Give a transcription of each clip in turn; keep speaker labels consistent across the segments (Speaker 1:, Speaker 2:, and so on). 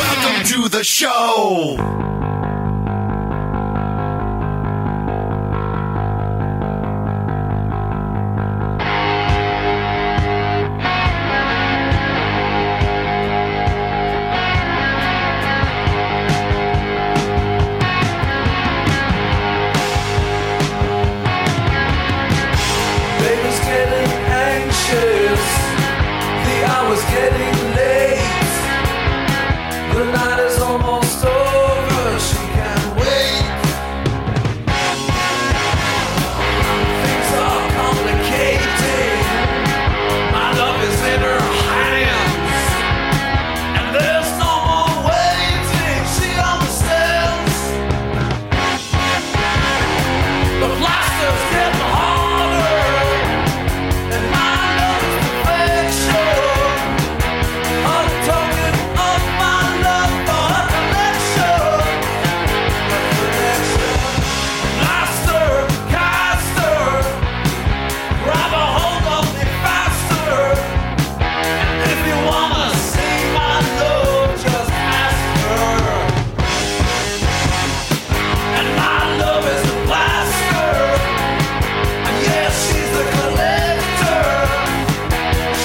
Speaker 1: Welcome to the show.
Speaker 2: Baby's getting anxious. The hour's getting late. The night is almost over. She can't wait. Things are complicated. My love is in her hands. And there's no more waiting. She understands. The plaster's getting harder, and my love is perfection. I'm talking of my love for connection, connection. Plaster, caster, grab a hold of me faster. And if you wanna see my love, just ask her. And my love is a blaster. And yes, she's a collector.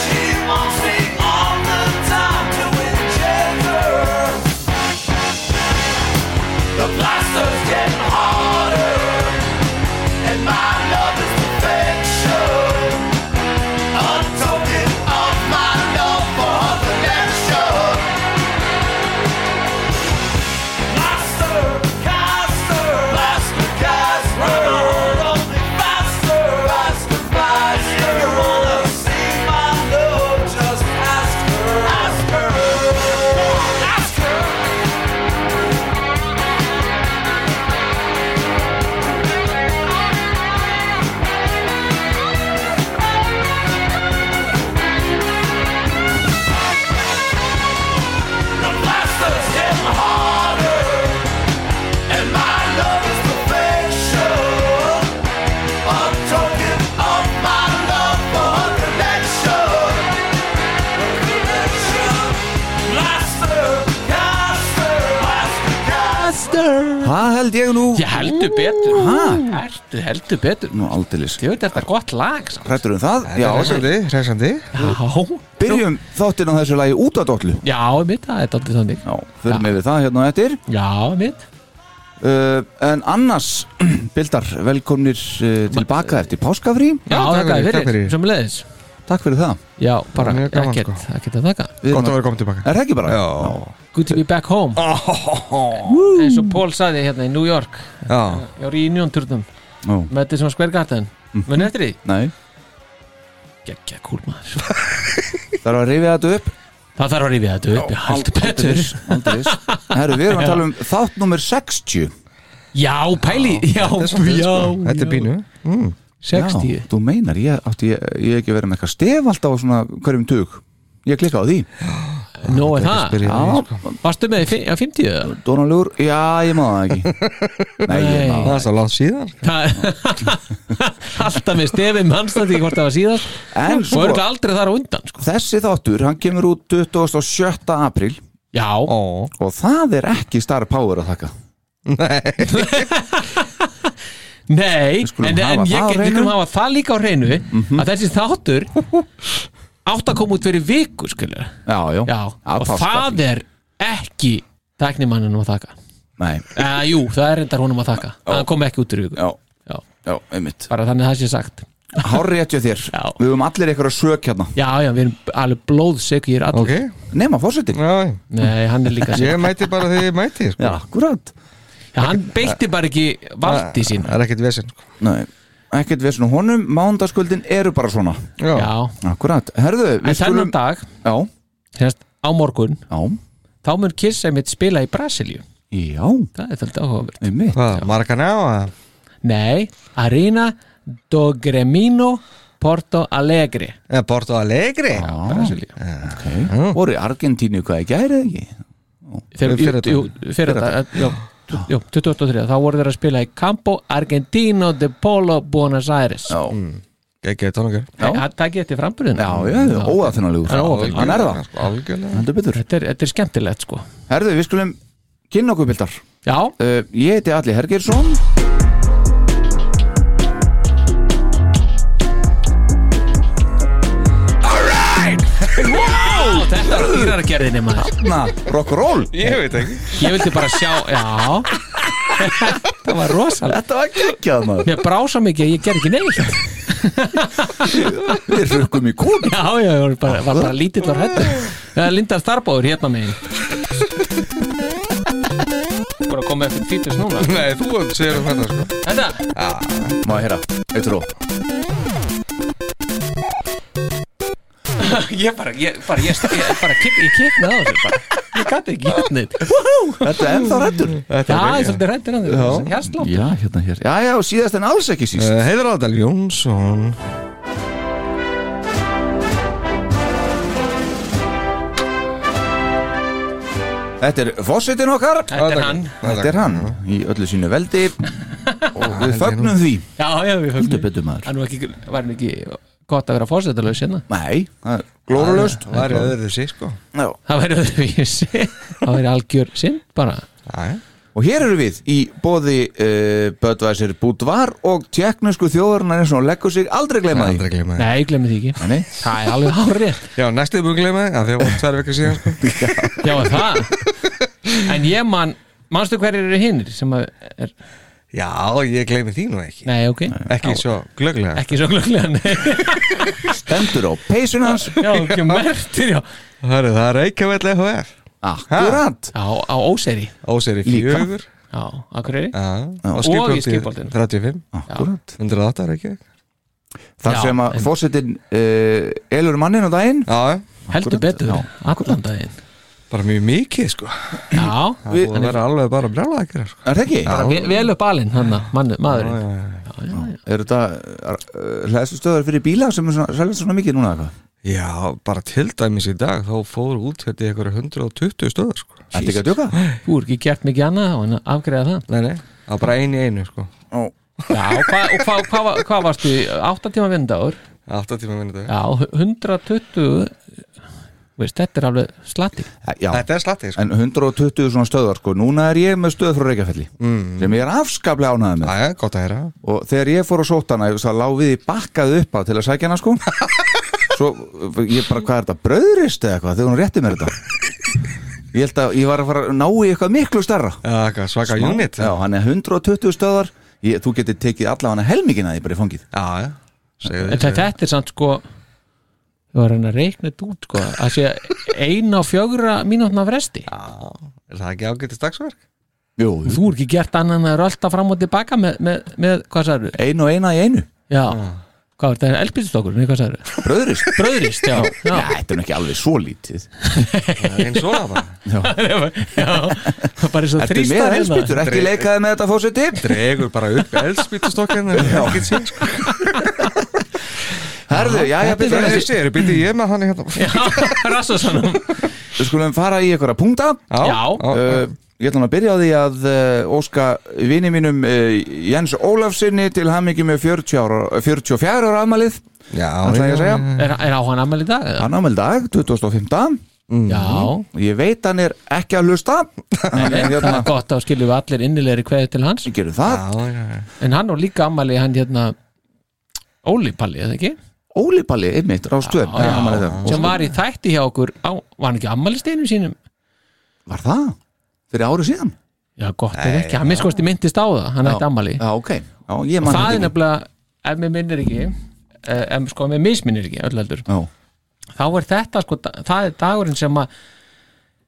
Speaker 2: She wants me all the time to inject her. The blaster's getting harder. And my love is perfection. I'm talking of my love for connection. Blaster, caster, blaster, caster. Only faster, faster, faster. If you wanna see my love, just ask her, ask her, ask her. The blaster's getting harder, and my love is perfection. I'm talking of my love for connection. Connection. Blaster, caster, blaster, caster.
Speaker 3: Það held ég nú
Speaker 4: Ég heldur betur
Speaker 3: Ha?
Speaker 4: Ertu heldur betur
Speaker 3: Nú aldeilis
Speaker 4: Ég veit þetta er gott lag samt.
Speaker 3: Hrættur um það Já,
Speaker 5: Hressandi, hressandi
Speaker 4: Já
Speaker 3: byrjum þáttinn á þessu lagi út á dollu
Speaker 4: Já, mitt, það er daldið þannig
Speaker 3: Já, förum yfir það hérna á eftir
Speaker 4: Já, mitt
Speaker 3: uh, En annars, Bildar, velkomnir uh, tilbaka eftir páskafrí
Speaker 4: Já, það
Speaker 5: takk fyrir,
Speaker 4: er
Speaker 5: takk fyrir.
Speaker 4: fyrir, sem leðis
Speaker 3: Takk fyrir það
Speaker 4: Já, bara,
Speaker 5: Mjög gaman,
Speaker 4: ekkert,
Speaker 5: sko.
Speaker 4: ekkert að taka
Speaker 3: Við erum
Speaker 5: Gott að vera komið tilbaka
Speaker 3: Er það ekki bara?
Speaker 5: Já.
Speaker 4: Good to be back home eins og Paul saði hérna í New York
Speaker 5: Já,
Speaker 4: ég var í Union-turnum
Speaker 3: Já.
Speaker 4: með þetta sem Square Garden
Speaker 5: Mhm.
Speaker 4: menn eftir því
Speaker 3: Nei,
Speaker 4: geggja kúl maður
Speaker 3: það er að rifja þetta upp
Speaker 4: það þarf að rífið þetta upp ég haldi betur
Speaker 3: Aldeilis, aldeilis Herru, við erum að tala um þátt nummer 60
Speaker 4: já pæli já já
Speaker 5: sko.
Speaker 4: Ah.
Speaker 5: þetta er bínu
Speaker 3: Já,
Speaker 4: 60
Speaker 3: þú meinar, ég átti ég, ég ekki verið með eitthvað stef alltaf á svona hverjum tug Ég klikka á því
Speaker 4: nú er það
Speaker 5: Byrja í-
Speaker 3: Já,
Speaker 4: varstu með í fi- á 50 eða?
Speaker 3: Dónalugur, já, ég má það ekki Nei, ég má
Speaker 5: Það
Speaker 3: það
Speaker 5: er svo langt síðan sko.
Speaker 4: Það- alltaf með stefið mannstætti hvort það var síðast
Speaker 3: En sko-
Speaker 4: og
Speaker 3: svo,
Speaker 4: eru aldrei þar á undan sko.
Speaker 3: þessi þáttur, hann kemur út 27. apríl
Speaker 4: já
Speaker 5: Ó,
Speaker 3: og það er ekki star power að þakka
Speaker 4: Nei,
Speaker 3: skulum
Speaker 4: en,
Speaker 3: hafa
Speaker 4: en ég
Speaker 3: það á
Speaker 4: get
Speaker 3: hreinu. Mhm.
Speaker 4: líka hafa það líka á hreinu að þessi þáttur átt að koma út fyrir viku skilur
Speaker 3: Já, já,
Speaker 4: Já, og
Speaker 3: páska.
Speaker 4: það er ekki tæknimanninum að þakka
Speaker 3: Nei,
Speaker 4: uh, Jú, það er reyndar honum að þakka að hann kom ekki út fyrir viku
Speaker 3: já,
Speaker 4: Já,
Speaker 3: já, einmitt
Speaker 4: bara þannig það sé sagt
Speaker 3: Hárri réttja þér
Speaker 4: Já.
Speaker 3: Við höfum allir eitthvað sök hérna
Speaker 4: Já, já, við erum alveg blóðsök Ég er allir
Speaker 5: Ok,
Speaker 3: Nema fórsetin
Speaker 5: já,
Speaker 4: Nei, hann er líka
Speaker 5: ég
Speaker 4: sök
Speaker 5: mæti bara þegar ég mæti sko.
Speaker 3: Já, akkurat
Speaker 4: Já, Hann beitti bara ekki valdi sín
Speaker 5: Það er ekkert vesinn sko.
Speaker 3: Nei, ekkert við svona honum Mándaskvöldin eru bara svona
Speaker 5: Já, já.
Speaker 4: Já,
Speaker 3: Akkurat, herðu
Speaker 4: en
Speaker 3: við
Speaker 4: þennan dag
Speaker 3: Já,
Speaker 4: Hérst á morgun
Speaker 3: já,
Speaker 4: Þá mun Kiss einmitt spila í Brasilíu
Speaker 3: já,
Speaker 4: Það er þetta áhugaverð
Speaker 3: um mitt
Speaker 5: Hvað, margan á að
Speaker 4: Nei, Arena do Gremino Porto Alegre
Speaker 5: Eða Porto Alegri
Speaker 4: Brasilíu
Speaker 3: Voru í Argentínu hvað ég gæri ekki
Speaker 4: Þeir,
Speaker 5: Fyrir
Speaker 4: jú,
Speaker 5: þetta.
Speaker 4: jú, fyrir þetta já, tu- já, 2023, þá voru þeir að spila í Campo Argentino de Polo Buenos Aires
Speaker 3: Já,
Speaker 5: Gekkið tónungar
Speaker 3: Já.
Speaker 4: Það takk ég eftir framburðin
Speaker 3: já, já, óafinnalegur
Speaker 4: Hann er óaðfinnanlegur.
Speaker 3: Hann er það,
Speaker 5: Algjörlega
Speaker 3: heldur betur
Speaker 4: þetta, er, þetta er skemmtilegt sko
Speaker 3: Herðu, við skulum kynna okkur bildar
Speaker 4: Já,
Speaker 3: uh, Ég heiti Alli Hergersson
Speaker 4: wow, þetta er dýrargerðinni maður
Speaker 3: Na, rock'n'roll
Speaker 5: Ég veit ekki
Speaker 4: Ég vildi bara sjá, já Þetta var rosalega
Speaker 3: Þetta var geggjað maður
Speaker 4: Mér brá svo mikið að ég ger ekki neitt
Speaker 3: Við rukkum í kúl
Speaker 4: Já, já, ég var bara, var bara lítill og hættur Lindar Starbóður hérna megin Bara komið eftir títus núna
Speaker 5: Nei, þú segir um þetta sko
Speaker 4: Þetta
Speaker 3: Má ég heyra, eitt ró
Speaker 4: ég bara, ég bara, ég, ég bara kik, ég kiknaði á þessu bara ég gæti ekki gert neitt
Speaker 3: Þetta er ennþá rættur
Speaker 4: já, ég er svolítið rættir að þessu hérslá
Speaker 3: Já, hérna hér Já, já, síðast en alls ekki síst
Speaker 5: Heiður Adal Eh, Jónsson
Speaker 3: Eh, Þetta er fósitin okkar
Speaker 4: þetta er hann
Speaker 3: Þetta er hann Í öllu sínu veldi Og við fögnum því
Speaker 4: já, já, við
Speaker 3: Heldur
Speaker 4: höfum
Speaker 3: betur maður
Speaker 4: hann var ekki, var hann ekki gott að vera fórsetalös hérna
Speaker 3: Nei, það er glórulaust
Speaker 5: Var ég öðru sig sko
Speaker 3: Já.
Speaker 4: það væri öðruvísi það væri algjör sinn bara
Speaker 5: Já, já
Speaker 3: Og hér eru við í bóði uh, Böðvæsir Búdvar og tjekknusku þjóðurnar eins og hún leggur sig aldrei gleyma
Speaker 5: Aldrei
Speaker 3: því
Speaker 5: gleyma því
Speaker 4: nei, ég glemir því ekki
Speaker 3: Nei,
Speaker 4: það er alveg hárið
Speaker 5: Já, næstu búin gleyma því af Því að voru tvær vekkar síðan sko
Speaker 4: já, er það en ég man manstu hverjir eru hinnir sem að er,
Speaker 5: Já, ég gleymi því nú ekki
Speaker 4: nei, ok
Speaker 5: Ekki svo glögglega
Speaker 4: ekki svo glögglega nei
Speaker 3: stendur á peysun hans
Speaker 4: já, ekki mertir já
Speaker 5: Hörru, það er Reykjavík LHF
Speaker 3: Akkurat
Speaker 4: á, á óseri
Speaker 5: Óseri
Speaker 3: Líka.
Speaker 5: fjögur
Speaker 4: já, akkur er
Speaker 5: Já,
Speaker 3: Og
Speaker 5: Og
Speaker 3: í
Speaker 5: skipaldin
Speaker 4: Skipholti.
Speaker 5: 35
Speaker 3: Akkurat
Speaker 5: 108 Reykjavík
Speaker 3: Þar
Speaker 4: Já,
Speaker 3: sem að
Speaker 4: en-
Speaker 3: fósitin uh, elur mannin á daginn
Speaker 5: Já, já.
Speaker 4: heldur
Speaker 3: Akkúrat,
Speaker 4: betur,
Speaker 3: já,
Speaker 4: allan daginn
Speaker 5: bara mjög mikið sko
Speaker 4: já,
Speaker 5: Það búið að vera alveg bara brjálæða ekki sko.
Speaker 3: Er það ekki?
Speaker 4: bara ve- vel upp alinn hann maðurinn
Speaker 3: Er þetta hlæðstustöðar fyrir bíla sem er svona- seljast svona mikið núna eða eitthvað?
Speaker 5: Já, bara til dæmis í dag þá fór útfjöldi ykkur 120 stöðar sko
Speaker 3: Þetta ekki að djóka?
Speaker 4: þú er ekki gert mikið annað og hann afgreða það
Speaker 5: Nei, nei, það var bara einu í einu sko
Speaker 4: já, og hvað hva, hva, hva, var- hvað varstu í átta tíma vindagur,
Speaker 5: 8 tíma minni dag
Speaker 4: já, 120 veist, þetta er alveg slatti
Speaker 3: Já,
Speaker 5: Þetta er slatti sko
Speaker 3: en 120 svona stöðar sko Núna er ég með stöð frá Reykjafelli sem ég er afskaplega ánæðið með
Speaker 5: Æja, gott að heyra
Speaker 3: og þegar ég fór á sótana þá lá við í bakkað upp á til að sækja hana sko Svo ég bara, hvað er þetta, bröðrist eða eitthvað þegar hún rétti mér þetta Ég held að ég var að fara að ná í eitthvað miklu starra
Speaker 5: Já, hvað, svaka unit
Speaker 3: Já, hann er 120 stöðar ég, Þú getur tekið allavega helmingina því bara í fangið
Speaker 5: já, já. Segðu
Speaker 4: en þetta, þetta er samt sko ég var hann að reikna þetta út sko að sé eina og fjögra mínútna fresti
Speaker 5: Er það ekki ágætið dagsverk?
Speaker 3: Jú,
Speaker 4: þú er ekki gert annað en að rölda fram og tilbaka með, með, með hvað sagður,
Speaker 3: ein og eina í einu
Speaker 4: já hvað var þetta, elbílstokkur, nei hvað sagður
Speaker 3: Bröðrist
Speaker 4: bröðrist, já, já.
Speaker 3: Já, þetta er nú ekki alveg svo lítið
Speaker 5: Það er einn svona bara
Speaker 4: já, bara svo
Speaker 3: Ertu með
Speaker 5: hérna?
Speaker 3: elspýtur, ekki leikaði með þetta fósiti
Speaker 5: Dregur bara upp eldspýtustokkin Það er ekki síðan sko
Speaker 3: Herðu, já, já,
Speaker 5: Það
Speaker 3: byrja
Speaker 5: er ekki síðan, byrði ég með hann hérna
Speaker 4: Rassasonum
Speaker 3: Við skulum fara í einhverja punkta
Speaker 4: Já.
Speaker 3: uh, Ég ætlum að byrja á því að uh, óska vini mínum uh, Jens Ólafsinni til hamingi með 40 ára, 44 ára afmælið
Speaker 5: Já,
Speaker 3: ætla ég að segja.
Speaker 4: er, er á hann ammæli í dag? eða?
Speaker 3: Hann afmæl dag, 2015
Speaker 4: Já
Speaker 3: Ég veit hann er ekki að hlusta
Speaker 4: En, en, Það
Speaker 3: Hérna,
Speaker 4: er gott að skilju við allir innilegri kveði til hans
Speaker 3: ég gerum það
Speaker 5: Já, já, já
Speaker 4: En hann á líka ammæli hann hérna Óli Palli, eða ekki?
Speaker 3: Óli Palli, einmitt, rástöð
Speaker 4: já. Sem var í þætti hjá okkur á, Var hann ekki ammæli steinum sínum?
Speaker 3: Var það? Fyrir árið síðan?
Speaker 4: Já, gott er ekki, hann minnst kosti myndist á það Hann ætti ammæli
Speaker 3: Já, ok já, ég man
Speaker 4: Það
Speaker 3: þetta
Speaker 4: er
Speaker 3: ekki.
Speaker 4: nefnilega, ef mér minnir ekki eh, en sko með misminir ekki öll heldur
Speaker 3: Já,
Speaker 4: þá er þetta sko, da- það er dagurinn sem að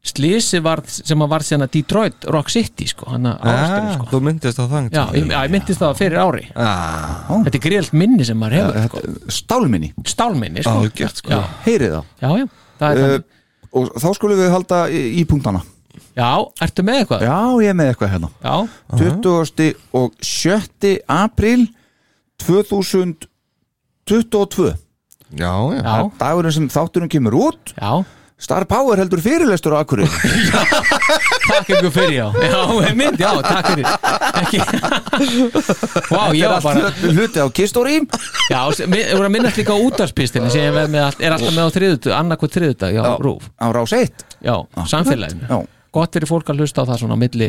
Speaker 4: slisi varð sem að varð sérna Detroit Rock City sko, hann að ástöru sko
Speaker 5: Ah, Þú myndist á þangt
Speaker 4: já, ég, já, ég myndist það fyrir ári þetta er greilt minni sem maður hefur sko.
Speaker 3: þetta- Stálminni,
Speaker 4: stálminni sko.
Speaker 5: Algjört, sko.
Speaker 4: já,
Speaker 3: heyrið það
Speaker 4: já, já, það
Speaker 3: uh,
Speaker 4: er þannig
Speaker 3: Og þá skulum við halda í, í punktana
Speaker 4: já, ertu með eitthvað?
Speaker 3: Já, ég er með eitthvað hérna
Speaker 4: já,
Speaker 3: 20. og 7. apríl 2022
Speaker 5: já, já.
Speaker 4: já,
Speaker 3: Dagurinn sem þátturinn kemur út
Speaker 4: já
Speaker 3: Star Power heldur fyrirlestur á Akureyri
Speaker 4: takk ykkur fyrir já, já, mynd, já, takk fyrir ekki vá, ég var bara
Speaker 3: Hlut- Hluti á kistóri
Speaker 4: já, sem- við við vorum að minnast líka á útarspistinu sem ég er með allt- er alltaf með á þriðutu, annarkvæð þriðuta já, rúf,
Speaker 3: á rás 1
Speaker 4: já, samfélaginu
Speaker 3: Já.
Speaker 4: gott fyrir fólk að hlusta á það svona á milli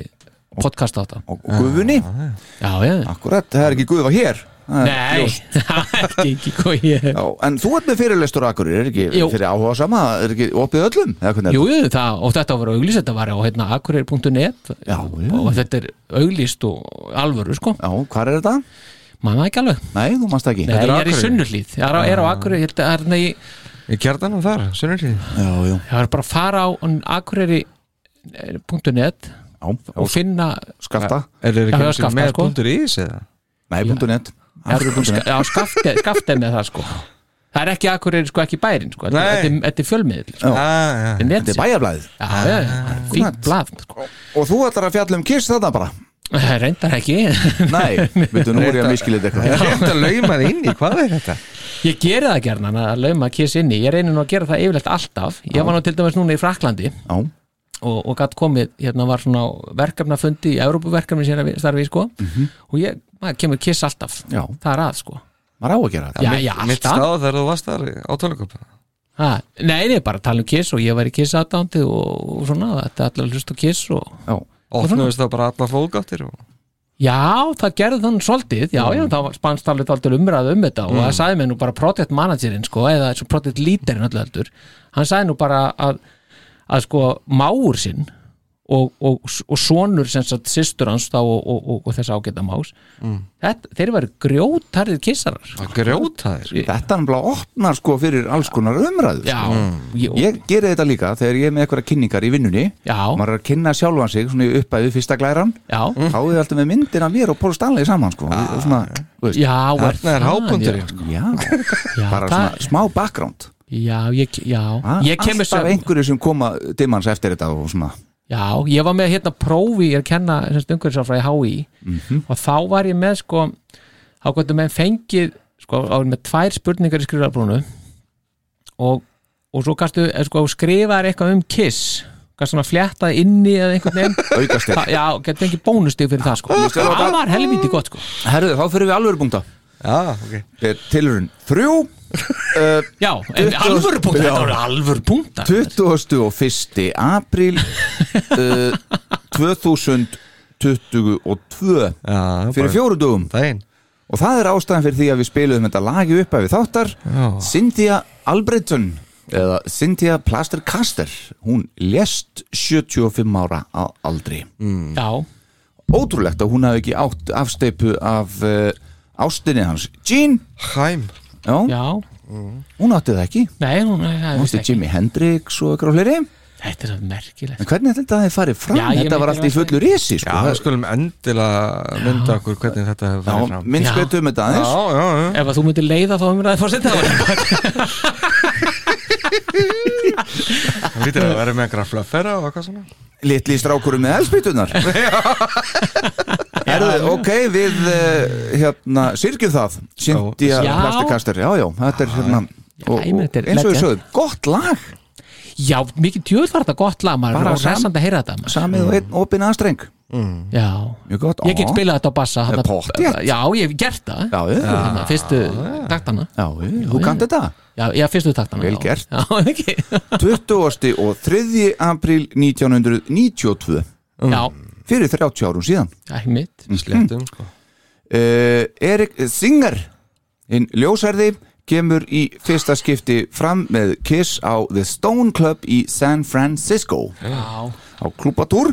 Speaker 4: podcast á það
Speaker 3: og og gufunni
Speaker 4: já, já,
Speaker 3: Akkurat, það er ekki gufa hér Það er
Speaker 4: nei,
Speaker 3: ljós.
Speaker 4: það er ekki, ekki hvað ég
Speaker 3: Já, en þú ert með fyrirlestur á Akureyri, er ekki
Speaker 4: Jú.
Speaker 3: fyrir áhuga sama, er ekki opið öllum? Eða hvernig er
Speaker 4: Jú, jú, það, og þetta var auglýst, þetta var á hérna, akureyri.net
Speaker 3: Já, já.
Speaker 4: og þetta er auglýst og alvöru sko,
Speaker 3: Já, hvað er þetta?
Speaker 4: maður það ekki alveg
Speaker 3: Nei, þú manst ekki
Speaker 4: Nei,
Speaker 5: er
Speaker 4: ég er í
Speaker 5: Akureyri?
Speaker 4: sunnuhlíð, ég er á, er á akureyri ég held að hérna í-
Speaker 5: Ég kjartan á þar, sunnurlíð
Speaker 3: Já, já,
Speaker 4: ég var bara að fara á akureyri.net
Speaker 3: já,
Speaker 4: og finna
Speaker 3: skafta
Speaker 5: Er þeir
Speaker 4: Já,
Speaker 5: ekki
Speaker 4: já,
Speaker 5: einu sinni
Speaker 4: skafta,
Speaker 5: með
Speaker 4: sko.
Speaker 5: punktur í þessi eða?
Speaker 3: Nei, punktu net Akureyri.net.
Speaker 4: já, skafti, skafti með það sko það er ekki akureyri, sko, ekki bærin sko, þetta
Speaker 5: Nei.
Speaker 4: er- þetta er fjölmiðl sko.
Speaker 5: Já, já, Ah, já.
Speaker 4: Þetta sko.
Speaker 3: Þetta er bæjarblæðið
Speaker 4: Já, já, já, fínt blað sko. Eh,
Speaker 3: Og þú ætlar að fjalla um kiss þarna bara
Speaker 4: Reyndar ekki
Speaker 3: Nei, veitu, nú er ég að miskilið
Speaker 5: Ég
Speaker 3: eitthvað
Speaker 5: reyndi að lauma þið inn í, hvað er þetta?
Speaker 4: Ég geri það gerna að lauma kiss inni Ég reynir nú að gera það yfirleitt alltaf Ég var nú til dæmis núna í Fraklandi
Speaker 3: Já,
Speaker 4: og, og gatt komið, hérna var svona á verkefnafundi í Evrópuverkefni sér að starfi sko. og ég, maður kemur kiss alltaf
Speaker 3: Já.
Speaker 4: það er að sko
Speaker 3: maður á að gera þetta
Speaker 4: Já, já,
Speaker 5: Mitt
Speaker 4: alltaf
Speaker 5: stáð þegar þú varst þar á tónleikum
Speaker 4: ha, Nei, nei, bara tala um kiss og ég var í kiss aðdándi og, og svona, þetta er allir hlust á kiss og
Speaker 3: Já,
Speaker 5: Opnuðist þá bara alla fólkáttir og...
Speaker 4: Já, það gerði þann svolítið Já,
Speaker 3: Mm.
Speaker 4: já, þá spannst alveg aldrei umræðu um þetta og það sagði mér nú bara project managerinn sko, eða svo project leaderinn öllu heldur hann sagði nú bara að, að sko máur sinn og, og, og sonur sem sagt systur hans þá og, og, og, og þess ágæta más
Speaker 3: Mm.
Speaker 4: þetta, þeir eru grjótarðið kissarar
Speaker 5: Grjótaðir
Speaker 3: þetta er bara opnar sko fyrir alls konar umræðu
Speaker 4: Já, ég,
Speaker 3: Mm. Ég geri þetta líka þegar ég er með eitthvað kynningar í vinnunni
Speaker 4: Já.
Speaker 3: Maður er að kynna sjálfan sig svona í uppæðu fyrsta glæran
Speaker 4: já,
Speaker 5: Mm.
Speaker 3: Þá er alltaf með myndina mér og Paul Stanley saman sko ah. svona, þú veist,
Speaker 4: já er
Speaker 5: Þarna er
Speaker 4: það, Ah,
Speaker 5: hábundurinn
Speaker 4: já.
Speaker 5: sko.
Speaker 3: já,
Speaker 4: Já,
Speaker 3: Bara
Speaker 4: það-
Speaker 3: svona smá background
Speaker 4: Já, ég, já,
Speaker 3: Ah,
Speaker 4: ég kemur
Speaker 3: Alltaf einhverju sem koma dimans eftir þetta og svona
Speaker 4: Já, ég var með hérna prófi ég er að kenna umhverfisafræði HÍ
Speaker 3: Mhm.
Speaker 4: og þá var ég með sko þá gættu með fengið sko, á með tvær spurningar í skrifarbrúnu og, og svo kannstu eh, sko, skrifaðar eitthvað um kiss kannstu svona fléttað inni eða einhvern veginn
Speaker 3: Aukast þér
Speaker 4: Þa- Já, getur ekki bónustig fyrir það sko Það var helviti gott sko
Speaker 3: Herðu, þá fyrir við alveg punkta
Speaker 5: Já, ok
Speaker 3: Tilurinn þrjú uh,
Speaker 4: Já, en
Speaker 3: Tuttugu-
Speaker 4: alvöru punktar,
Speaker 3: Já.
Speaker 4: þetta voru alvöru punktar
Speaker 3: 21. apríl uh, 2022
Speaker 5: Já,
Speaker 3: Fyrir fjóru dugum
Speaker 5: Dæin
Speaker 3: Og það er ástæðan fyrir því að við spiluðum þetta lagi upp að við þáttar
Speaker 5: Já.
Speaker 3: Cynthia Albreyton eða Cynthia Plaster-Kaster hún lést 75 ára að aldri
Speaker 4: Já,
Speaker 3: Ótrúlegt að hún hafi ekki átt afsteipu af uh, ástinni hans Jean,
Speaker 5: Hæm
Speaker 3: já,
Speaker 4: já,
Speaker 3: hún átti það ekki
Speaker 4: nei, hún það
Speaker 3: Hún
Speaker 4: veist
Speaker 3: átti
Speaker 4: ekki.
Speaker 3: Jimi Hendrix og ykkur á fleiri En
Speaker 4: Þetta er svo merkilegt
Speaker 3: hvernig ætli þetta hefði farið fram?
Speaker 4: Já, ég
Speaker 3: þetta var
Speaker 4: myndi
Speaker 3: allt í
Speaker 4: að-
Speaker 3: fullu risi sko.
Speaker 5: Já, við skulum endilega mynda okkur hvernig þetta hefur
Speaker 3: já
Speaker 5: farið fram
Speaker 3: minn
Speaker 4: Já.
Speaker 3: skveitum þetta aðeins
Speaker 5: Já, já, já
Speaker 4: Ef að þú myndir leiða þá umræði fórseta
Speaker 5: Það lítur að vera með einhverja fluffera og eitthvað svona
Speaker 3: litli strákurum með elspýtunar Erðu, ok, við uh, hérna, sirkjum það Sintja
Speaker 4: Já.
Speaker 3: plastikastur, já, já, þetta er hérna og,
Speaker 4: ég
Speaker 3: og,
Speaker 4: meina, þetta er
Speaker 3: eins og við
Speaker 4: legend.
Speaker 3: sögum, gott lag
Speaker 4: Já, mikið djöð var þetta gott lag maður
Speaker 3: Bara
Speaker 4: Bara
Speaker 3: sam-
Speaker 4: ræsand að heyra þetta maður
Speaker 3: samið og einn opinn aðstreng
Speaker 4: Já,
Speaker 3: Mjög gott,
Speaker 4: ég get
Speaker 3: á.
Speaker 4: spilað þetta á bassa
Speaker 3: Það er pottþétt.
Speaker 4: Já, ég hef gert það
Speaker 3: Já, já,
Speaker 4: Hérna, Fyrstu taktana
Speaker 3: já, já, þú kannt þetta
Speaker 4: Já, já fyrstu taktana
Speaker 3: Vel
Speaker 4: já.
Speaker 3: gert.
Speaker 4: Já, ekki
Speaker 3: 20. og 3. apríl 1992
Speaker 4: Já,
Speaker 3: fyrir 30 árum síðan
Speaker 4: ekki mitt
Speaker 3: Mm.
Speaker 5: Sléttum, sko
Speaker 3: uh, Erik Singer hinn ljósærði kemur í fyrsta skipti fram með Kiss á The Stone Club í San Francisco
Speaker 4: Já,
Speaker 3: á klúpatúr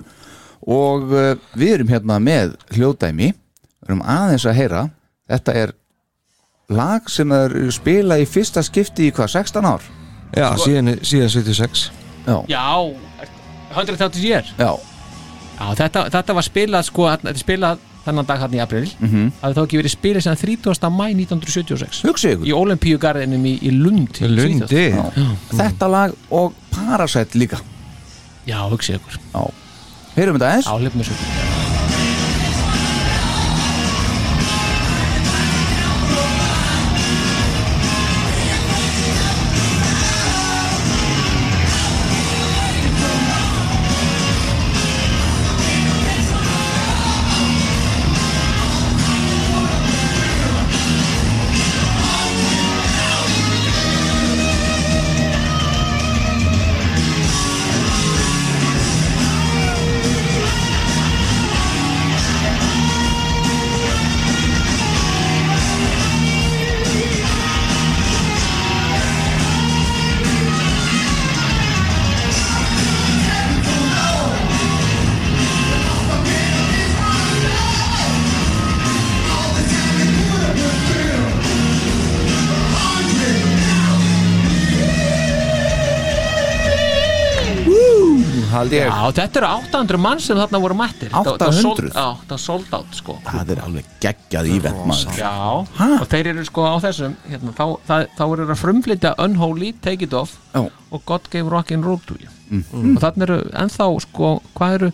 Speaker 3: og uh, við erum hérna með hljóðdæmi við erum aðeins að heyra þetta er lag sem það er spilað í fyrsta skipti í hvað, 16 ár?
Speaker 5: Já, síðan, síðan 76
Speaker 3: Já,
Speaker 4: Já, 130 year
Speaker 3: já,
Speaker 4: Já, þetta, þetta var spilað sko þetta er spilað þannan dag hann í april mm -hmm.
Speaker 3: Mhm.
Speaker 4: að þá ekki verið spilað sem 30. mæ 1976
Speaker 3: hugsið ykkur
Speaker 4: í Olimpíugarðinum í, í Lund í Svíþjóð.
Speaker 5: Lundi
Speaker 3: Já. Þetta lag og Parasite líka
Speaker 4: Já, hugsið ykkur
Speaker 3: Já, heyrum þetta eins
Speaker 4: Já, hlipum þessu
Speaker 3: Haldi ég
Speaker 4: Já, þetta eru 800 mann sem þarna voru mættir Þetta- þetta var
Speaker 3: 800?
Speaker 4: sold- Já, það var sold out sko
Speaker 3: Það er alveg geggjað ívent maður
Speaker 4: Já, og þeir eru sko á þessum hérna, þá, það, þá eru þeir að frumflytja Unholy, Take It Off
Speaker 3: Já.
Speaker 4: og God Gave Rockin' Roll to You
Speaker 5: Mm.
Speaker 4: og þannig eru ennþá sko hvað eru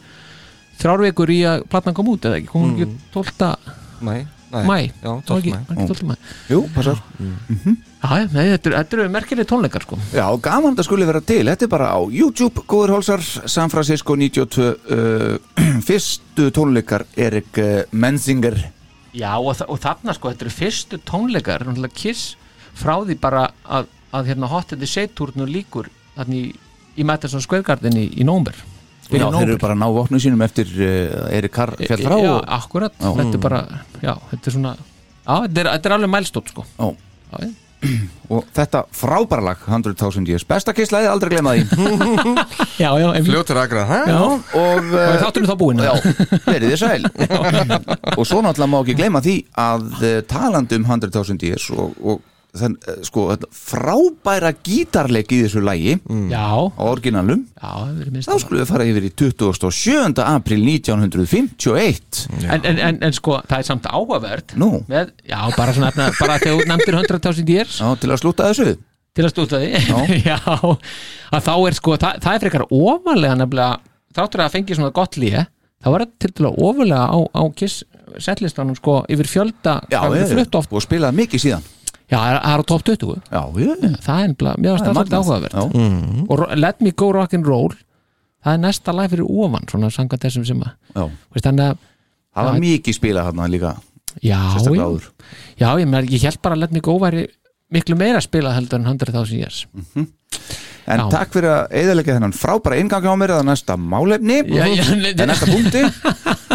Speaker 4: þrjár vikur í að platna kom út eða ekki, kom hún ekki 12.
Speaker 5: Mæ Mm. Nei.
Speaker 4: mæ
Speaker 5: Já,
Speaker 4: Var
Speaker 5: 12.
Speaker 4: ekki-
Speaker 5: mæ
Speaker 4: var ekki 12. mæ
Speaker 3: Jú, passar
Speaker 4: Já, já, nei, þetta, eru- þetta eru merkileg tónleikar sko
Speaker 3: Já, gaman þetta skuli vera til, þetta er bara á YouTube, góður hólsar, San Francisco 92, uh, fyrstu tónleikar Erik uh, Menzinger
Speaker 4: Já, og, þa- og þarna sko, þetta eru fyrstu tónleikar náttúrulega Kiss frá því bara að, að hérna Hot in the Shade túrnu líkur þannig í, í Madison Square Garden í, í Nómber
Speaker 3: Já, þeir eru bara að ná vopnum sínum eftir uh, Erik Karr fjall frá
Speaker 4: já,
Speaker 3: og,
Speaker 4: akkurat,
Speaker 3: Já. Mm.
Speaker 4: þetta er bara já, þetta er svona, já, þetta er, þetta er alveg mælstótt sko,
Speaker 3: ó,
Speaker 4: já, já.
Speaker 3: og þetta frábæra lag 100.000 years, besta kisslaði, aldrei glemma því
Speaker 4: já, já, einmitt.
Speaker 5: Fljótur agra, hæ?
Speaker 4: já.
Speaker 3: og
Speaker 4: og
Speaker 3: uh,
Speaker 4: þáttunum þá búin
Speaker 3: Já, verið þið sæl Og svo náttúrulega má ekki gleyma því að eh, talandi um 100.000 years og, og þann, eh, sko, þetta frábæra gítarleik í þessu lagi
Speaker 4: já,
Speaker 3: á orginalum
Speaker 4: já, það verið minnst
Speaker 3: þá skulum við fara yfir í 27. april 1951
Speaker 4: en, en, en, en sko, það er samt áhugavert
Speaker 3: Nú.
Speaker 4: með, já, bara svona efna, bara þegar þú nefndir 100.000 years
Speaker 3: Já, til að slúta þessu
Speaker 4: til að stúta því já, að þá er sko, það, það er frekar ofalega nefnilega, þáttur að það fengi svona gott líð þá var þetta til dæla ofalega á, á kiss setlistanum sko yfir fjölda
Speaker 3: Já,
Speaker 4: hvað við
Speaker 3: eh,
Speaker 4: flutt oft,
Speaker 3: og spilaði mikið síðan
Speaker 4: já, það er- það er á top 20
Speaker 3: Já, ég
Speaker 4: það er ennbla, mér varst það svolítið áhugavert
Speaker 3: Já,
Speaker 4: og Ro- Let Me Go Rock'n'Roll það er næsta lag fyrir ofan svona sanga þessum sem að
Speaker 3: já.
Speaker 4: veist, þannig að,
Speaker 3: Það var mikið spilað hann líka
Speaker 4: Mm. já,
Speaker 3: Sérstaklega
Speaker 4: já,
Speaker 3: áður.
Speaker 4: já ég, meina, ég held bara að Let Me Go væri miklu meira að spila heldur en 100.000 years
Speaker 3: En
Speaker 4: Já.
Speaker 3: takk fyrir að eðalega þennan frábæra ingang hjá mér að næsta málefni
Speaker 4: Já, já, nei,
Speaker 3: en næsta punkti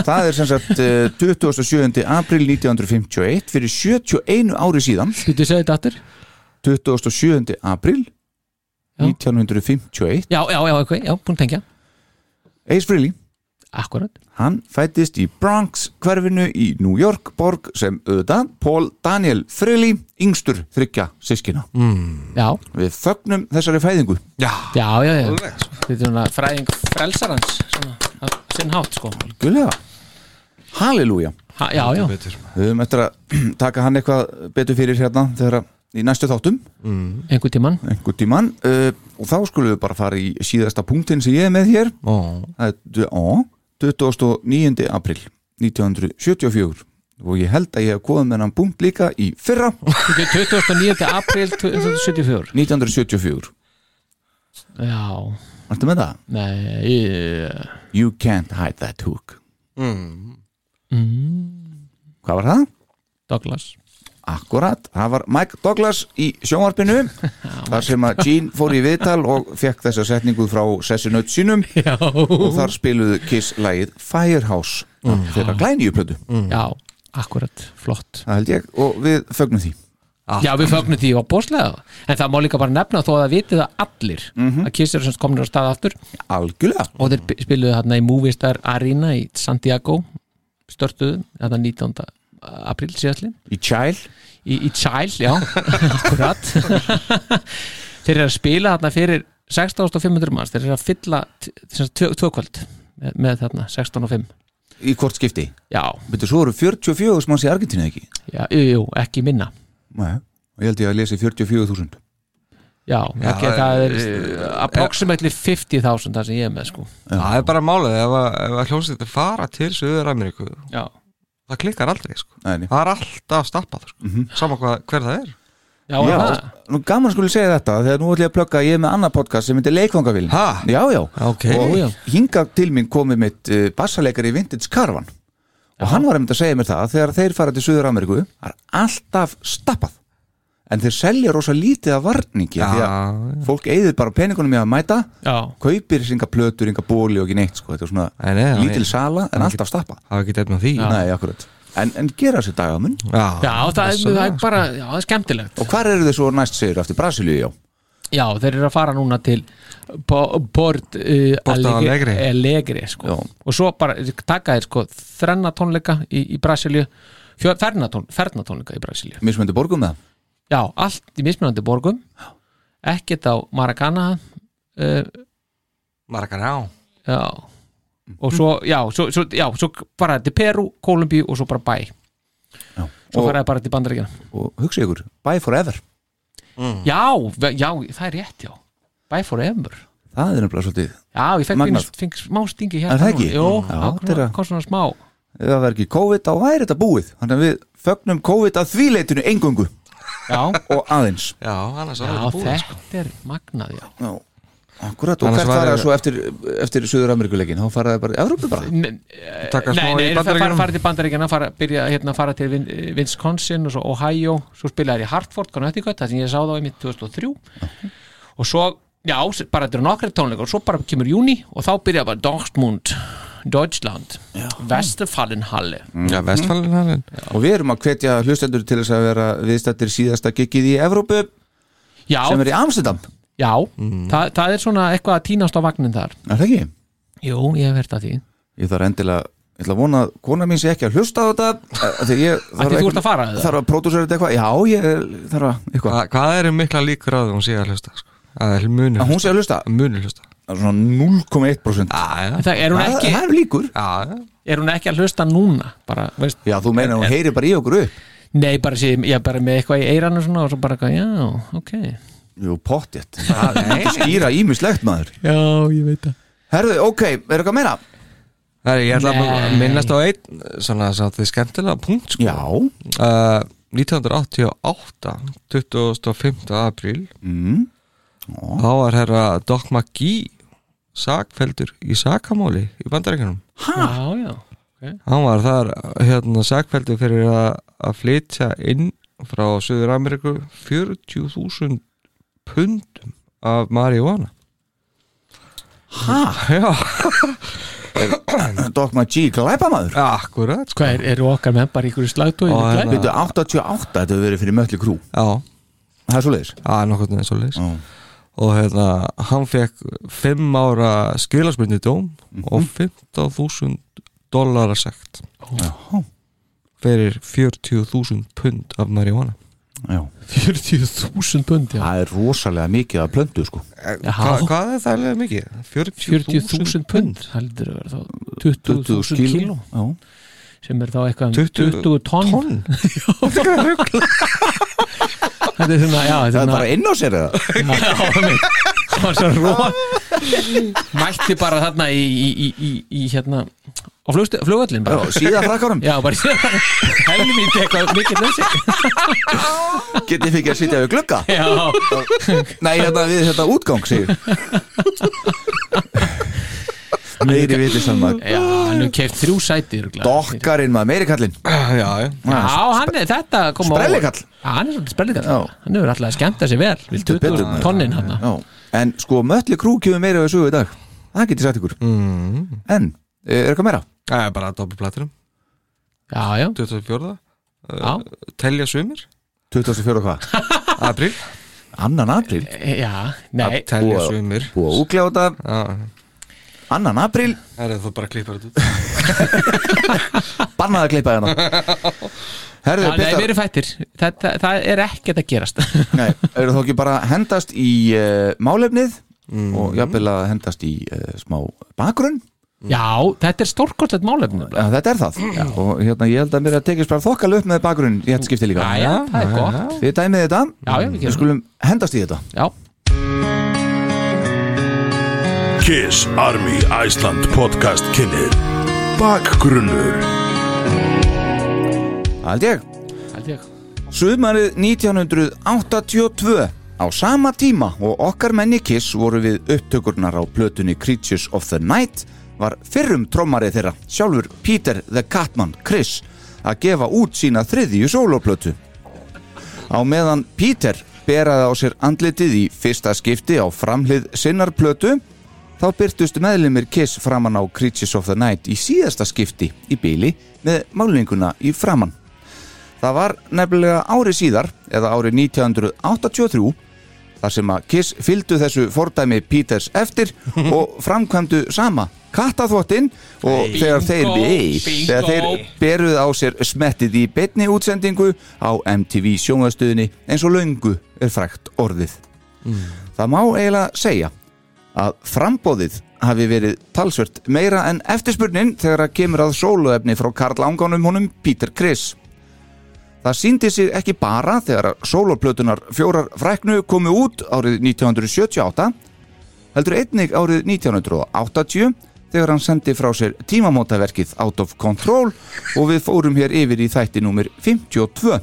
Speaker 3: það er sem sagt eh, 27. april 1951 fyrir 71 ári síðan
Speaker 4: Þú segir þetta aftur?
Speaker 3: 27. april
Speaker 4: Já.
Speaker 3: 1951
Speaker 4: Já, já, já, ok, já, búin að tengja
Speaker 3: Ace Frehley
Speaker 4: Akkurat
Speaker 3: Hann fættist í Bronx hverfinu í New York borg sem auðvitað Paul Daniel Frehley yngstur þryggja sískina.
Speaker 4: Já,
Speaker 3: Við fögnum þessari fæðingu.
Speaker 4: já, já, já Þetta er svona fræðing frelsarans svona, á sinn hátt sko
Speaker 3: Guðlega. Halleluja.
Speaker 4: ha, Já, já,
Speaker 3: Við höfum eftir að taka hann eitthvað betur fyrir hérna þegar að í næstu þáttum,
Speaker 4: einhvern tímann
Speaker 3: einhvern tímann uh, og þá skulum við bara fara í síðasta punktinn sem ég er með hér það er dv- á, 29. april 1974 og ég held að ég hef komið með hennan punkt líka í fyrra
Speaker 4: Þetta er 29. april 1974
Speaker 3: 1974
Speaker 4: Já,
Speaker 3: Ertu með það?
Speaker 4: nei eh, ég...
Speaker 3: You can't hide that hook Mm-hmm. Hvað var það?
Speaker 4: Douglas
Speaker 3: Akkurat, það var Mike Douglas í sjónvarpinu þar sem að Gene fór í viðtal og fekk þessa setningu frá Sessinaut sínum
Speaker 4: Já,
Speaker 3: og þar spiluðu Kiss lægið Firehouse mm. þeirra glænýju plötu,
Speaker 4: já akkurat, flott
Speaker 3: það held ég og við fögnum því
Speaker 4: Já, við fögnum því á bóslega En það má líka bara nefna þó að það vitið að allir að Kiss eru sem komnir á stað aftur
Speaker 3: algjörlega
Speaker 4: og þeir bi- spiluðu hérna í Movistar Arena í Santiago störtuðu, þetta 19. apríl síðastlinn
Speaker 3: Í Child
Speaker 4: í, í Child, já, akkurat þeir eru að spila þarna fyrir 16.500 manns þeir eru að fylla t- sem sagt, tvö- tvö kvöld með, með þarna 16.5
Speaker 3: Í hvort skipti
Speaker 4: já,
Speaker 3: Betur, svo eru 44 manns í Argentínu eða ekki
Speaker 4: já, jú, jú, ekki minna
Speaker 3: Nei Og ég held ég að lesi 44.000
Speaker 4: já, ekki,
Speaker 5: það
Speaker 4: það er
Speaker 5: er-
Speaker 4: eh, approximately 50.000 það sem ég er með sko
Speaker 5: það er bara málið ef að, ef að hljómsið þetta fara til Suður Ameríku
Speaker 4: já,
Speaker 5: það klikkar aldrei sko.
Speaker 3: Nei, nei.
Speaker 5: það er alltaf stappað sko. sama hvað, hver það er
Speaker 4: já, já.
Speaker 3: Já, nú gaman að skuli segja þetta þegar nú ætlum ég að plugga að ég er með annað podcast sem heitir Leikvangavil
Speaker 5: Ha?
Speaker 3: Já, já
Speaker 5: Ok.
Speaker 3: Og
Speaker 4: Ó, já.
Speaker 3: hingað til mín komið mitt uh, bassaleikari Vintage Caravan og hann var einmitt að segja mér það að þegar þeir fara til Suður Ameríku það er alltaf stappað en þeir selja rosa lítið af varningi af því að fólk eyðir bara peningunum í að mæta
Speaker 4: já,
Speaker 3: kaupir singa plötur, inga bóli og ekki neitt sko. þetta er svona
Speaker 5: Nei, nei, nei.
Speaker 3: lítil sala en alltaf stappa
Speaker 5: það er ekki dætt með því
Speaker 3: Nei, akkurat En, en gera sér dagamun
Speaker 5: Já,
Speaker 4: já það, er, það er bara já, það er skemmtilegt
Speaker 3: Og hvar eru þið svo næst segir eftir Brasilíu, já
Speaker 4: Já, þeir eru að fara núna til Bo- Port uh,
Speaker 5: Porto Alegre.
Speaker 4: Alegre
Speaker 3: Já.
Speaker 4: sko. og svo bara taka þeir sko, þrenna tónleika í, í Brasilíu fjö- ferna tón- ferna tónleika í Brasilíu
Speaker 3: Mismöndi borgum með
Speaker 4: Já, allt í mismunandi borgum ekkert á Maracana uh,
Speaker 5: Maracaná
Speaker 4: já og svo, já, svo, svo, já, svo fara þeir til Peru, Kolumbíu og svo bara bæ
Speaker 3: það
Speaker 4: svo
Speaker 3: og,
Speaker 4: fara þeir bara til Bandaríkina
Speaker 3: og hugsa ykkur, bye forever
Speaker 4: Já, ve- já, það er rétt, já Bæ fór emur
Speaker 3: Það er nefnilega svolítið
Speaker 4: Já, ég fekk
Speaker 3: Magnað.
Speaker 4: fengið- fengið smá
Speaker 3: Er
Speaker 4: stingi hérna
Speaker 3: það ekki?
Speaker 4: Jó,
Speaker 3: Já,
Speaker 4: það
Speaker 3: þetta er að-
Speaker 4: kom- kom svona smá
Speaker 3: Ef það verður ekki COVID þá væri þetta búið Þannig að við fögnum COVID að því leitinu engungu
Speaker 4: já,
Speaker 3: og aðeins
Speaker 5: Já, annars
Speaker 4: já
Speaker 5: er það búið sko.
Speaker 4: þetta er magnað já.
Speaker 3: já. Akkurat, og
Speaker 5: Annars
Speaker 3: hvert
Speaker 5: var-
Speaker 3: fara það svo eftir, eftir Suður Ameríkuleikin, þá fara það bara Evrópu bara
Speaker 4: Nei,
Speaker 5: sko. Taka smá
Speaker 4: nei,
Speaker 5: í
Speaker 4: nei fara, fara,
Speaker 5: Bandaríkjunum.
Speaker 4: fara til Bandaríkjana fara, byrja hérna fara til Vin- Wisconsin og svo Ohio, svo spilaði í Hartford Connecticut, það sem ég sá þá í mitt 2003 og svo, já, s- bara þetta eru nokkri tónleikar og svo bara kemur júni og þá byrja bara Dortmund Deutschland, Westfalenhalle
Speaker 5: Já, vestfælinn hann er
Speaker 3: Og við erum að hvetja hlustendur til þess að vera viðstættir síðasta giggið í Evrópu
Speaker 4: Já,
Speaker 3: sem er í Amsterdam
Speaker 4: já það, það er svona eitthvað að týnast á vagnin þar
Speaker 3: Er það ekki?
Speaker 4: Jú, ég hef verið að því
Speaker 3: Ég þarf endilega, ég ætla að vona að kona mín sé ekki að hlusta á þetta af Því ég
Speaker 4: Ætli
Speaker 3: þarf
Speaker 4: þú
Speaker 3: ekki-
Speaker 4: ert að fara eða? Ah.
Speaker 3: Þarf að pródúsera þetta eitthvað, já, ég er- þarf að eitthvað
Speaker 5: Hva, Hvað eru mikla líkur á því hún sé að hlusta sko? að hún muni
Speaker 3: Að hún sé að hlusta?
Speaker 5: Að muni hlusta
Speaker 3: Það er Svona 0,1%
Speaker 5: Já, já,
Speaker 4: En það, er, hún
Speaker 3: Það
Speaker 4: ekki,
Speaker 3: það er líkur
Speaker 5: já, já.
Speaker 4: er hún ekki að hlusta núna bara, veist,
Speaker 3: Já, þú meina hún heyri bara í okkur upp
Speaker 4: Nei, bara sé, ég bara með eitthvað í eirann og svona og svo bara eitthvað, já, ok
Speaker 3: Jú, pottjett Það er ekki skýra ímislegt maður
Speaker 4: Já, ég veit það
Speaker 3: Herðu, ok, er eitthvað meira?
Speaker 5: Það er, ég ætla að
Speaker 4: Nei.
Speaker 5: minnast á einn svona svo að þið skemmtilega punkt sko.
Speaker 3: Já,
Speaker 5: uh, 1988 25. apríl
Speaker 3: mm.
Speaker 5: þá var herra Doc McGee sakfeldur í sakamáli í bandarækjunum
Speaker 4: Já, já,
Speaker 5: hann var þar hérna sakfeldur fyrir að, að flytja inn frá Suður Ameríku 40.000 pundum af marihuana Hæ? Já,
Speaker 3: Doc McGee glæpamaður
Speaker 5: akkurat sko.
Speaker 4: hvað er, eru okkar með bara í ykkur slagtói
Speaker 5: Ó,
Speaker 4: Já,
Speaker 5: hérna.
Speaker 3: Býttu 88, þetta hefur verið fyrir möllu krú
Speaker 5: Já,
Speaker 3: Það er svo leiðis
Speaker 5: það er nokkuð neins og leys og hérna, hann fekk 5 ára skilasmyndi dóm og 15.000 dollara sekt fyrir 40.000 pund af marihuana
Speaker 3: Það
Speaker 4: 40.000 pund, já
Speaker 3: er rosalega mikið að plöndu sko
Speaker 5: Hva, Hvað er það alveg mikið?
Speaker 4: 40.000 pund, það lítur að vera þá 20.000 kíló
Speaker 3: Já.
Speaker 4: sem er þá eitthvað um
Speaker 5: 20
Speaker 4: 20 tonn
Speaker 5: tonn
Speaker 4: Þetta er svona, já,
Speaker 3: Það
Speaker 4: þetta
Speaker 3: er
Speaker 4: er
Speaker 3: bara inn á sér eða
Speaker 4: svona Já, já, einmitt. Það var svo ró Mætti bara þarna í, í, í, í, í hérna á flugvöllin bara
Speaker 3: Já, Síða frakkarum
Speaker 4: Já, bara helvíti eitthvað mikið lausi
Speaker 3: Getið fikk ég að sitja við glugga
Speaker 4: Já,
Speaker 3: Nei, hérna við þetta útgang segir Meiri vitið saman
Speaker 4: já, hann hefur keift þrjú sæti örugglega.
Speaker 3: Dokkarinn maður, meiri kallinn
Speaker 5: Ah, Já, já
Speaker 4: Já, hann er þetta kom á óvart.
Speaker 3: Sprellikall.
Speaker 4: Já, hann er svolítið sprellikall
Speaker 3: Já.
Speaker 4: Hann hefur alltaf skemmt að sér vel Vil
Speaker 3: betur,
Speaker 4: 20
Speaker 3: maður.
Speaker 4: tonnin hann
Speaker 3: Já, en sko möllu krú kemur meira við sögu í dag Það get ég sagt ykkur En, eh, er eitthvað meira?
Speaker 5: Það er bara doppelplatinum
Speaker 4: Já, já,
Speaker 5: 24.
Speaker 4: já,
Speaker 5: Telja sumir
Speaker 3: 24 og hvað?
Speaker 5: Apríl
Speaker 3: Annan april
Speaker 4: já Nei,
Speaker 5: Telja
Speaker 3: Og-
Speaker 5: sumir
Speaker 3: Búið að úklega á þetta
Speaker 5: Já,
Speaker 3: annan april,
Speaker 5: Það er þú bara að klippa þetta út.
Speaker 3: bannað að klippa hérna Herðu,
Speaker 4: Það er verið fættir, það, það, það er ekkert að gerast
Speaker 3: Nei, eru þó ekki bara að hendast í uh, málefnið og jafnvel að hendast í uh, smá bakgrunn
Speaker 4: Já, þetta er stórkortlegt málefni
Speaker 3: ja, þetta er það og hérna ég held að mér að tekist bara þokkal upp með bakgrunn í þetta skipti líka
Speaker 4: Jæja, það er gott
Speaker 3: Þið dæmið þetta,
Speaker 4: Já, já, við gerum
Speaker 3: við skulum hendast í þetta
Speaker 4: Já,
Speaker 1: Kiss Army Iceland podcast kynir Bakgrunnur
Speaker 3: Hald ég,
Speaker 4: held ég
Speaker 3: sumarið 1982 á sama tíma og okkar menni Kiss voru við upptökurnar á plötunni Creatures of the Night var fyrrum trommarið þeirra, sjálfur Peter the Catman Chris að gefa út sína þriðju sóloplötu á meðan Peter beraði á sér andlitið í fyrsta skipti á framhlið sinnar plötu þá byrtust meðlumir Kiss framan á Creatures of the Night í síðasta skipti í bíli með málninguna í framann. Það var nefnilega ári síðar, eða ári 1983, þar sem að Kiss fylgdu þessu fordæmi Peters eftir og framkvæmdu sama kattaþvottinn og þegar þeir,
Speaker 4: bingo,
Speaker 3: nei, þegar þeir
Speaker 4: bingo.
Speaker 3: beruð á sér smettið í betni útsendingu á MTV sjónvastuðinni eins og löngu er frækt orðið.
Speaker 4: Mm.
Speaker 3: Það má eiginlega segja að frambóðið hafi verið talsvert meira en eftirspurnin þegar að kemur að sóluefni frá Karl Ánganum honum Peter Criss. Það síndi sig ekki bara þegar að sóloplötunar fjórar fræknu komu út árið 1978, heldur einnig árið 1980 þegar hann sendi frá sér tímamótaverkið Out of Control og við fórum hér yfir í þætti númer 52,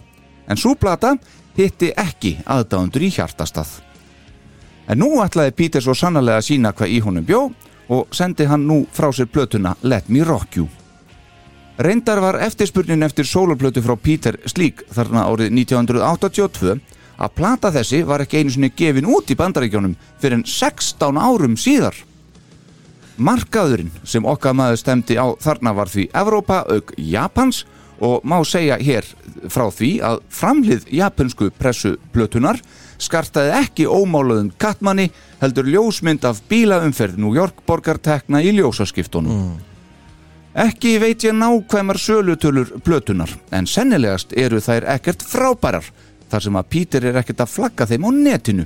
Speaker 3: en svo plata hitti ekki aðdáundur í hjartastað. En nú ætlaði Peter svo sannarlega að sína hvað í honum bjó og sendi hann nú frá sér plötuna Let Me Rock You. Reyndar var eftirspurnin eftir sólarplötu frá Peter slík þarna árið 1982 að plata þessi var ekki einu sinni gefin út í bandaríkjónum fyrir en 16 árum síðar. Markaðurinn sem okkar maður stemdi á þarna var því Evrópa auk Japans og má segja hér frá því að framlið japansku pressuplötunar skartaði ekki ómálaðum kattmanni heldur ljósmynd af bílaumferð New York borgartekna í ljósaskiptunum. Ekki veit ég nákvæmar sölutölur plötunar en sennilegast eru þær ekkert frábærar þar sem að Peter er ekkert að flagga þeim á netinu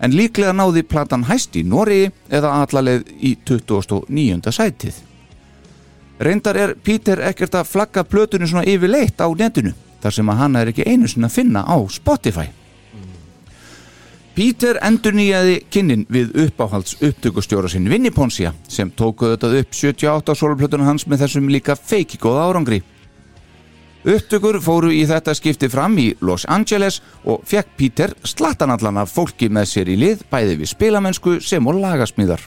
Speaker 3: en líklega náði platan hæst í Noregi eða allaleg í 29. sætið. Reyndar er Peter ekkert að flagga plötunni svona yfirleitt á netinu, þar sem að hann er ekki einu sinna að finna á Spotify. Peter endurnýjaði kynnin við uppáhalds upptökustjóra sinn Vinnie Ponsia sem tóku auðvitað upp 78 sólplötuna hans með þessum líka feikigóða árangri. Upptökur fóru í þetta skipti fram í Los Angeles og fekk Peter slattanallan af fólki með sér í lið bæði við spilamennsku sem og lagasmíðar.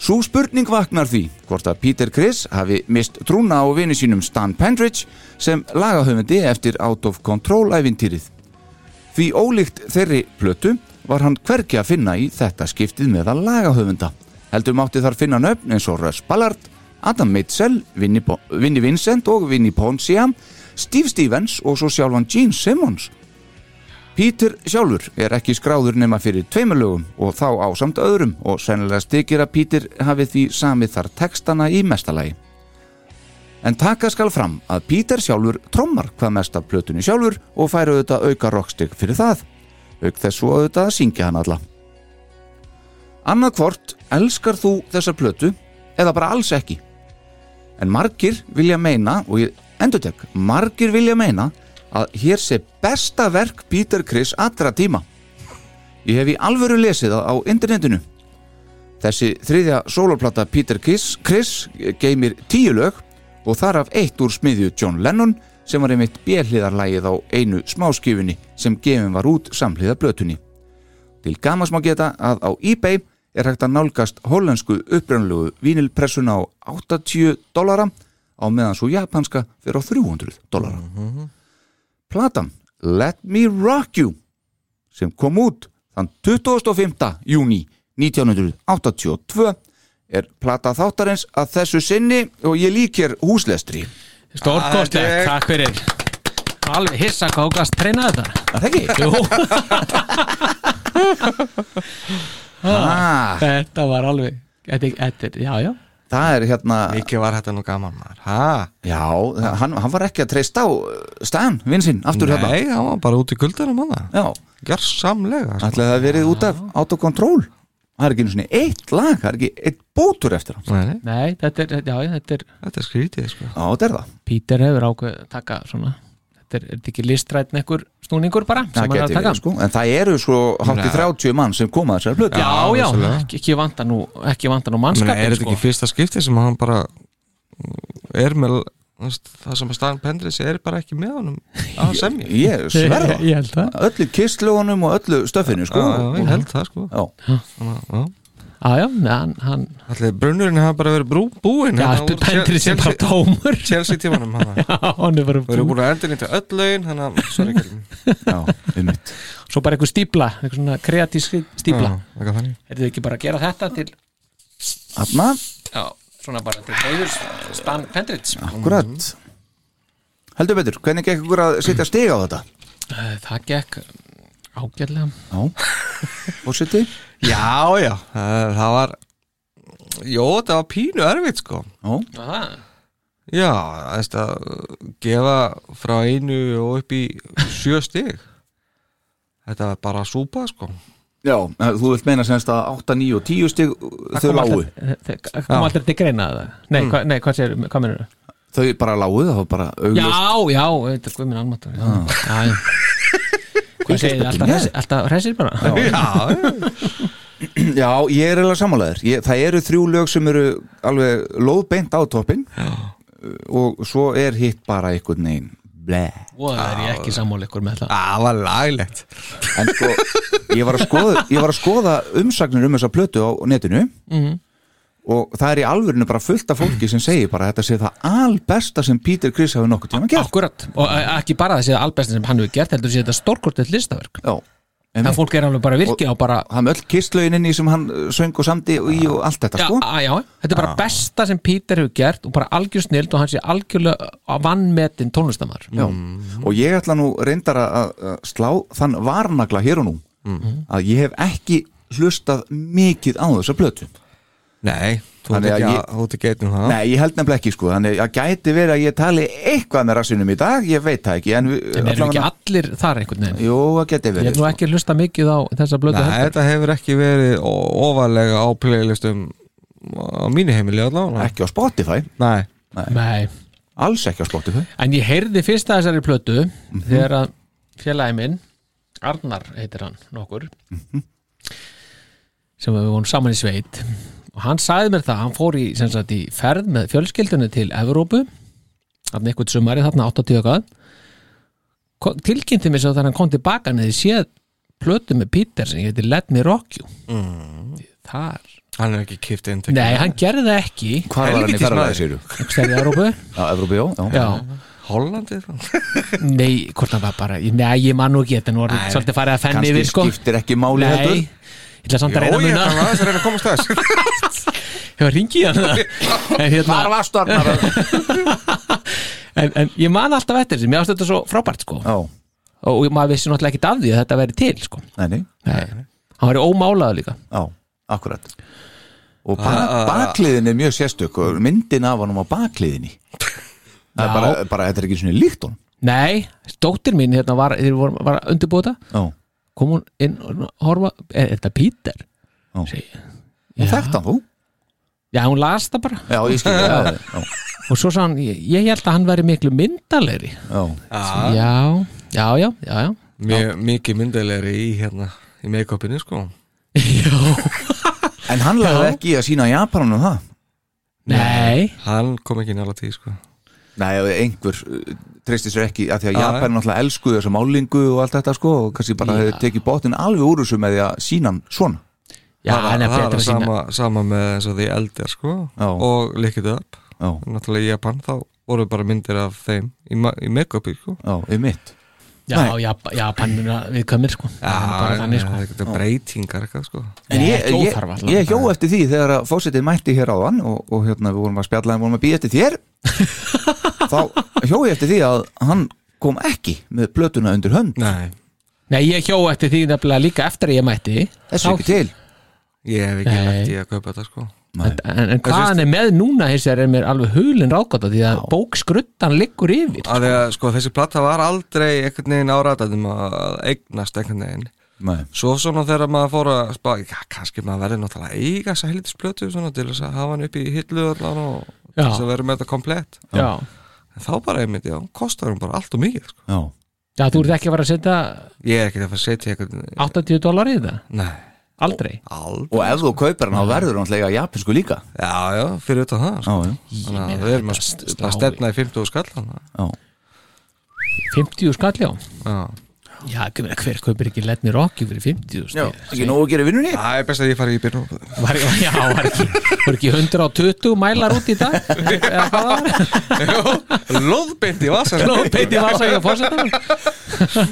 Speaker 3: Sú spurning vaknar því hvort að Peter Criss hafi mist trúna á vini sínum Stan Pendridge sem lagahöfundi eftir Out of Control æfintýrið. Því ólíkt þeirri plötu var hann hvergi að finna í þetta skiptið meðal lagahöfunda. Heldur mátti þar finna nöfn eins og Russ Ballard, Adam Mitchell, Vinnie Bo- Vinnie Vincent og Vinnie Poncia, Steve Stevens og svo sjálfan Gene Simmons. Peter sjálfur er ekki skráður nema fyrir tveimurlögum og þá ásamt öðrum og sennilega stykir að Peter hafi því samið þar textana í mestalagi. En taka skal fram að Peter sjálfur trommar hvað mest af plötunni sjálfur og færa auðvitað auka rockstygg fyrir það. Auk þessu auðvitað að syngja hann alla. Annað hvort elskar þú þessa plötu eða bara alls ekki. En margir vilja meina, og ég endur tek, margir vilja meina að hér sé besta verk Peter Criss allra tíma. Ég hef í alvöru lesið það á internetinu. Þessi þriðja sóloplata Peter Criss, Criss geymir tíu lög og þar af eitt úr smiðju John Lennon sem var einmitt bjelliðarlægið á einu smáskifunni sem gefin var út samhliða blötunni. Til gamans má geta að á eBay er hægt að nálgast hollensku upprænlegu vínilpressuna á 80 dollara á meðan svo japanska fyrir á 300 dollara. Platan Let Me Rock You sem kom út þann 25. júni 1982 er plata þáttarins að þessu sinni og ég líkir húslestri.
Speaker 4: Stórkostlegt, takk fyrir Alveg hissa hvað þú gast treyna þetta
Speaker 3: Er Það ekki?
Speaker 4: Jú,
Speaker 3: Ah,
Speaker 4: þetta var alveg þetta, þetta, já, já
Speaker 3: Ah, það er hérna
Speaker 5: Mikið var þetta nú gaman maður ha?
Speaker 3: já, hann, hann var ekki að treysta á uh, Stan, vinn sinn, aftur hérna
Speaker 5: Nei, hann var bara út í kuldanum hann það.
Speaker 3: já,
Speaker 5: Gjörsamlega sko.
Speaker 3: ætlaði það að verið út af autokontról það er ekki einu svona eitt lag það er ekki eitt bótur eftir hann
Speaker 5: Nei, nei,
Speaker 4: Nei, þetta er, já, já, þetta er
Speaker 5: þetta er skrítið sko.
Speaker 3: já, þetta er það
Speaker 4: Peter hefur ákveð að taka svona Þetta er, er þetta ekki listrætn ekkur snúningur bara sem
Speaker 3: það
Speaker 4: hann er
Speaker 3: geti
Speaker 4: að taka
Speaker 3: verið sko en það eru sko hátt í
Speaker 5: Nei.
Speaker 3: 30 mann sem koma að þessari plötu
Speaker 4: Já, já,
Speaker 5: vissulega.
Speaker 4: ekki, ekki vanta nú ekki vanta nú
Speaker 5: Menna,
Speaker 4: mannskapin
Speaker 5: Er þetta
Speaker 4: sko.
Speaker 5: ekki fyrsta skipti sem hann bara mm, er með þú veist, það sem að Stan Pendris er bara ekki með honum að semja
Speaker 3: ég sverða
Speaker 4: Ég- ég held það.
Speaker 3: öllu kistlögunum og öllu stöffinu sko
Speaker 5: Já, já, Ég held það sko
Speaker 3: Já.
Speaker 5: Þannig að, já.
Speaker 4: Já, já, hann, hann
Speaker 5: Allir brunnurinn hafa bara verið brú, búinn
Speaker 4: Já,
Speaker 5: hérna úr
Speaker 4: pendri sem bara
Speaker 5: Chelsea-
Speaker 4: tómur
Speaker 5: Chelsea tímanum hana.
Speaker 4: Já, hann er bara
Speaker 5: Við erum búin að endur nýta öll lögin hana, sorry, Gilmi.
Speaker 3: já, einmitt
Speaker 4: Svo bara einhver stípla, einhver svona kreatísk stípla
Speaker 5: Já, eitthvað þannig.
Speaker 4: Er þetta ekki bara að gera þetta til
Speaker 3: Afna,
Speaker 4: Já, svona bara til heiðurs Stan Pendrits
Speaker 3: akkurat heldur betur, hvernig gekk ykkur að setja stiga á þetta?
Speaker 4: Það gekk ágætlega
Speaker 3: já, fórseti
Speaker 5: Já, já, það, það var Jó, það var pínu erfitt sko
Speaker 3: já,
Speaker 4: Það
Speaker 5: Já, þess að uh, gefa frá einu og upp í sjö stig Þetta var bara súpa sko
Speaker 3: já eh, þú vilt meina semst að 8, 9 og 10 stig þau
Speaker 4: kom
Speaker 3: lágu,
Speaker 4: alltaf- þe- þe- kom
Speaker 5: Já. Mm.
Speaker 4: aldrei til greina það Nei, hva, nei hvað segir, hvað mennur það?
Speaker 3: þau bara lágu það var bara
Speaker 4: Já,
Speaker 3: augljóst
Speaker 4: já, þetta er guð minn almatur Já,
Speaker 3: Ah.
Speaker 4: já Hvað segir þið, alltaf
Speaker 3: Nei.
Speaker 4: hressir- alltaf hressir bara
Speaker 5: Já,
Speaker 3: já, ég er eiginlega sammálaður ég, það eru þrjú lög sem eru alveg lóðbeint á toppin og svo er hitt bara einhvern veginn bleh
Speaker 4: Og það er ég ekki sammála ykkur með
Speaker 3: Ah.
Speaker 4: það
Speaker 5: það var laglegt
Speaker 3: en sko, ég var að skoða, ég var að skoða umsagnir um þessa plötu á netinu
Speaker 4: Mhm.
Speaker 3: og það er í alvörinu bara fullt af fólki sem segir bara að þetta sé það albesta sem Peter Criss hafi nokkuð tíma gert
Speaker 4: Akkurat, og eh, ekki bara það sé það albestin sem hann hefur gert heldur sé þetta stórkortið listaverk
Speaker 3: Já,
Speaker 4: Það
Speaker 3: einmitt.
Speaker 4: fólk er alveg bara virki á bara
Speaker 3: það með öll kistlögin inn í sem hann uh, söng og samdi og í og allt þetta
Speaker 4: Já,
Speaker 3: sko
Speaker 4: á- já, þetta er bara besta sem Peter hefur gert og bara algjör snild og hann sé algjörlega eh, vannmetinn tónlistamar
Speaker 3: Já. og ég ætla nú reyndar að- að að slá þann varnagla hér og nú
Speaker 4: Mm.
Speaker 3: að ég hef ekki hlustað mikið á þessa plötu
Speaker 5: Nei, þú ert
Speaker 3: Þannig að ég-
Speaker 5: ekki að- þú ert ekki einn um það
Speaker 3: Nei, ég held nefnilega ekki sko þannig að gæti verið að ég tali eitthvað með rassinum í dag, ég veit það ekki en,
Speaker 4: en eru ekki
Speaker 3: allavega-
Speaker 4: allir þar einhvern veginn
Speaker 3: Jú, það geti
Speaker 4: ég
Speaker 3: verið
Speaker 4: hef nú ekki hlusta mikið á þessa blötu
Speaker 5: Nei,
Speaker 4: heldur
Speaker 5: þetta hefur ekki verið ó- ofarlega á playlistum á mínu heimili allavega
Speaker 3: Ekki á Spotify,
Speaker 5: Nei,
Speaker 4: Nei.
Speaker 3: alls ekki á Spotify
Speaker 4: en ég heyrði fyrst að þessari plötu þegar að félagi minn Arnar heitir hann nokkur sem við vonum saman í sveit og hann sagði mér það, hann fór í, sem sagt, í ferð með fjölskyldunni til Evrópu hann eitthvað sumari þarna 80 og hvað Ko- tilkynnti mér svo þegar hann kom tilbaka neði séð plötu með Peter sem heitir Let Me Rock You þar
Speaker 5: hann er ekki kipt inn til-
Speaker 4: Nei, hann gerði það ekki
Speaker 3: Hvar var hann í
Speaker 5: Helvítis
Speaker 3: ferðalæði
Speaker 5: maður.
Speaker 3: séru?
Speaker 4: Stærði Európu
Speaker 3: Já, Evrópi, já, já.
Speaker 4: Já,
Speaker 5: Hollandi eitthvað.
Speaker 4: nei, hvort það var bara Nei, ég man nú ekki þetta, nú var
Speaker 5: Nei.
Speaker 4: svolítið farið að fenni
Speaker 3: Kannski
Speaker 4: yfir sko
Speaker 3: skiptir ekki máli heldur
Speaker 4: Nei, ég ætla samt
Speaker 5: Jó,
Speaker 4: að reyna að
Speaker 5: ég kann
Speaker 4: muna
Speaker 5: aðeins að reyna að komast þess
Speaker 4: Hefur ringið hann það En hérna
Speaker 3: Hvar varstu Arnar?
Speaker 4: en, en ég man alltaf eftir þessi, mér ástu þetta svo frábært sko
Speaker 3: Já,
Speaker 4: Og maður vissi náttúrulega ekkit af því að þetta væri til sko
Speaker 3: nei, nei,
Speaker 4: Nei, hann væri ómálaður líka
Speaker 3: já, akkurat Og ba bakliðin er mjög sérstök og myndin af honum á bakliðinni Það er
Speaker 4: Já.
Speaker 3: bara, bara, þetta er ekki svona líkt honum
Speaker 4: Nei, dóttir mín hérna var, þeir voru, var að undirbúta
Speaker 3: Já,
Speaker 4: Kom hún inn og horfa, er, er þetta Peter?
Speaker 3: Já.
Speaker 4: Segi-
Speaker 3: og þekkt hann þú?
Speaker 4: Já, hún las það bara
Speaker 3: Já, ég skil það Já,
Speaker 4: og svo sá hann, ég, ég held að hann væri miklu myndalegri
Speaker 3: já,
Speaker 4: já, já, já, já, já.
Speaker 5: Mjög mikið myndilegri í hérna í make-upinu sko
Speaker 3: En hann lagði ekki í að sína Japanunum það
Speaker 4: nei,
Speaker 5: Hann kom ekki nála tíð sko
Speaker 3: Nei, ef einhver uh, treystir sér ekki af því að
Speaker 5: Já,
Speaker 3: Japan náttúrulega elskuðu þessa málingu og allt þetta sko og kannski bara
Speaker 4: Já.
Speaker 3: hefur tekið bóttin alveg úr þessu með því að sína hann svona
Speaker 4: já,
Speaker 5: Það var-
Speaker 4: hann er
Speaker 5: það var
Speaker 4: betra að sína
Speaker 5: sama, sama með eins og því eldir sko
Speaker 3: Já.
Speaker 5: og líkið upp
Speaker 3: Já,
Speaker 5: Náttúrulega í Japan þá voru bara myndir af þeim í, ma- í make-upi sko
Speaker 3: já, um mitt
Speaker 4: já,
Speaker 3: Nei.
Speaker 4: já, já, pannuna við komir sko, já, bara þannig sko
Speaker 5: það er eitthvað breytingar eitthvað sko
Speaker 3: En
Speaker 4: Nei,
Speaker 3: ég,
Speaker 4: ekki
Speaker 3: ég,
Speaker 4: óþarfa allavega.
Speaker 3: ég hjó eftir því þegar að fósitið mætti hér áðan og, og hérna við vorum að spjalla en vorum að býja eftir þér þá hjó ég eftir því að hann kom ekki með plötuna undir hönd
Speaker 5: Nei,
Speaker 4: nei, ég hjó eftir því nefnilega líka eftir að ég mætti
Speaker 3: þessu
Speaker 4: Þá-
Speaker 3: ekki til
Speaker 5: ég hef ekki
Speaker 4: Nei.
Speaker 5: lagt í að kaupa þetta sko
Speaker 4: en, en, en hvað hann er með núna hins vegar er mér alveg hulin ráðgóta því að bókskruttan liggur yfir
Speaker 5: að því að sko þessi platta var aldrei einhvern veginn áræðanum að eignast einhvern veginn
Speaker 3: Nei.
Speaker 5: svo svona þegar maður fór að spá, já, kannski maður verði náttúrulega að eiga þess að helítið splötu svona, til þess að hafa hann upp í hillu allan og
Speaker 4: Já.
Speaker 5: þess að vera með þetta komplett
Speaker 4: já.
Speaker 5: en þá bara einmitt, já, kostar hann bara allt og mikið sko.
Speaker 3: Já,
Speaker 4: já, þú ert ekki að vera að setja
Speaker 5: ég er ekki að fara að setja einhvern
Speaker 4: 80 dólar í þetta,
Speaker 5: nei,
Speaker 4: aldrei
Speaker 5: aldrei,
Speaker 3: og ef þú kaupir hann þá verður hann lega japansku líka
Speaker 5: já, já, fyrir utan það sko.
Speaker 3: Já, já,
Speaker 5: þannig að við erum að,
Speaker 4: Þetta
Speaker 5: að stefna í 50 skall þannig að-
Speaker 3: já
Speaker 4: 50 skall já
Speaker 5: já.
Speaker 4: já, ég meina, hver kaupir ekki letni rocki fyrir 50
Speaker 3: Já,
Speaker 4: stig?
Speaker 3: ekki nóg að gera í vinnunni
Speaker 5: það er best að ég fari í byrjum
Speaker 4: var, já, var ekki, var ekki 120 mælar út í dag eða hvað það var
Speaker 5: loðbind í vasan
Speaker 4: Lóðbeiti var að segja fórsetan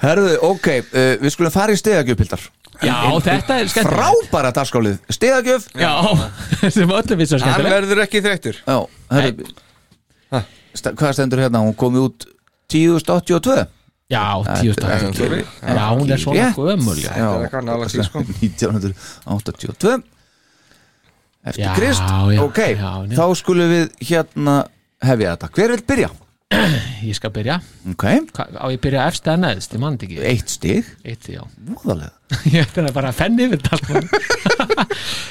Speaker 3: Herðu, ok, uh, við skulum fara í steðagjöf, Pildar
Speaker 4: Já, þetta er skemmtilegt
Speaker 3: Frábæra dagskálið, steðagjöf
Speaker 4: Já, sem öllum við svo
Speaker 5: hann
Speaker 4: skemmtilegt
Speaker 5: verður ekki þreyttur
Speaker 3: Já, herðu
Speaker 5: Ha?
Speaker 3: sta- Hvað stendur hérna, hún komið út 1082
Speaker 4: Já, tíu stakk
Speaker 5: Sorry.
Speaker 4: Já, hún er svona
Speaker 3: Rétt.
Speaker 4: gömul já.
Speaker 5: Þetta er eitthvað nálægt því, sko.
Speaker 3: 1982 Eftir
Speaker 4: Já,
Speaker 3: Krist
Speaker 4: já,
Speaker 3: Ok,
Speaker 4: já, já.
Speaker 3: þá skulum við hérna hefja þetta Hver vil byrja?
Speaker 4: Ég skal byrja
Speaker 3: Ok,
Speaker 4: Hva, Á ég byrja efst eða neðst, ég mann ekki
Speaker 3: eitt stig
Speaker 4: Eitt, já
Speaker 3: Múðalega
Speaker 4: Ég ætti hann að bara að fenni yfir þetta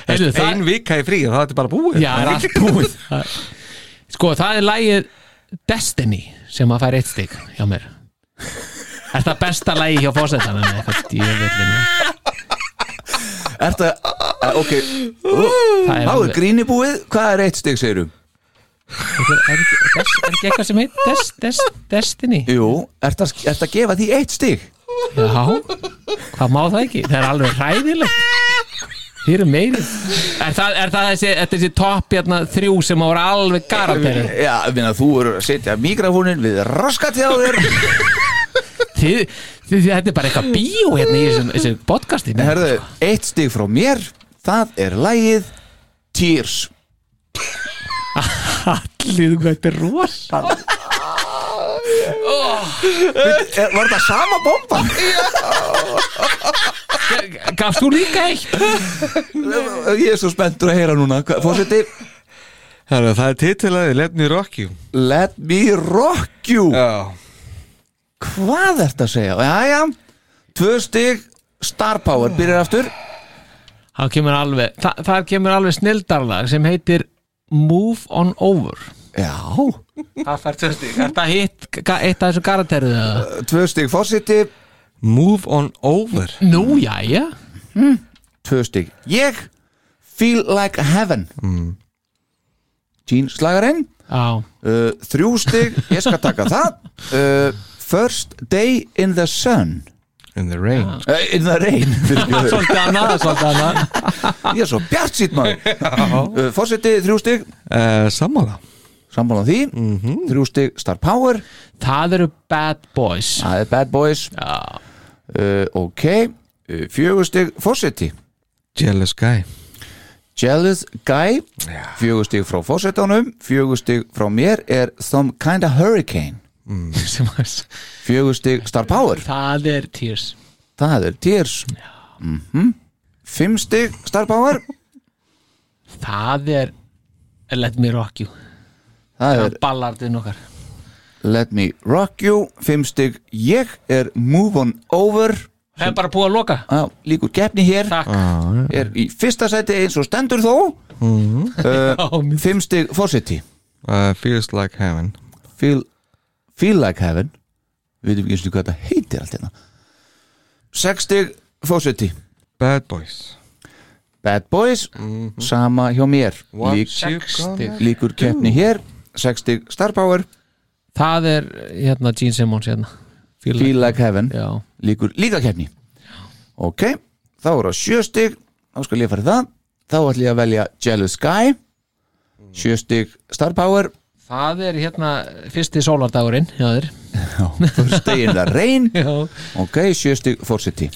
Speaker 4: Heyrðu, það
Speaker 5: ein vika í frí og það er bara búið
Speaker 4: Já, er allt búið Sko, það er lagið Destiny sem að fær eitt stig hjá mér Er það besta lagi hjá fórsetanum eða eitthvað djöfullinu
Speaker 3: Er það, ok
Speaker 4: Það er
Speaker 3: Þá er
Speaker 4: alveg
Speaker 3: grínibúið, hvað er eitt stig, segirum?
Speaker 4: Er er ekki, er des- er ekki eitthvað sem heit des, des, Destiny?
Speaker 3: Jú, er það, er það að gefa því eitt stig?
Speaker 4: Já, hvað má það ekki? Það er alveg hræðilegt Þið eru meiri Er það, er það þessi, þetta er þessi topp hérna, þrjú sem voru alveg garanterin
Speaker 3: Já, ég meina, þú eru að setja mikrofónin við raskat hjá þér
Speaker 4: þið, þið, Þetta er bara eitthvað bíó hérna í þessu, þessu podcasti
Speaker 3: Herðu, eitt stig frá mér Það er lagið Tears
Speaker 4: Allir, hvað þetta er rosa
Speaker 3: er, eh, Var það sama bomba?
Speaker 4: Gafst þú líka eitt?
Speaker 3: Ég er svo spenntur að heyra núna Hvað- Fórseti,
Speaker 5: Herra, það er titilaði Lefni Rocky
Speaker 3: let me rock you
Speaker 5: Já,
Speaker 3: Hvað er þetta að segja? Jæja, tvö stig Star Power byrjar aftur
Speaker 4: Það kemur alveg, það, það kemur alveg snildarlag sem heitir Move on Over
Speaker 3: Já,
Speaker 4: Það fær tjóðstík Er það hitt, ga- eitt af þessu garanteruðu? eða?
Speaker 3: tvö stig fórseti
Speaker 5: Move on over
Speaker 4: Nú, jæja
Speaker 3: Tvö stig Ég feel like heaven Gene Slagarinn
Speaker 4: Já,
Speaker 3: uh, Þrjú stig, ég skal taka það uh, First day in the sun
Speaker 5: In the rain
Speaker 3: Uh, In the rain fyrirgefðu.
Speaker 4: svolítið annað, svolítið annað
Speaker 3: Ég er svo bjart sýtt maður uh, Fórseti þrjú stig
Speaker 5: uh, Sammála
Speaker 3: Sammála því Þrjú stig Star Power
Speaker 4: Það eru Bad Boys
Speaker 3: Það er Bad Boys
Speaker 4: Já,
Speaker 3: uh, Ok uh, Fjögur stig Fórseti
Speaker 5: Jealous guy
Speaker 3: Jealous Guy Fjögur stig frá fórsetanum Fjögur stig frá mér er Some Kinda Hurricane
Speaker 4: sem að
Speaker 3: Fjögur stig Star Power
Speaker 4: Það er Tears
Speaker 3: Það er Tears mm -hmm. Fimm stig Star Power
Speaker 4: Það er Let Me Rock You
Speaker 3: Það
Speaker 4: Það
Speaker 3: er
Speaker 4: er ballardin okkar
Speaker 3: Let Me Rock You Fimm stig Ég er Move On Over
Speaker 4: Það er bara búið að loka
Speaker 3: Á, Líkur gefni hér
Speaker 4: Takk
Speaker 3: Er í fyrsta seti eins og stendur þó
Speaker 4: Já, mér-
Speaker 3: Fimm stig Fórseti
Speaker 5: uh, Feels like heaven
Speaker 3: Feel, feel Like Heaven Við veitum ekki eins og hvað þetta heitir allt hérna Sex stig Fórseti
Speaker 5: Bad boys
Speaker 3: Bad Boys Sama hjá mér Lík,
Speaker 5: sexty
Speaker 3: Líkur keppni hér 60 Star Power
Speaker 4: Það er hérna Gene Simmons hérna Feel like-
Speaker 3: Feel Like Heaven
Speaker 4: Já
Speaker 3: Líkur líka keppni Ok, þá eru það sjö stig Þá skal ég fara í það Þá ætlum ég að velja Jealous Guy Sjö stig Star Power
Speaker 4: Það er hérna fyrsti sólardagurinn hjá þér
Speaker 3: First day in the rain
Speaker 4: Já.
Speaker 3: Ok, sjö stig Forseti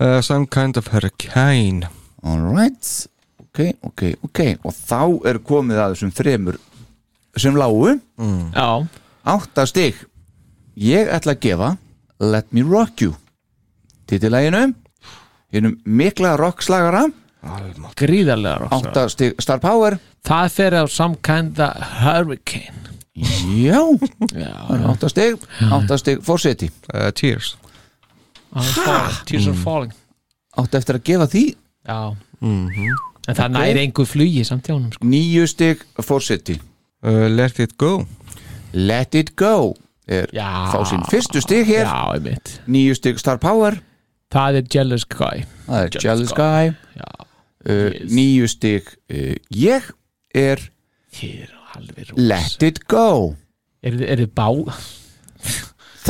Speaker 5: uh, Some kind of hurricane
Speaker 3: Alright Ok, ok, ok Og þá er komið að þessum þremur sem lágu
Speaker 4: Já,
Speaker 3: Átta stig Ég ætla að gefa Let Me Rock You Titilæginu Hinnum mikla rockslagara
Speaker 4: gríðarlega rockstar
Speaker 3: Átta stig Star Power
Speaker 4: það fer á some kind of hurricane
Speaker 3: Já, átta stig Átta stig Forseti
Speaker 5: uh, Tears
Speaker 4: Hann falling, tears are falling
Speaker 3: Átta eftir að gefa því
Speaker 4: já en það næri engu flugi samt hjá honum sko.
Speaker 3: Níu stig Forseti
Speaker 5: uh, Let It Go
Speaker 3: Let It Go er
Speaker 4: Já.
Speaker 3: fá sín fyrstu stig hér
Speaker 4: já, einmitt
Speaker 3: Níu stig Star Power
Speaker 4: það er jealous guy
Speaker 3: Það er
Speaker 4: Jealous
Speaker 3: Jealous Guy
Speaker 4: já,
Speaker 3: uh,
Speaker 4: Yes.
Speaker 3: Níu stig uh, Ég er
Speaker 4: þið eru alveg rús
Speaker 3: Let It Go
Speaker 4: eru þið- eru þið bá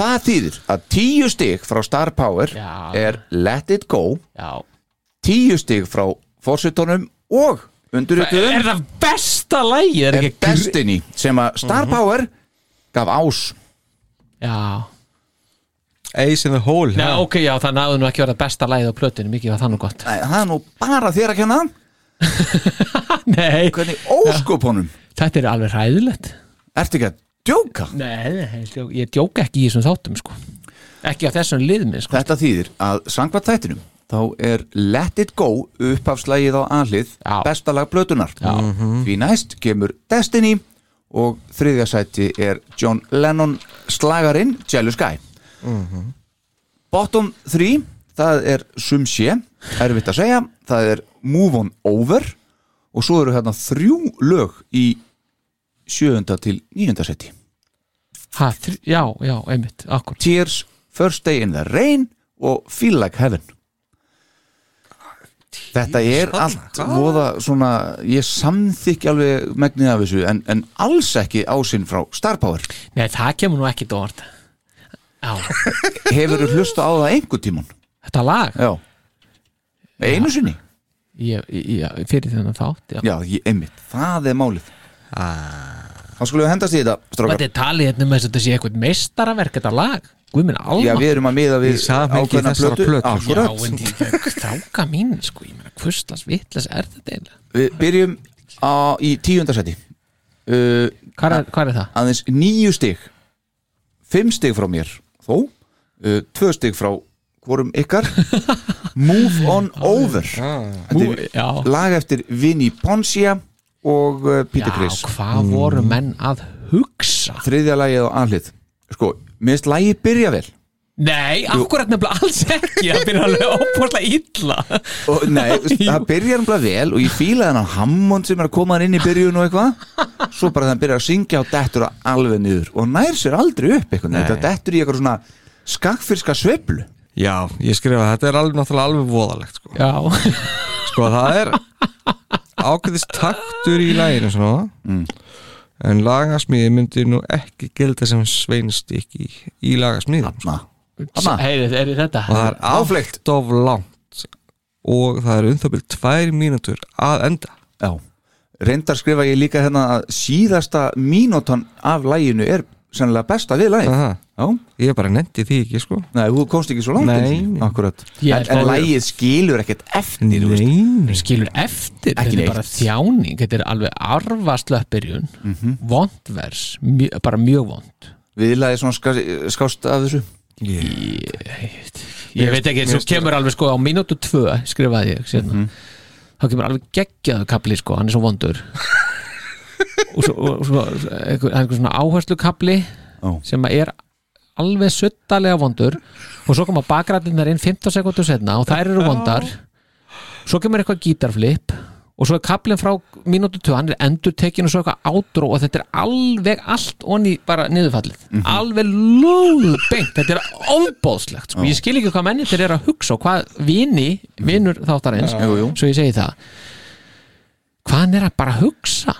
Speaker 3: Það þýðir að tíu stig frá Star Power
Speaker 4: Já.
Speaker 3: er Let It Go
Speaker 4: já
Speaker 3: tíu stig frá fórsetunum og
Speaker 4: er
Speaker 3: undirrituðum
Speaker 4: það besta lægi er
Speaker 3: er
Speaker 4: ekki gr- Mhm.
Speaker 3: Destiny sem að Star Power gaf ás
Speaker 4: já
Speaker 5: Ace in the Hole
Speaker 4: Nei,
Speaker 5: ha?
Speaker 4: ok, já, það náðu nú ekki að vera besta lægið á plötinu, mikið var það nú gott
Speaker 3: Æ, það er nú bara þér að kenna
Speaker 4: Nei,
Speaker 3: hvernig óskupunum
Speaker 4: þetta er alveg ræðilegt
Speaker 3: ertu ekki að djóka
Speaker 4: Nei, ég, djó- ég djóka ekki í þessum þáttum, sko Ekki á þessum liðmi, sko
Speaker 3: þetta þýðir að sangvað þættinum þá er Let It Go upphafslægið á aðlið
Speaker 4: Já.
Speaker 3: besta lag blötunar því næst kemur Destiny og þriðja sæti er John Lennon slagarinn Jealous Guy bottom 3 það er Sumsje, erfitt að segja það er Move On Over og svo eru hérna þrjú lög í sjöunda til níunda sæti
Speaker 4: ha, þr, Já, já, einmitt, akkur
Speaker 3: Tears, First Day in the Rain og Feel Like Heaven Þetta
Speaker 5: oh
Speaker 3: er allt voða svona, ég samþykki alveg megnið af þessu en, en alls ekki ásinn frá Star Power
Speaker 4: Nei, það kemur nú ekki dóvart Já,
Speaker 3: Hefur þú hlusta á það einhver tíman?
Speaker 4: þetta lag
Speaker 3: Já Einu sinni?
Speaker 4: ég, ég, ég- Fyrir þennan þátt, já
Speaker 3: Já, ég, einmitt, það er málið
Speaker 5: Ah.
Speaker 3: Þá skulum við hendast í þetta,
Speaker 4: Þetta
Speaker 3: strókar
Speaker 4: er talið hérna með þess að þetta sé eitthvað meistaraverk þetta lag Guðminn
Speaker 3: Já,
Speaker 4: alma
Speaker 3: við erum að miða
Speaker 5: Í
Speaker 3: við
Speaker 5: samhengi
Speaker 3: ákveðna
Speaker 5: þessara plötu.
Speaker 4: já
Speaker 3: Akkúrat.
Speaker 4: en því þráka mín, sko Ég meina, hvustlas, vitlas, er þetta eiginlega
Speaker 3: Við byrjum á, í tíundasæti uh,
Speaker 4: Hvar er, hvar er það?
Speaker 3: aðeins níu stig fimm stig frá mér þó, uh, tvö stig frá hvorum ykkar Move on over Þetta er
Speaker 4: Ah. Já.
Speaker 3: lag eftir Vinnie Poncia og uh, Peter Criss
Speaker 4: hvað
Speaker 3: Mm.
Speaker 4: voru menn að hugsa?
Speaker 3: þriðja lagið á anlið sko, minnst lagið byrja vel
Speaker 4: Nei, akkurat nefnilega alls ekki Það byrja alveg óbúrslega illa
Speaker 3: og, nei, það byrjar umlað vel og ég fíla þennan Hammond sem er að koma hann inn í byrjun og eitthvað svo bara þann byrjar að syngja og dettur það alveg niður og nær sér aldrei upp eitthvað, þetta dettur í eitthvað svona skakkfyrska sveiflu
Speaker 5: Já, ég skrifa, þetta er alveg náttúrulega alveg voðalegt sko.
Speaker 4: Já,
Speaker 5: sko það er ákveðist taktur í læginu svona en lagasmiði myndi nú ekki gilda sem sveinst ekki í lagasmiði
Speaker 3: Na. Amma.
Speaker 4: heyrið, er þetta
Speaker 5: og það er
Speaker 3: Áfleygt.
Speaker 5: allt of langt og það er unþabil tvær mínútur að enda
Speaker 3: Já, reyndar skrifa ég líka hérna að síðasta mínútan af læginu er sennilega besta við lægin
Speaker 5: Aha.
Speaker 3: Já,
Speaker 5: ég bara nendi því ekki sko
Speaker 3: nei, þú komst ekki svo langt
Speaker 5: Nei.
Speaker 3: inn í- Akkurat
Speaker 4: Ég
Speaker 3: En,
Speaker 4: er
Speaker 3: en
Speaker 4: fáið.
Speaker 3: lægið skilur ekkert eftir þú veist.
Speaker 5: Nei.
Speaker 4: skilur eftir
Speaker 3: Ekki
Speaker 4: Þetta er
Speaker 3: neitt. Mhm.
Speaker 4: bara þjáning, þetta er alveg arfaslöppirjun mm -hmm. Vondvers, mjö, bara mjög vond
Speaker 3: Við lægið svona skást, skást af þessu
Speaker 4: Ég veit ekki,
Speaker 5: mér
Speaker 4: svo
Speaker 5: finnst
Speaker 4: kemur alveg sko á mínútu tvö skrifaði ég sérna Þá kemur alveg geggjaðu kapli sko, hann er svo vondur og svo, og svo einhver, einhver svona áherslu kapli
Speaker 3: Ó.
Speaker 4: sem að er alveg suttalega vondur og svo koma bakgrætinnar inn 15 sekundur setna og þær eru vondar svo kemur eitthvað gítarflip og svo er kaplinn frá mínútu 2 hann er endur tekin og svo eitthvað átró og þetta er alveg allt onni bara niðurfallið
Speaker 5: Mhm.
Speaker 4: alveg lúðbengt þetta er ofbóðslegt sko. ég skil ekki hvað mennir þeir eru að hugsa og hvað vini, vinur þáttar eins
Speaker 3: Jú, jú.
Speaker 4: svo ég segi það hvað hann er að bara hugsa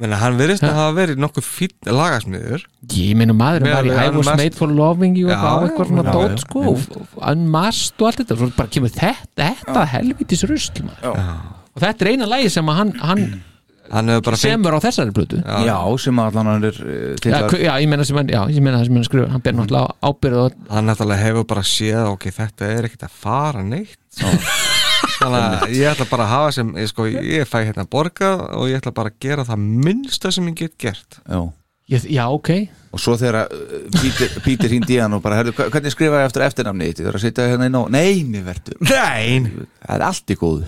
Speaker 5: Menna, hann verðist að hafa verið nokkuð fínn lagasmiður
Speaker 4: Ég meina maður
Speaker 5: Meðal
Speaker 4: var í
Speaker 5: við
Speaker 4: I
Speaker 5: hann
Speaker 4: was
Speaker 5: mest-
Speaker 4: made for loving you og
Speaker 5: Já,
Speaker 4: eitthvað á eitthvað
Speaker 5: já,
Speaker 4: svona
Speaker 5: já,
Speaker 4: dót sko og unmasked og allt þetta og svo bara kemur þetta, þetta helvitis rusl maður og þetta er eina lagi sem að hann, hann
Speaker 5: hann hefur bara fengið
Speaker 4: semur á þessari blötu já,
Speaker 3: Já, sem allan hann er uh, til að
Speaker 4: hver- já, ég meina sem hann, já, ég meina það sem hann skrifur hann ber
Speaker 5: Mhm.
Speaker 4: náttúrulega ábyrð og
Speaker 5: hann náttúrulega hefur bara séð ok, þetta er ekkert að fara neitt þannig að ég ætla bara að hafa sem ég, sko, ég fæ hérna borgað og ég ætla bara að gera það minnsta sem ég get gert
Speaker 3: Já,
Speaker 4: ég, já, ok
Speaker 3: og svo þegar uh, Peter, Peter hindi hann og bara herðu, hva- hvernig skrifa ég eftir eftirnafni þitt? Ég þarf að sitja hérna inn á, neini verður
Speaker 5: Nein
Speaker 3: það er allt í góðu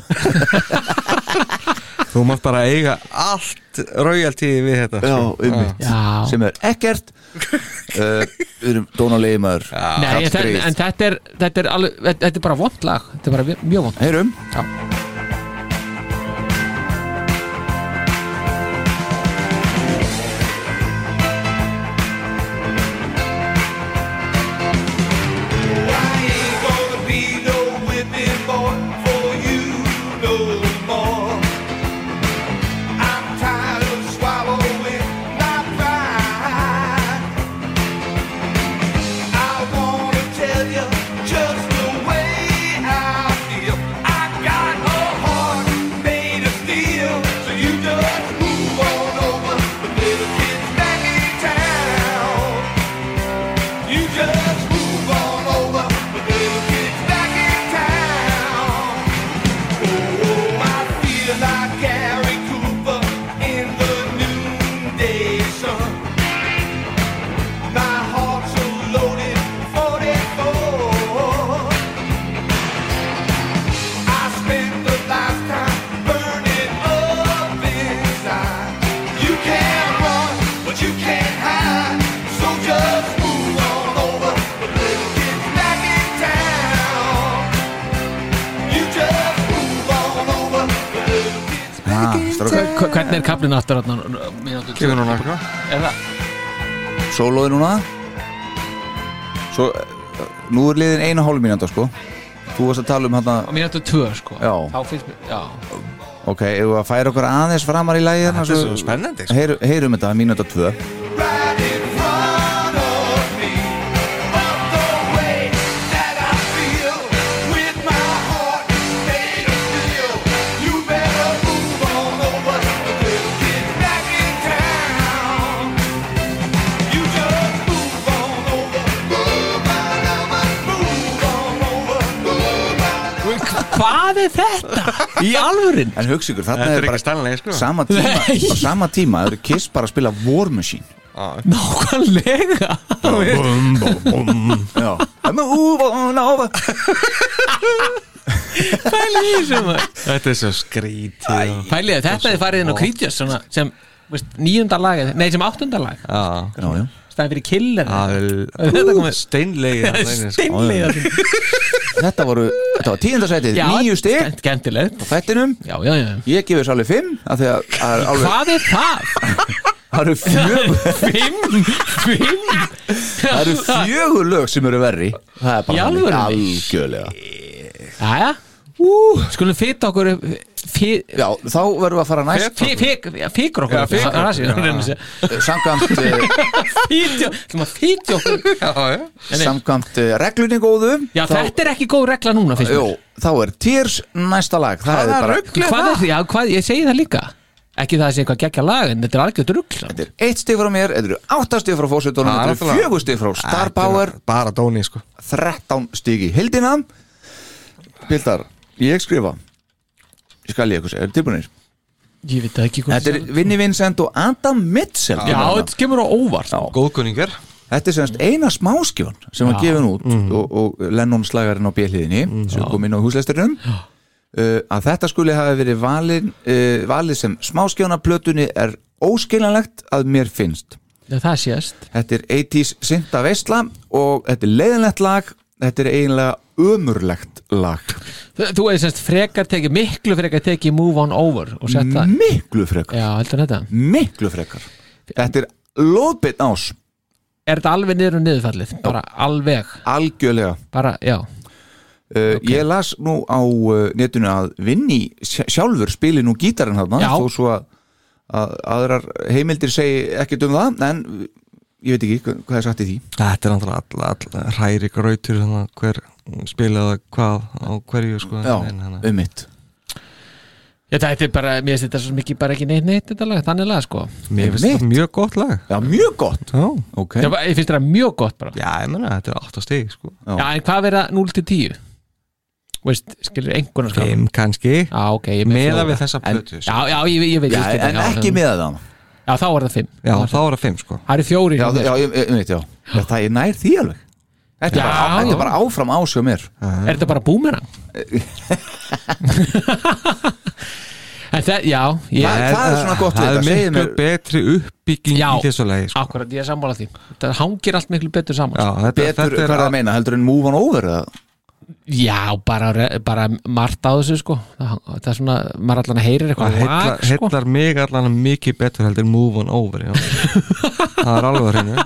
Speaker 5: Þú mátt bara eiga allt royalty við þetta
Speaker 3: Já,
Speaker 5: sko.
Speaker 3: ummitt
Speaker 4: Já.
Speaker 3: sem er ekkert uh, við erum dónulegir maður
Speaker 4: Nei, en, þe- en þetta er, þetta er, alveg, þetta er bara vond lag Þetta er bara vi- mjög vond
Speaker 3: heyrum
Speaker 2: Just the way I feel. I got a heart made of steel, so you just move on over. The little kid's back in town. You just move on over. The little kid's back in town. Oh, I feel like Gary Cooper in the noonday sun. My heart's so loaded, 44. I spent the lifetime burning up inside. You can't run, but you can't hide. So just move on over. The little kid's back in town. You just move on over. The little kid's
Speaker 3: ah, strákar.
Speaker 4: Hva- Hvernig er kaplinn aftur þarna? Mínútu tvö? sko.
Speaker 5: Kemur núna sko. eitthvað?
Speaker 4: Er það?
Speaker 3: sólóði núna svo uh, nú er liðin einu hálf mínúnda sko þú varst að tala um hérna
Speaker 4: Á mínútu tvö sko
Speaker 3: Já.
Speaker 4: Þá finnst mér, já
Speaker 3: ok, ef við að færa okkur aðeins framar í lagi hérna,
Speaker 5: Þetta er svo spennandi sko.
Speaker 3: heyru, heyrum þetta mínúnda tvö
Speaker 2: right in front of me. But the way that I feel with my heart made of steel, you better move on over. The little kid's back in town. You just move on over. Move on over. Move on over. Move on over.
Speaker 4: Hvað er þetta? Í alvörin?
Speaker 3: en hugsa ykkur, þarna
Speaker 5: Þetta er
Speaker 3: er
Speaker 5: ekki
Speaker 3: bara
Speaker 5: stannlega sko.
Speaker 3: sama tíma,
Speaker 4: Nei.
Speaker 3: á sama tíma eru Kiss bara að spila War Machine
Speaker 4: Nákvæmlega
Speaker 5: Bum, bum, bum.
Speaker 3: já, move on over
Speaker 4: Pæli því sem að
Speaker 5: Þetta er svo skrítið
Speaker 4: Pæli því, þetta er farið inn á Creatures svona, sem veist, níunda lag eða- Nei, sem áttunda lag
Speaker 5: Já,
Speaker 3: já, já
Speaker 4: Stæðan fyrir killer
Speaker 5: það
Speaker 4: Þetta
Speaker 5: er
Speaker 4: komið-
Speaker 5: steinlegi þarna inni, sko.
Speaker 4: Steinlega
Speaker 3: þetta voru, þetta var tíundasætið nýju stig
Speaker 4: Skemmtilegt
Speaker 3: á þættinum,
Speaker 4: Já, já, já
Speaker 3: ég gefið þessu alveg fimm af því að það eru alveg-
Speaker 4: Hvað er það?
Speaker 3: það eru fjögur
Speaker 4: Fimm Fimm
Speaker 3: það eru fjögur lög sem eru verri það er
Speaker 4: Í
Speaker 3: bara
Speaker 4: alvörunni?
Speaker 3: algjörlega
Speaker 4: Jæja Skulum fita okkur upp- fi-
Speaker 3: já, þá verðum við að fara næst
Speaker 4: fi- fi- Fikra okkur
Speaker 5: Já,
Speaker 4: upp.
Speaker 5: fikra
Speaker 4: Það- það er það sem ég reyni að segja.
Speaker 3: samkvæmt, eh,
Speaker 4: Fitja- ætlum að fitja okkur
Speaker 5: Já, já
Speaker 4: Nei.
Speaker 3: samkvæmt eh, reglunni góðu
Speaker 4: Já,
Speaker 3: þá,
Speaker 4: þetta er ekki góð regla núna finnst
Speaker 3: jú,
Speaker 4: mér
Speaker 3: þá er Tears næsta lag það er bara
Speaker 4: Hvað er það? Já, hvað, ég segi það líka Ekki það að segja eitthvað geggja lag en þetta er algjörð rugl
Speaker 3: þetta er eitt stig frá mér, þetta eru átta stig frá fósutunum,
Speaker 5: Það er
Speaker 3: þetta eru
Speaker 5: náttúrulega-
Speaker 3: fjögur stig frá
Speaker 5: Þetta
Speaker 3: Star
Speaker 5: er
Speaker 3: Power,
Speaker 5: Bara Dóni sko
Speaker 3: 13 stig í hildina Pildar, ég skrifa ég skal ég eitthvað segja, er tilbúinir
Speaker 4: Ég veit það ekki hvað
Speaker 3: þetta er Vinnie Vincent og Adam Mitchell Hérna.
Speaker 4: Já, þetta kemur á óvart
Speaker 3: Já.
Speaker 5: Góðkunningar
Speaker 3: Þetta er semst eina smáskjón sem var gefin út
Speaker 4: Mhm.
Speaker 3: og, og Lennon slagarinn á bjöliðinni sem kom inn á húsleisturum uh, að þetta skuli hafi verið valin, uh, valið sem smáskjónaplötunni er óskiljanlegt að mér finnst
Speaker 4: Já, það sést
Speaker 3: Þetta er 80s synda veistla og þetta er leiðinlegt lag þetta er eiginlega ömurlegt lag
Speaker 4: Þú- Þú hefði semst frekar tekið, miklu frekar tekið Move on over og sett það
Speaker 3: miklu frekar
Speaker 4: Já, heldur en þetta
Speaker 3: miklu frekar þetta er lóðbytt ás
Speaker 4: Er þetta alveg niður og niðurfallið? Bara alveg,
Speaker 3: algjörlega
Speaker 4: bara, já
Speaker 3: Uh, Ég las nú á uh, netinu að Vinni sj- sjálfur spili nú gítarinn hann
Speaker 4: Já.
Speaker 3: þó svo að, að aðrar heimildir segi ekkert um það en ég veit ekki hva- hvað er sagt í því
Speaker 5: Þetta er náttúrulega all, all, hræri grautur þannig, hver spilaði hvað á hverju sko
Speaker 3: Já,
Speaker 5: en, hana,
Speaker 3: um mitt
Speaker 4: Já, þetta er bara, mér finnst þetta svo mikið bara ekki neitt neitt þetta lag, þannig lag sko
Speaker 5: Mér finnst
Speaker 3: mitt.
Speaker 5: þetta mjög gott lag
Speaker 3: Já, mjög gott
Speaker 5: Já,
Speaker 3: Ok,
Speaker 4: Já, Ég finnst þetta mjög gott bara
Speaker 5: já ég menna þetta er 8 stig sko
Speaker 3: Já.
Speaker 4: Já, en hvað verða 0 til 10? Veist, skilur einhvern skam
Speaker 5: Fimm kannski
Speaker 4: Já, ok, ég
Speaker 5: Meða
Speaker 4: fjóra.
Speaker 5: við þessa plötu sko.
Speaker 4: Já, já, ég, ég veit
Speaker 3: Já,
Speaker 4: ég skil það,
Speaker 3: en ekki með það
Speaker 4: Já, þá er það fimm
Speaker 5: Já, þá er það 5 sko
Speaker 4: Það eru fjóri
Speaker 3: já, já, ég, ég veit, já Þetta er nær því alveg Þetta er
Speaker 4: Já,
Speaker 3: bara, þetta
Speaker 4: já.
Speaker 3: er bara áfram ásjá mér
Speaker 4: Er þetta bara búmerang? en það, já ég,
Speaker 3: Það-
Speaker 5: En,
Speaker 3: er svona gott við
Speaker 5: Það
Speaker 3: þetta,
Speaker 5: er
Speaker 3: segðu
Speaker 5: miklu
Speaker 3: mér-
Speaker 5: betri uppbygging
Speaker 4: Já,
Speaker 5: í þessu lagi sko.
Speaker 4: akkurat, ég er sammála því Það hangir allt miklu betur saman
Speaker 5: Já,
Speaker 4: sko.
Speaker 5: þetta,
Speaker 3: Betur,
Speaker 5: þetta
Speaker 3: hvað er það að meina, heldur en move on over eða?
Speaker 4: Já, bara, bara margt á þessu sko Það, það er svona, maður allan heyrir
Speaker 5: Það
Speaker 4: eitthvað
Speaker 5: heillar,
Speaker 4: vak, sko.
Speaker 5: heillar mig allan um mikið betur heldur en move on over já. það er alveg á hreinu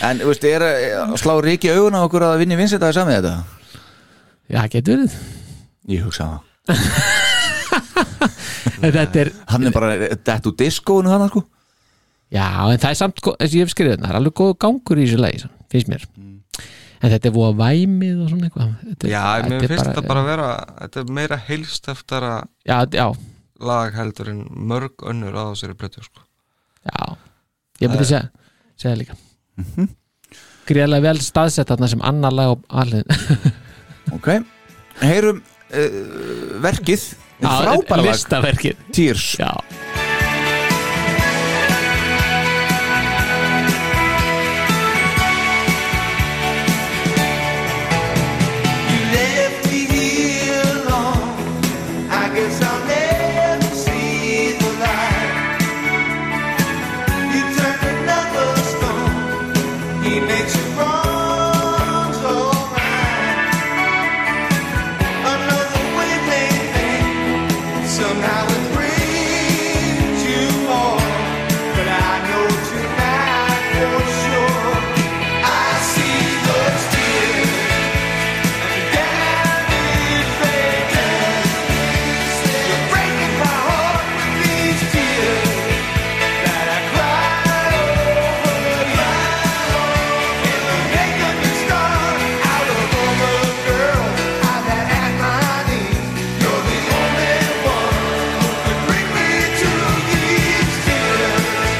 Speaker 3: En, veist, er eh, að slá ríki augun á okkur að vinni vinsitaði saman þetta?
Speaker 4: Já, getur verið
Speaker 3: Ég hugsa það
Speaker 4: En Þetta er,
Speaker 3: Hann er bara eh, dett úr diskónu hann, sko
Speaker 4: já, en það er samt gó- eins og ég hef skrifað, hérna, það er alveg góð gangur í þessu lagi samt, finnst mér En þetta er voða væmið og svona eitthvað þetta, er-
Speaker 5: Mm. já, mér
Speaker 4: er
Speaker 5: finnst þetta bara að vera þetta er meira heilsteftara
Speaker 4: Já, já,
Speaker 5: lag heldur en mörg önnur á þessari plötu sko.
Speaker 4: já Ég myndi segja, segja líka mm
Speaker 5: Mhm.
Speaker 4: vel staðsett þarna sem annar lag á alveg
Speaker 3: Ok, heyrum uh, verkið Frábæra lag,
Speaker 4: Listaverkið
Speaker 3: Tears
Speaker 4: Já,
Speaker 2: You left me here alone. I guess I'll never see the light. You turned another stone. He makes you wrong, so right. Another way they think. Somehow it brings you home. But I know tonight for sure. I see those tears. Yeah.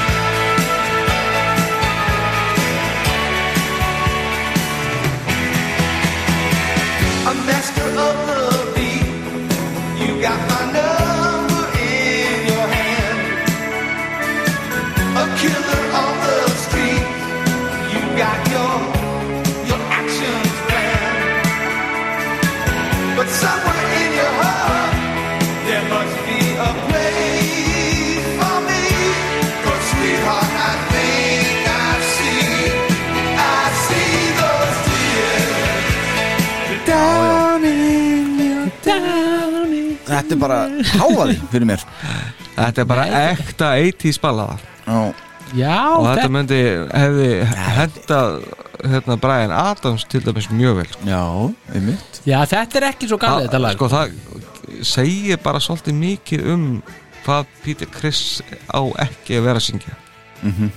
Speaker 2: a master of the beat. You got my number in your hand. A killer on the street. You got your your actions planned. But somewhere in your heart, there must be a place for me. 'Cause sweetheart, I think I see, I see those tears.
Speaker 3: Þetta er bara háfaði fyrir mér
Speaker 5: þetta er bara ekta 80s ballada
Speaker 3: Já,
Speaker 4: já
Speaker 5: og þetta
Speaker 4: þetta,
Speaker 5: myndi hefði henda hérna Brian Adams til dæmis mjög vel sko.
Speaker 3: já, einmitt
Speaker 4: já, þetta er ekki svo galið þetta
Speaker 5: Það-
Speaker 4: lag
Speaker 5: sko það segir bara svolítið mikið um hvað Peter Criss á ekki að vera að syngja
Speaker 4: Mhm.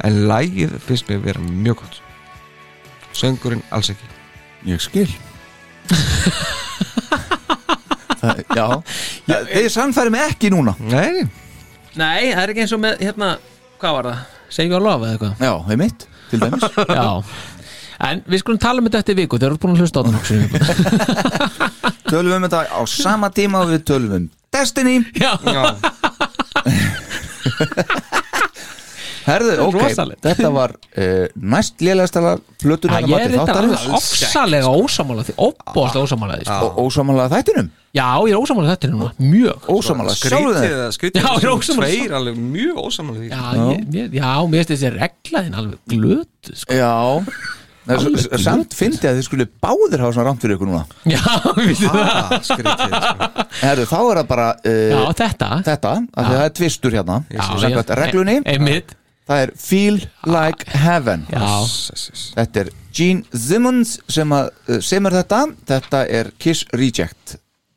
Speaker 5: en lægið finnst mér að vera mjög gott söngurinn alls ekki
Speaker 3: Ég skil Það, Já, já Þið samfæri mig ekki núna
Speaker 5: Nei,
Speaker 4: Nei, það er ekki eins og með, hérna, hvað var það? Save your love eða
Speaker 3: Já, einmitt, til dæmis
Speaker 4: eitthvað Já En við skulum tala um þetta eftir viku, þeir eru búin að hlusta á þetta nokkuð sinnum.
Speaker 3: Tölum um þetta á sama tíma og við tölum um Destiny
Speaker 4: Já,
Speaker 3: Herðu, ok,
Speaker 4: Rosalegt.
Speaker 3: þetta var uh, næst lélegastala plötuna
Speaker 4: ég er þetta alveg ofsalega ósamála því, óbóðast ósamála því sko.
Speaker 3: og ósamanlega þættinum
Speaker 4: Já, ég er ósamála þetta núna, mjög
Speaker 3: ósamanlega sjálfum
Speaker 5: skrítið
Speaker 3: þeir
Speaker 5: að skrítið
Speaker 4: Já,
Speaker 5: að
Speaker 4: ég er
Speaker 5: þessum
Speaker 4: ósammála.
Speaker 5: tveir alveg mjög ósamanlega því
Speaker 4: Já, ég, mér- já mér finnst þessi regla þín alveg glöt sko.
Speaker 3: já Það er svo-
Speaker 4: Alveg
Speaker 3: samt fyndi að þið skulle báðir hafa svona rámt fyrir ykkur núna
Speaker 4: Já, við finnst það
Speaker 5: Ah, skrítið sko.
Speaker 3: Herðu, þá er það bara
Speaker 4: Já,
Speaker 3: uh,
Speaker 4: þetta
Speaker 3: þetta, af því að það er tvistur hérna
Speaker 4: Já,
Speaker 3: samkvæmt
Speaker 4: já.
Speaker 3: reglunni,
Speaker 4: E- Einmitt,
Speaker 3: það er Feel Like Heaven
Speaker 4: já
Speaker 3: Þetta er Gene Simmons sem, að, eh, sem er þetta þetta er Kiss Reject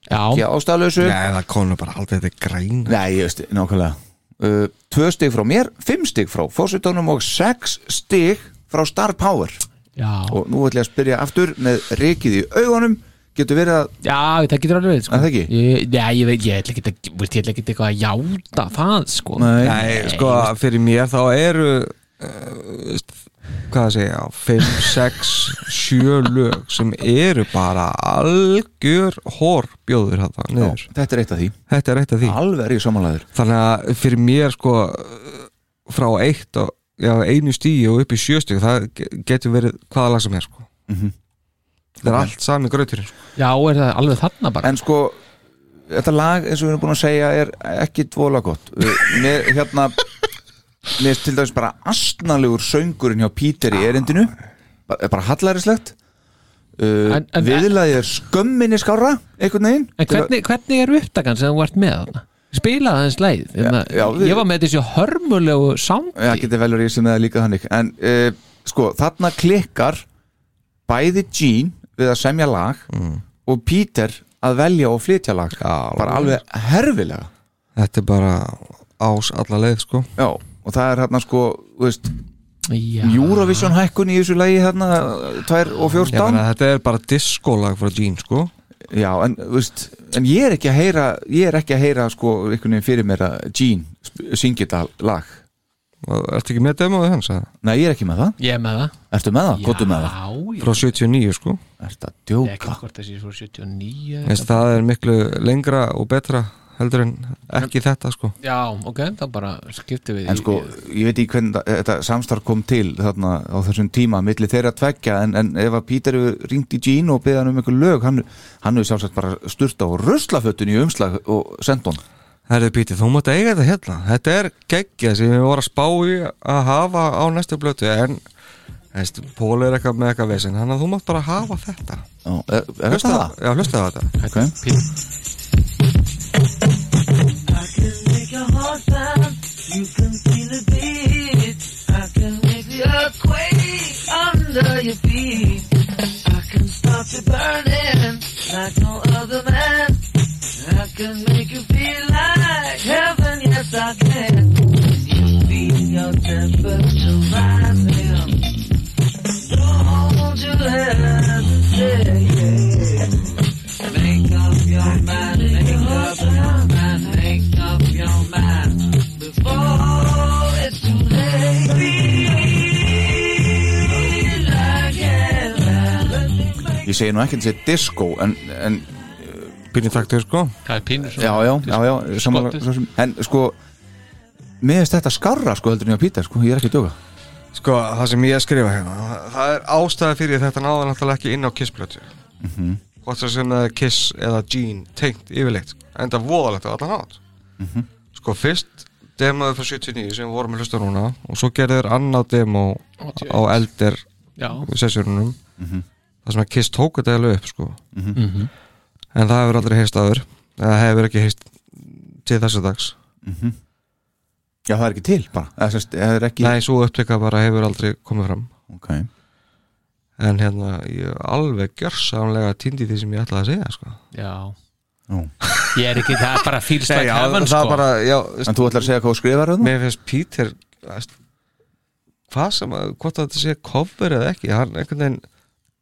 Speaker 3: ekki
Speaker 4: Já,
Speaker 3: ástæðlausu
Speaker 5: Nei, það konur bara aldrei þetta græna
Speaker 3: Nei, ég veist, nákvæmlega uh, Tvö stig frá mér, fimm stig frá fórsetunum og sex stig frá Star Power
Speaker 4: já
Speaker 3: og nú ætla ég að spyrja aftur með rikið í augunum getur verið að,
Speaker 4: Já, það getur alveg verið sko.
Speaker 3: Er það ekki?
Speaker 4: Ég, já, ég veit, ég ætla ekki að- veist, ég ætla ekki eitthvað að játa það sko.
Speaker 3: Nei.
Speaker 5: Nei, sko, fyrir mér þá eru uh, hvað að segja, 5, 6, 7 lög sem eru bara algjör hórbjóður þetta niður.
Speaker 3: Þetta er eitt af því,
Speaker 5: Þetta er eitt af því.
Speaker 3: alveg er ég samanlæður
Speaker 5: Þannig að fyrir mér sko frá eitt og já, einu stíi og upp í sjö stíu það ge- getur verið hvaða lag sem er sko. Það er allt sami gröturinn sko.
Speaker 4: Já, er það alveg þarna bara
Speaker 3: En sko, þetta lag eins og við erum búin að segja er ekki dvola gott Uh, Mér, hérna Mér er til dæmis bara astnalegur söngurinn hjá Peter í erindinu Ba- er bara hallaríslegt uh,
Speaker 4: En- en-
Speaker 3: Viðlaðið er skömminni skára einhvern veginn
Speaker 4: En hvernig, hvernig er upptakan sem þú ert með þarna? Spila það eins leið ja,
Speaker 3: já, við-
Speaker 4: Ég var með þessu hörmulegu sándi
Speaker 3: Já, getur velur ég sem það líka þannig En uh, sko, þarna klikkar bæði Gene við að semja lag og Peter að velja og flytja lag
Speaker 5: Já,
Speaker 3: bara alveg herfilega
Speaker 5: Þetta er bara ás alla leið sko.
Speaker 3: Já, og það er hérna sko þú veist,
Speaker 4: Já,
Speaker 3: Eurovision hækkun í þessu lagi hérna 2 og
Speaker 5: Ég
Speaker 3: 14
Speaker 5: meina, þetta er bara diskolag frá Gene sko.
Speaker 3: Já, en, þú veist, en ég er ekki að heyra ég er ekki að heyra sko einhvern veginn fyrir mér að Gene sp- syngi þetta lag
Speaker 5: Og Ertu ekki með demóðu hans? eða?
Speaker 3: Nei, ég er ekki með það,
Speaker 4: ég er með það
Speaker 3: ertu með það, gotu með það
Speaker 4: Já,
Speaker 5: Frá 79 sko.
Speaker 3: Ertu að
Speaker 4: ég er ekki
Speaker 3: djóka
Speaker 4: hvort þessi er frá 79
Speaker 5: Þess,
Speaker 4: eða-
Speaker 5: það er miklu lengra og betra heldur en ekki þetta sko.
Speaker 4: Já, ok, þá bara skiptum við
Speaker 3: En
Speaker 4: í-
Speaker 3: sko, ég veit ekki hvernig þetta- þetta samstarf kom til þarna á þessum tíma milli þeirra tveggja, en, en ef að Pítur ringdi Gene og beði hann um einhver lög hann, hann hefur sjálfsagt bara sturt á ruslafötun í umslag og send hann
Speaker 5: Herðu Píti, þú mátt eiga þetta hérna Þetta er geggja sem við vorum að spá í að hafa á næstu blötu en veist, Pól er eitthvað með eitthvað vesinn þannig að þú mátt bara hafa þetta
Speaker 3: Já, er, er þetta það?
Speaker 5: Já, hlusta á þetta
Speaker 3: Okay.
Speaker 6: I can make your heart pound. You can feel it beat. I can make the earthquake under your feet. I can stop you burning like no other man. I can make you feel like heaven. Yes, I can. You feel your temperature rising. Don't you hesitate. Make up your mind, make up your mind, make up your mind before it's too late. Feel again.
Speaker 3: Ég segi nú ekki að þetta sé disco en, en
Speaker 5: Píni taktur sko
Speaker 4: Það er pínur svona
Speaker 3: já, já, já, já samanlega-
Speaker 4: Skotið.
Speaker 3: svo sem- en sko mér finnst þetta skarra sko heldur en ég á Pítur, sko, ég er ekki að djóka
Speaker 5: Sko, það sem ég skrifa hérna það- það er ástæða fyrir þetta náða náttúrulega ekki inn á Kiss blötu mm -hmm. hvort það sem það er Kiss eða Gene tengt yfirleitt enda voðalegt á allan átt Sko, fyrst demóðu frá 79 sem við vorum að hlusta núna og svo gerður annað demó á eldir
Speaker 4: Já,
Speaker 5: sessjörunum það sem að Kiss tók þetta alveg upp sko. en það hefur aldrei heist aður það hefur ekki heist til þessu dags
Speaker 3: já, það er ekki til bara eða, sest, það er ekki
Speaker 5: nei, svo upptöka bara hefur aldrei komið fram
Speaker 3: okay.
Speaker 5: en hérna, ég er alveg gjörsamlega týndi því sem ég ætlaði að segja sko.
Speaker 4: já
Speaker 3: Nú.
Speaker 4: Ég er ekki, það er bara feels like
Speaker 5: já,
Speaker 4: heaven
Speaker 5: það
Speaker 4: sko
Speaker 5: bara, já,
Speaker 3: en þú ætlar að segja hvað þú skrifar þarna?
Speaker 5: mér finnst Peter veist, hvað sem að, hvort að þetta sé cover eða ekki, hann einhvern veginn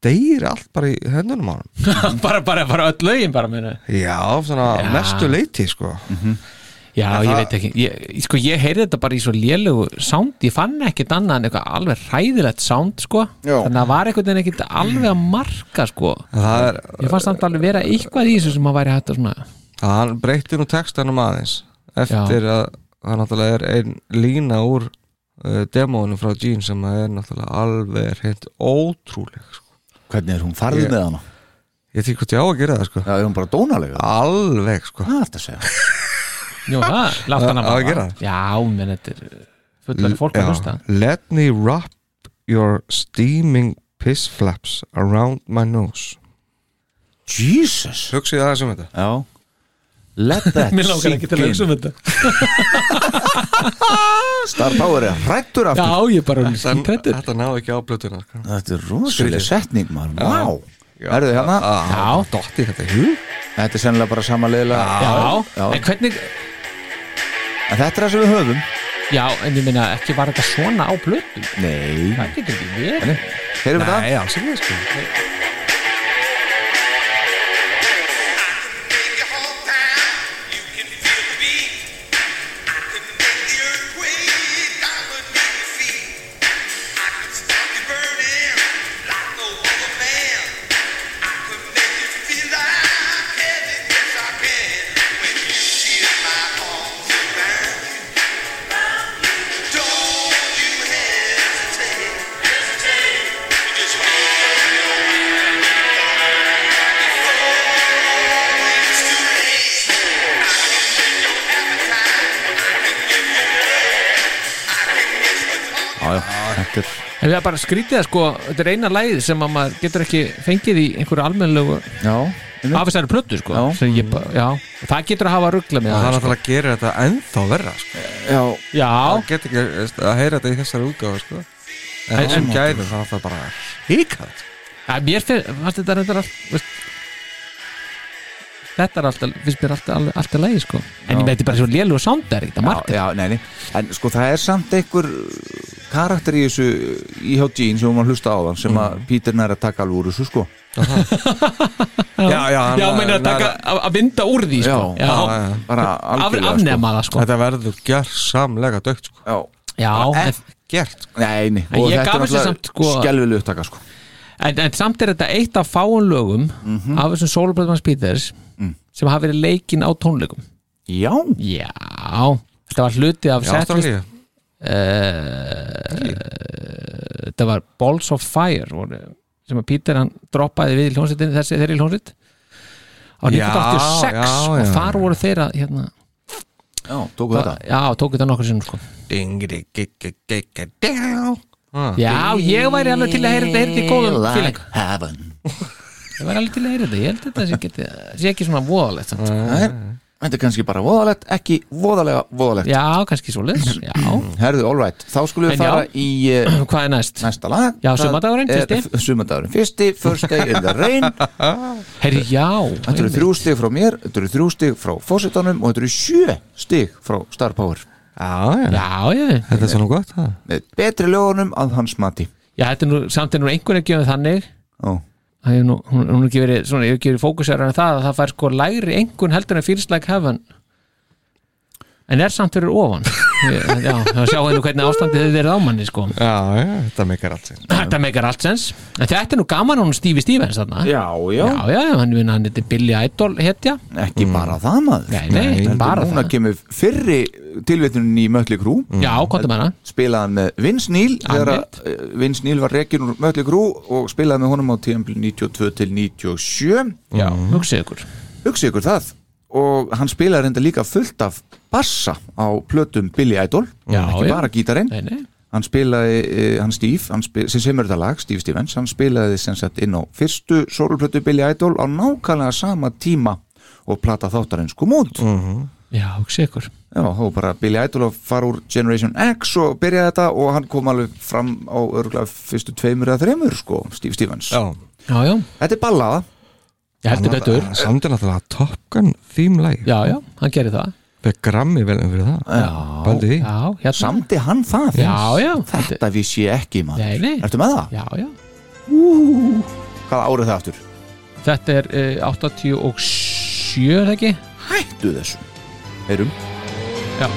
Speaker 5: deyr allt bara í hendunum á hann
Speaker 4: bara, bara, bara öll lögin bara meina
Speaker 5: já, svona
Speaker 4: Já.
Speaker 5: mestu leiti sko.
Speaker 4: Já,
Speaker 5: En
Speaker 4: ég
Speaker 5: það-
Speaker 4: veit ekki ég, Sko, ég heyrði þetta bara í svo lélegu sound Ég fann ekkit annað en eitthvað alveg hræðilegt sound sko
Speaker 3: Já.
Speaker 4: Þannig að það var einhvern veginn ekkit alveg að marka sko
Speaker 5: En það er
Speaker 4: Ég fannst samt alveg vera eitthvað í þessu sem að væri hægt að svona
Speaker 5: að hann breytti nú textanum aðeins eftir að hann náttúrulega er ein lína úr uh, demónu frá Gene sem að er náttúrulega alveg hreint ótrúleg sko.
Speaker 3: hvernig er hún farðið
Speaker 5: Ég-
Speaker 3: með hana?
Speaker 5: ég veit ekki hvort ég á að gera það sko.
Speaker 3: já, er hún bara dónalega?
Speaker 5: alveg sko.
Speaker 3: hvað er þetta að segja?
Speaker 4: Jú, það, látt hann
Speaker 5: Á- á að gera það?
Speaker 4: Já, menn þetta er fullan fólk að hlusta
Speaker 5: Já. let me wrap your steaming piss flaps around my nose
Speaker 3: Jesus
Speaker 5: hugsið aðeins um þetta
Speaker 3: já let that
Speaker 4: Mér langar
Speaker 3: sink
Speaker 4: ekki til að hugsa
Speaker 3: in
Speaker 4: um þetta
Speaker 3: star power er hrættur
Speaker 4: Já,
Speaker 3: aftur
Speaker 4: ég er bara hún skítrættur
Speaker 5: þetta náðu ekki á blötuna sko.
Speaker 3: þetta er rosalega
Speaker 5: Skrítið.
Speaker 3: setning maður, vá erðu hérna?
Speaker 5: Já, dotti þetta í hug
Speaker 3: þetta er sennilega bara samanlega
Speaker 4: Já,
Speaker 3: Já.
Speaker 4: en hvernig
Speaker 3: en þetta er það sem við höfum
Speaker 4: Já, en ég meina ekki var þetta svona á blötu
Speaker 3: nei,
Speaker 4: Það getur ekki verið
Speaker 3: heyrum við það?
Speaker 5: Nei, alls ekki sko.
Speaker 2: I can make you quit. I would make you feel. I can stop
Speaker 3: já, þetta er
Speaker 4: En við bara skrítið að sko, þetta er eina lægið sem að maður getur ekki fengið í einhverju almennlegu
Speaker 3: Já, einmitt.
Speaker 4: afisæri plötu sko
Speaker 3: Já.
Speaker 4: Sem ég, bara- já, það getur að hafa ruggla með
Speaker 5: og það er
Speaker 4: það sko.
Speaker 5: náttúrulega að gera þetta ennþá verra sko.
Speaker 3: já,
Speaker 4: Já,
Speaker 5: það getur ekki veist, að heyra þetta í þessari útgáfa sko. en
Speaker 4: En-
Speaker 5: þessum
Speaker 4: en-
Speaker 5: gæðum það er náttúrulega bara híkað
Speaker 4: að mér finn, fannst þetta reyndar allt veist, Þetta er alltaf, finnst mér alltaf, alltaf, alltaf lægið sko En
Speaker 3: Já.
Speaker 4: ég með þetta er bara svo lélu og sándar
Speaker 3: já,
Speaker 4: Þetta margt
Speaker 3: já nei, nei. En sko það er samt einhver uh, karakter í þessu í hjá Jean sem hún var að hlusta á þann sem
Speaker 4: Mm.
Speaker 3: að Peter nær að taka alveg úr þessu sko
Speaker 5: já, já, hann-
Speaker 4: Já, meinar að
Speaker 5: hann-
Speaker 4: taka, að- að vinda úr því sko
Speaker 3: Já,
Speaker 5: já, já.
Speaker 3: bara
Speaker 4: Af,
Speaker 3: algjörlega
Speaker 4: afnema það sko
Speaker 5: þetta verður gjörsamlega dögt sko.
Speaker 3: sko. Já,
Speaker 4: Já, en,
Speaker 5: gert sko.
Speaker 3: nei, nei
Speaker 4: En
Speaker 3: og
Speaker 4: ég
Speaker 3: þetta
Speaker 4: gaf
Speaker 3: er
Speaker 4: þessu samt, sko-
Speaker 3: skelvileg upptaka sko
Speaker 4: en, en samt er þetta eitt af fáum lögum af þessum Sólbröðmann Spíters sem hafa verið leikinn á tónleikum
Speaker 3: Já,
Speaker 4: Já, þetta var hluti af
Speaker 5: í
Speaker 4: setlist
Speaker 5: Ástralíu
Speaker 4: uh, Þetta var Balls of Fire voru, sem að Peter hann droppaði við í hljónsettinni þessi þeirri hljónsett á
Speaker 5: Já,
Speaker 4: 1986
Speaker 5: já,
Speaker 4: og
Speaker 5: já.
Speaker 4: þar voru þeir að hérna,
Speaker 3: já, tóku þetta
Speaker 4: já, tók þetta nokkur sinnum sko.
Speaker 5: ding, ding, ding, ding, ding, ding, ding. Ah.
Speaker 4: Já, ég væri alveg til að heyra þetta heyrði í góðum fíling
Speaker 3: heaven
Speaker 4: Ég væri alveg til að heyra þetta, ég held þetta sé, geti, sé ekki svona voðalegt samt.
Speaker 3: Það er, þetta er kannski bara voðalegt, ekki voðalega voðalegt
Speaker 4: Já, kannski svo Já,
Speaker 3: Herðu, all right, þá skulum
Speaker 4: En
Speaker 3: við fara í uh,
Speaker 4: hvað er næst?
Speaker 3: næsta lag
Speaker 4: Já,
Speaker 3: Það
Speaker 4: sumardagurinn,
Speaker 3: er-
Speaker 4: fyrsti.
Speaker 3: f- Sumardagurinn, fyrsti, first day in the rain
Speaker 4: Herri, já
Speaker 3: Þetta eru
Speaker 4: einmitt.
Speaker 3: þrjú stig frá mér, þetta eru þrjú stig frá fósitanum og þetta eru sjö stig frá Star Power
Speaker 5: já, já,
Speaker 4: Já, já,
Speaker 5: þetta er svona gott ha?
Speaker 3: með betri lögunum að hans mati
Speaker 4: já, þetta er nú samt er nú einhvern ekki um þannig
Speaker 3: Ó,
Speaker 4: Það er nú, hún, hún er ekki verið, svona, ég er ekki verið fókusar en það að það fær sko lægri einhvern heldur en Feels Like Heaven en er samt fyrir ofan Ég- já, þá sjáum við nú hvernig ástandið þið verið á manni sko,
Speaker 5: já, já, þetta meikar allt sko. sér
Speaker 4: þetta meikar allt sens en þetta er nú gaman hún Stífi Stífens þarna
Speaker 3: Já, já,
Speaker 4: já, já, hann, hann, hann er Billy Idol hetja,
Speaker 3: ekki bara það maður
Speaker 4: Nei, nei, ekki
Speaker 3: heldur
Speaker 4: bara
Speaker 3: Núna
Speaker 4: það.
Speaker 3: kemur fyrri tilvittunin í Mötli Krú
Speaker 5: Mm.
Speaker 4: já, kontum hana
Speaker 3: spilaði með Vince Neil þegar
Speaker 4: Einmitt.
Speaker 3: að, eh, Vince Neil var reikin úr Mötli Krú og spilaði með honum á tíðanbili 92 til 97
Speaker 4: já, hugsið ykkur
Speaker 3: hugsið ykkur það og hann spilaði reynda líka fullt af bassa á plötum Billy Idol
Speaker 4: Já,
Speaker 3: ekki
Speaker 4: já.
Speaker 3: bara gítarinn
Speaker 4: nei, nei,
Speaker 3: hann spilaði, eh, hann Steve hann spil, sem semur þetta lag, Steve Stevens hann spilaði sem sagt inn á fyrstu sólplötu Billy Idol á nákvæmlega sama tíma og plata þáttarins kom út
Speaker 4: já, hugsið ykkur
Speaker 3: já, þá var bara Billy Idol að fara úr Generation X og byrjaði þetta og hann kom alveg fram á örgulega fyrstu tveimur eða þreimur sko, Steve Stevens
Speaker 5: já,
Speaker 4: já, já,
Speaker 3: þetta er ballaða,
Speaker 4: ég heldur betur
Speaker 5: samt er náttúrulega Top Gun theme lag
Speaker 4: já, já, hann gerir það
Speaker 5: við grammi velum fyrir það Pældu í því.
Speaker 4: já, hérna,
Speaker 3: samdi hann það
Speaker 4: já, já, þetta,
Speaker 3: þetta vissi ég ekki maður
Speaker 4: nei, nei
Speaker 3: Ertu með það?
Speaker 4: já, já,
Speaker 3: Hvaða árið það aftur?
Speaker 4: Þetta er uh, 87 er það ekki?
Speaker 3: Hættu þessu Heyrum
Speaker 4: Já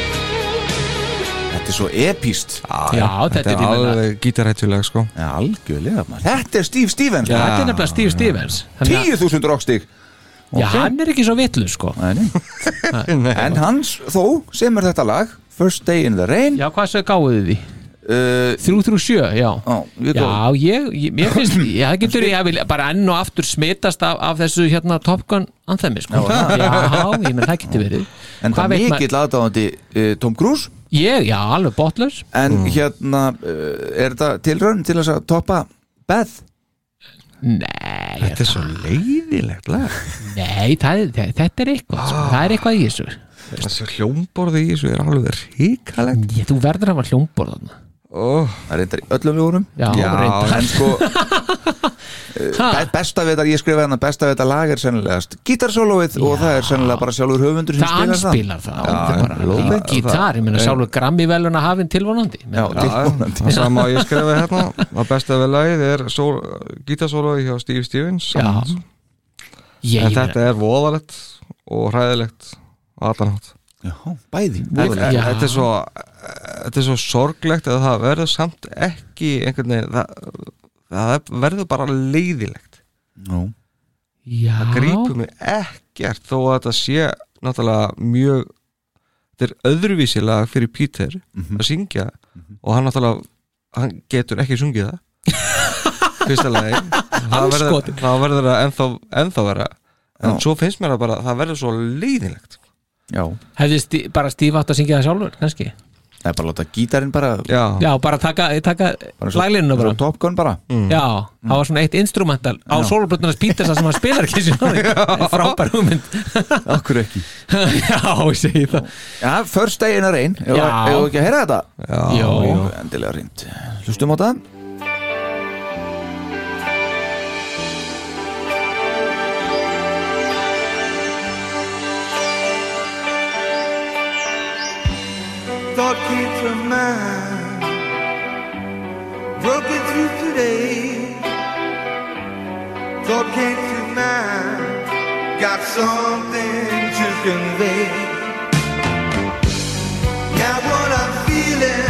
Speaker 3: Þetta er svo epíst
Speaker 4: Já,
Speaker 5: þetta er alveg gítarættulega sko
Speaker 3: ja, Algjörlega maður Þetta er Steve Stevens
Speaker 4: Já,
Speaker 3: maður.
Speaker 4: þetta er nefnilega Steve Stevens Þannig að-
Speaker 3: 10.000 rockstig
Speaker 4: Já, hann er ekki svo vitlu sko
Speaker 3: Nei, nei. En hans þó sem er þetta lag First Day in the Rain
Speaker 4: Já, hvað svo gáðu þið því?
Speaker 3: uh,
Speaker 4: 337, já
Speaker 3: á, við
Speaker 4: Já,
Speaker 3: góðum.
Speaker 4: ég, ég, ég finnst Já, það getur ég vil bara enn og aftur smitast af, af þessu hérna Top Gun anthemi sko Já, ég menn það getur verið
Speaker 3: En það
Speaker 4: Hvað veit
Speaker 3: er
Speaker 4: maður-
Speaker 3: mikill aðdáðandi uh, Tom Cruise
Speaker 4: Ég, já, alveg botlaus
Speaker 3: En hérna uh, er þetta tilraun til þess að toppa Beth
Speaker 4: Nei,
Speaker 5: þetta er svo leiðilegt lag
Speaker 4: nei, það, það, þetta er eitthvað sko. Það er eitthvað í þessu
Speaker 5: þessi hljómborði í þessu er alveg híkalegt
Speaker 4: ég, Þú verður að hafa hljómborð þarna
Speaker 5: oh,
Speaker 3: Það er reyndar í öllum ljóðunum
Speaker 4: Já,
Speaker 5: Já,
Speaker 4: reyndar.
Speaker 3: En sko eh, Be- besta við þetta, ég skrifaði hann að besta við þetta lag er sennilegast gítarsólóið og það er sennilega bara sjálfur höfundur sem
Speaker 4: það
Speaker 3: spilar
Speaker 4: anspilar það,
Speaker 3: Já,
Speaker 4: það er bara
Speaker 3: lóðið.
Speaker 4: lóðið gítar, ég meina sjálfur grammi velun að hafinn tilvonandi
Speaker 3: Já, tilbúnandi
Speaker 5: það sama að ég skrifa hérna að besta við lagið er sól, gítarsólaði hjá Steve Stevens
Speaker 4: Já,
Speaker 5: samt.
Speaker 4: ég,
Speaker 5: en þetta er voðalegt og hræðilegt á allan hátt
Speaker 3: Já, bæði
Speaker 4: Já.
Speaker 5: þetta eh, þetta er svo eh, þetta er svo sorglegt að það verður samt ekki einhvern veginn það, það verður bara leiðilegt
Speaker 3: Nú.
Speaker 4: já,
Speaker 5: grípum við ekkert þó að þetta sé náttúrulega mjög þetta er öðruvísi lag fyrir Peter að syngja og hann náttúrulega hann getur ekki sungið það fyrsta lagi það verður,
Speaker 4: Andskotinn.
Speaker 5: það verður að ennþá, ennþá vera en
Speaker 3: Já.
Speaker 5: svo finnst mér að bara það verður svo leiðinlegt
Speaker 3: Já,
Speaker 4: hefði stí, bara Steve átt að syngja það sjálfur kannski,
Speaker 3: það er bara að láta gítarinn bara
Speaker 5: já,
Speaker 4: já bara taka, taka
Speaker 3: bara
Speaker 4: laglínuna bara, Mm.
Speaker 3: bara Top Gun bara
Speaker 4: já, það var svona eitt instrumental á sólublutunars Pítersa sem hann spilar ekki sinni frábær hugmynd
Speaker 3: Akkur ekki
Speaker 4: já, ég segi það
Speaker 3: Já, first day in a rain Ef
Speaker 4: Já.
Speaker 3: við ekki að heyra þetta
Speaker 4: já, já.
Speaker 3: Endilega reynd Hlustum á það
Speaker 2: Thought kids of mine broken through today. Thought kids of mine got something to convey. Now what I'm feeling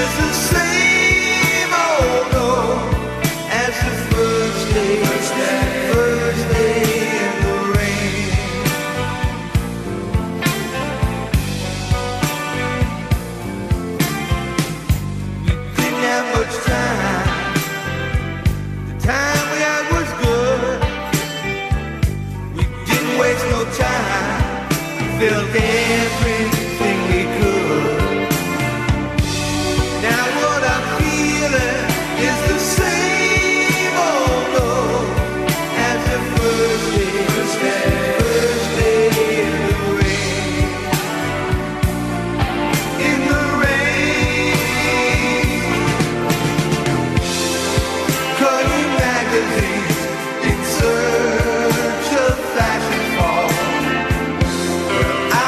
Speaker 2: is the same old old as the first day, first day in the rain. Didn't have much time. The time we had was good. We didn't waste no time. Felt everything we could. Now what I'm feeling is the same old love as the first day, first day, first day in the rain. In the rain. Cutting magazines in search of flash and fall.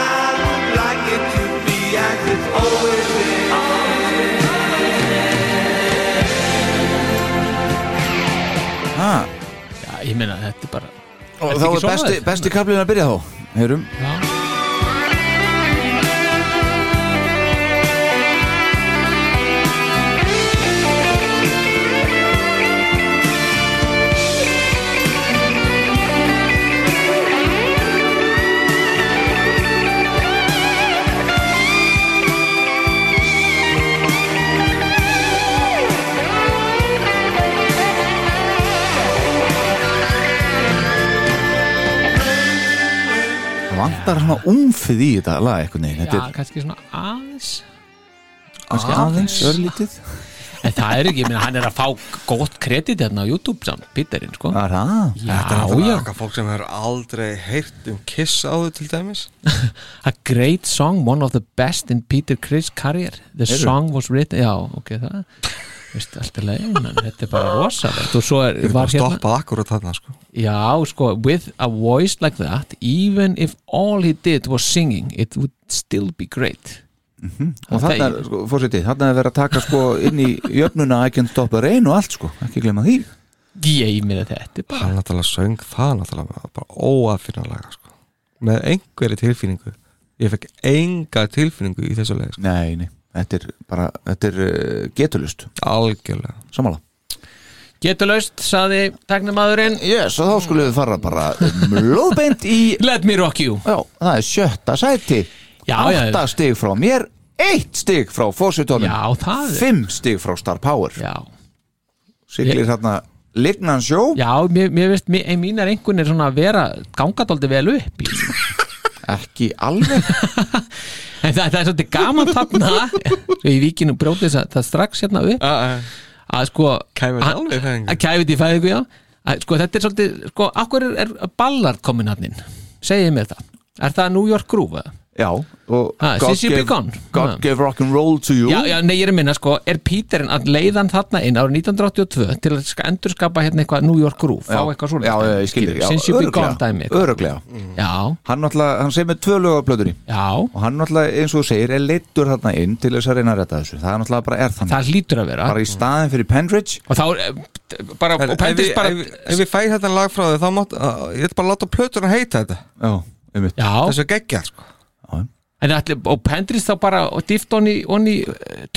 Speaker 2: I would like it to be Oh, as it's always been.
Speaker 3: ha.
Speaker 4: já, ég meina þetta er bara
Speaker 3: Og
Speaker 4: Ertu
Speaker 3: þá
Speaker 4: ekki
Speaker 3: er
Speaker 4: svona
Speaker 3: besti,
Speaker 4: þetta?
Speaker 3: besti kaplinn að byrja þá Heyrum
Speaker 4: já.
Speaker 3: Það vantar svona umfið í þetta lag eitthvað neginn
Speaker 4: já,
Speaker 3: Þetta er
Speaker 4: kannski svona aðeins
Speaker 3: kannski aðeins örlítið
Speaker 4: en það er ekki, ég meina hann er að fá gott kredit hérna á YouTube samt, Píterinn sko
Speaker 3: Það er það
Speaker 4: já,
Speaker 5: Þetta
Speaker 4: já,
Speaker 5: er okkar fólk sem hefur aldrei heyrt um Kiss áður til dæmis
Speaker 4: a great song, one of the best in Peter Criss career, the song was written já, ok, það veist, allt er leið, menn, þetta er bara rosalegt og svo er,
Speaker 5: Við erum bara
Speaker 4: var hérna
Speaker 5: stoppað akkurat þarna sko.
Speaker 4: já, sko, with a voice like that even if all he did was singing it would still be great
Speaker 3: Mhm. Og þarna er, sko, fórsetið, þarna er verið að taka sko inn í jöfnuna I can stop a rain og allt sko Ekki glemma því
Speaker 4: ég meina þetta er bara
Speaker 5: Hann náttúrulega söng það náttúrulega bara óafinnalega sko. með einhverju tilfinningu Ég fekk enga tilfinningu í þessu leið sko.
Speaker 3: Nei, nei, þetta er bara, þetta er uh, getulust
Speaker 5: Algjörlega
Speaker 3: Samála
Speaker 4: getur laust, saði tæknimaðurinn
Speaker 3: Yes, og þá skulum við fara bara um Lóðbeint í
Speaker 4: let me rock you
Speaker 3: Já, það er sjötta sæti
Speaker 4: Já, já.
Speaker 3: Átta stig frá mér Eitt stig frá fósitónum
Speaker 4: Já, það er-
Speaker 3: Fimm stig frá Star Power
Speaker 4: já,
Speaker 3: Siglir
Speaker 4: Ég-
Speaker 3: þarna Lignan sjó
Speaker 4: já mér, mér veist, mér, mínar einhvernir svona að vera gangadóldi vel upp í
Speaker 3: Ekki alveg
Speaker 4: En það, það er svolítið gaman þarna Svo í víkinu brjóti þess að það strax hérna upp að sko
Speaker 5: Kæfir
Speaker 4: að-
Speaker 5: alveg í fæðingu.
Speaker 4: að Kæfið í fæðingu, já að, sko þetta er svolítið, sko, akkur er, er Ballard komin hann inn, segið mér það Er það New York Groove? eða?
Speaker 3: Já, og
Speaker 4: Ah, Sissy
Speaker 3: gave,
Speaker 4: Beacon.
Speaker 3: God
Speaker 4: Ah.
Speaker 3: gave rock'n'roll to you
Speaker 4: Já, já, nei, ég er að minna, sko, er Peterinn að leiðan þarna inn árið 1982 til að ska- endurskapa hérna eitthvað New York Groove, fá
Speaker 3: Já,
Speaker 4: eitthvað svolítið
Speaker 3: já, ég skilur, já,
Speaker 4: Since you began dæmi eitthvað.
Speaker 3: Öruglega
Speaker 4: Já,
Speaker 3: Hann náttúrulega, hann segir með tvö lög á plötunni
Speaker 4: já,
Speaker 3: Og hann náttúrulega, eins og þú segir, er leittur þarna inn Til þess að reyna að retta þessu Það er náttúrulega bara er þannig
Speaker 4: það hlýtur að vera
Speaker 3: Bara í staðin fyrir Pendridge
Speaker 4: Og þá, eh, bara, og
Speaker 5: En, ef,
Speaker 4: pæntist
Speaker 5: ég,
Speaker 4: bara
Speaker 5: ef, ef ég fæ þetta lag frá þau þá mátt, uh, ég ætla bara að láta plötuna heita þetta
Speaker 3: Já, um mitt
Speaker 4: Já,
Speaker 5: þessu geggja sko.
Speaker 4: En ætli, og pendrist þá bara og dýft honni, honni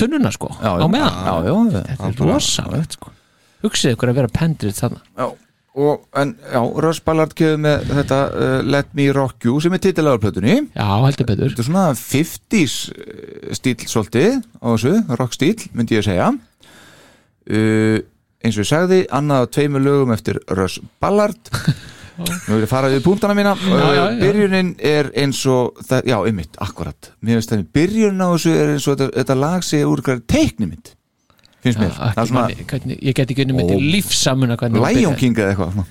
Speaker 4: tunnuna sko á meðan
Speaker 3: Já, já, já
Speaker 4: Þetta er rosalegt sko Hugsið ykkur að vera pendrist þarna
Speaker 3: Já, og og, en já, Russ Ballard kefði með þetta uh, Let Me Rock You sem er titilaður plötunni
Speaker 4: Já, heldur betur
Speaker 3: Þetta er svona 50s stíl svolítið á þessu, rock stíl myndi ég að segja uh, eins og ég sagði, annað af tveimur lögum eftir Russ Ballard Nú vil ég fara við púntana mína
Speaker 4: já, já.
Speaker 3: Uh, Byrjunin er eins og það, Já, einmitt, akkurat Mér finnst þannig, byrjunin á þessu er eins og þetta, þetta lag sé úr hverju teiknimynd finnst mér, það er
Speaker 4: hvernig,
Speaker 3: svona
Speaker 4: hvernig, ég get ekki unni myndi
Speaker 3: Ó.
Speaker 4: lífsamuna hvernig hún
Speaker 3: Lion
Speaker 4: byrjaði.
Speaker 3: King eða eitthvað svona.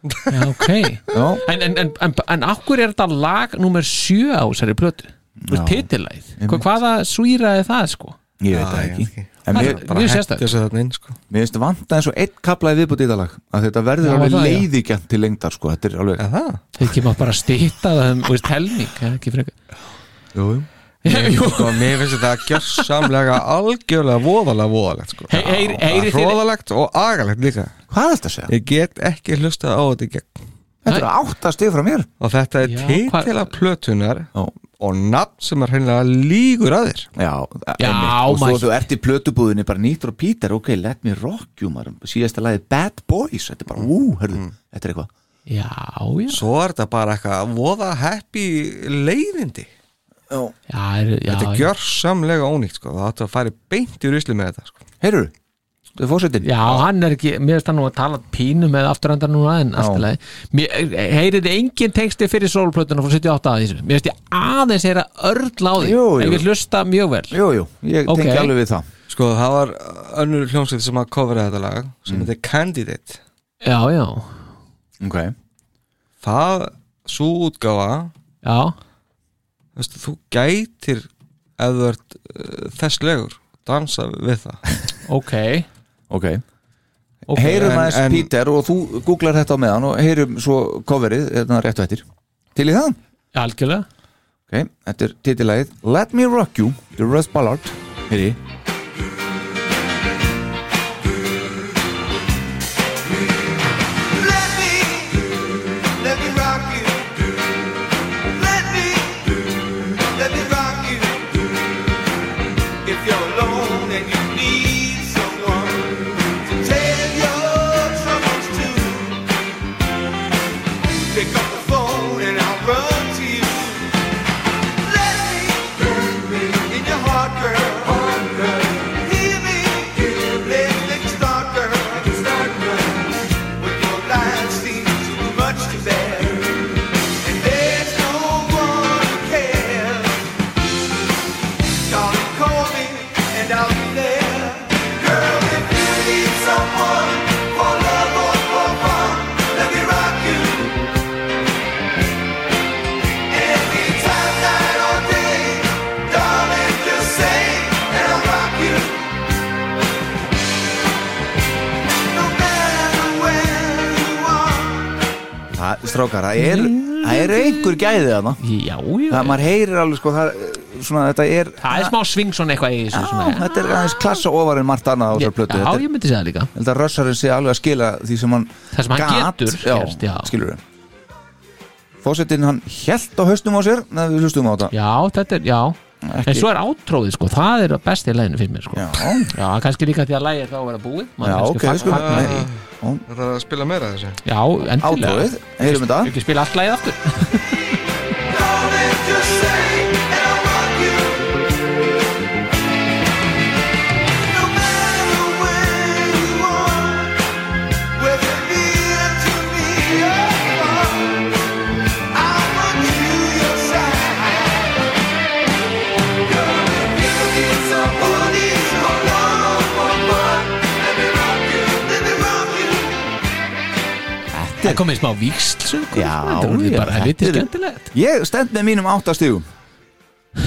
Speaker 4: Já, ok
Speaker 3: Já,
Speaker 4: En, en, en, en, en akkur er þetta lag nummer sjö á þessari plötu úr
Speaker 3: Já.
Speaker 4: titilæð,
Speaker 3: Einmitt.
Speaker 4: hvaða svíraði það sko
Speaker 3: ég veit það ekki En
Speaker 4: Það
Speaker 3: mér,
Speaker 4: er
Speaker 5: bara
Speaker 4: mjög
Speaker 5: hætti
Speaker 4: sérstætt
Speaker 5: þessi þarna inn sko.
Speaker 3: Mér finnst vanta eins og einn kapla í viðbúti í þetta lag að þetta verður
Speaker 4: Já,
Speaker 3: alveg
Speaker 4: það, já.
Speaker 3: leiðigjant til lengdar sko, þetta er alveg
Speaker 5: Eða?
Speaker 4: þeir ekki maður bara stýta það um, veist, helming eða ekki frekar
Speaker 3: Jú, jú.
Speaker 4: Jú.
Speaker 5: Sko, mér finnst þetta gjörsamlega algjörlega voðalega voðalegt sko.
Speaker 4: Hey, heyri- heyrið þið-
Speaker 5: Hróðalegt og agalegt líka
Speaker 3: Hvað er þetta að segja?
Speaker 5: Ég get ekki hlusta á þetta í gegn
Speaker 3: Þetta er átta stig frá mér
Speaker 5: Og þetta er
Speaker 4: Já, hvað-
Speaker 5: titila plötunar
Speaker 3: Já,
Speaker 5: og nafn sem er hreinlega lígur að þér
Speaker 3: já,
Speaker 4: Já,
Speaker 3: einmitt. Og
Speaker 4: maður-
Speaker 3: svo þú ert í plötubúðinni bara nýttur og pítar Ok, let me rock you maður Síðasta lagið Bad Boys Þetta
Speaker 4: Mm.
Speaker 3: er bara, ú, hörðu Þetta er eitthvað
Speaker 4: já, já,
Speaker 5: Svo er þetta bara eitthvað voða happy leiðindi
Speaker 4: já, er, já
Speaker 5: Þetta er
Speaker 4: já.
Speaker 5: gjörsamlega ónýtt sko. Það áttu að fara í beint í rusli með þetta sko.
Speaker 3: Heyrðu, þetta er fórsetin
Speaker 4: Já, hann er ekki, mér finnst hann nú að tala pínu með afturöndar núna en allt í lagi Heyrið þið engin texti fyrir sólplötuna frá 78 að þessu Mér finnst ég aðeins heyra örl á því
Speaker 3: Jú, jú.
Speaker 4: en ég hlusta mjög vel
Speaker 3: Jú, jú, ég
Speaker 4: Ok.
Speaker 3: tengi alveg við það
Speaker 5: sko, það var önnur hljómsveit sem að covera þetta lag sem mm. heitir Candidate
Speaker 4: Já, já,
Speaker 3: Ok
Speaker 5: Það, svo útgáfa
Speaker 4: já,
Speaker 5: veistu, þú gætir ef þú ert uh, þess legur dansa við það
Speaker 4: ok,
Speaker 3: Ok,
Speaker 4: okay.
Speaker 3: heyrum
Speaker 5: en-
Speaker 3: aðeins
Speaker 5: en-
Speaker 3: Píter og þú googlar þetta á meðan og heyrum svo coverið, þetta er réttu eftir Til í það?
Speaker 4: Algjörlega
Speaker 3: Ok, þetta er titilagið Let Me Rock You, The Russ Ballard Heyri
Speaker 2: Let me, let me rock you. Let me, let me rock you. If you're alone and you need someone to tell your troubles to, pick up the phone and I'll run to you. Let me, in your heart, girl. Hear me, let me start, girl. When your life seems too much to bear, and there's no one who cares, darling, call me and I'll be there. Girl, if you need someone for love or for fun, let me rock you. Anytime, night or day, darling, just say and I'll rock you. No matter where you are.
Speaker 3: Það, strákar, það er, það er einhver gæðið þarna
Speaker 4: Já, já,
Speaker 3: Það maður heyrir alveg sko það, svona, Þetta er
Speaker 4: það er smá sving svona eitthvað í þessu
Speaker 3: Já,
Speaker 4: svona.
Speaker 3: þetta er aðeins klassa ofar en margt annað á þessar plötu
Speaker 4: Já,
Speaker 3: Þetta er-
Speaker 4: ég myndi segja það líka
Speaker 3: Ég held að rössarinn sé alveg að skila því sem hann
Speaker 4: Það sem hann
Speaker 3: gat,
Speaker 4: getur
Speaker 3: já,
Speaker 4: gert, já.
Speaker 3: skilur við Fósettin hann hjælt á haustum á sér neða við hlustum á þetta
Speaker 4: Já, þetta er, já En svo er átróðið, sko, það er besti læginu fyrir mér, sko
Speaker 3: já,
Speaker 4: Já, kannski líka því að lægi er þá að vera búið Maður
Speaker 3: Já,
Speaker 4: kannski
Speaker 3: ok,
Speaker 4: fag-
Speaker 3: sko.
Speaker 4: fagnar
Speaker 3: Já.
Speaker 4: því.
Speaker 5: Það er að spila meira af þessu
Speaker 4: Já, endilega
Speaker 3: átóið, heyrum
Speaker 4: Ekki-
Speaker 3: þetta
Speaker 4: Ekki spila allt lægið aftur
Speaker 2: Darling, just say and I'll rock you. No matter where you are, whether near to me or far, I want you your side. Girl, if you need somebody for love or fun, let me rock you, let me rock you.
Speaker 4: Það komið smá víksl söng,
Speaker 3: Já,
Speaker 4: Þetta er orðið
Speaker 3: já,
Speaker 4: bara helviti
Speaker 3: þetta er-
Speaker 4: skemmtilegt
Speaker 3: Ég stend með mínum áttastígum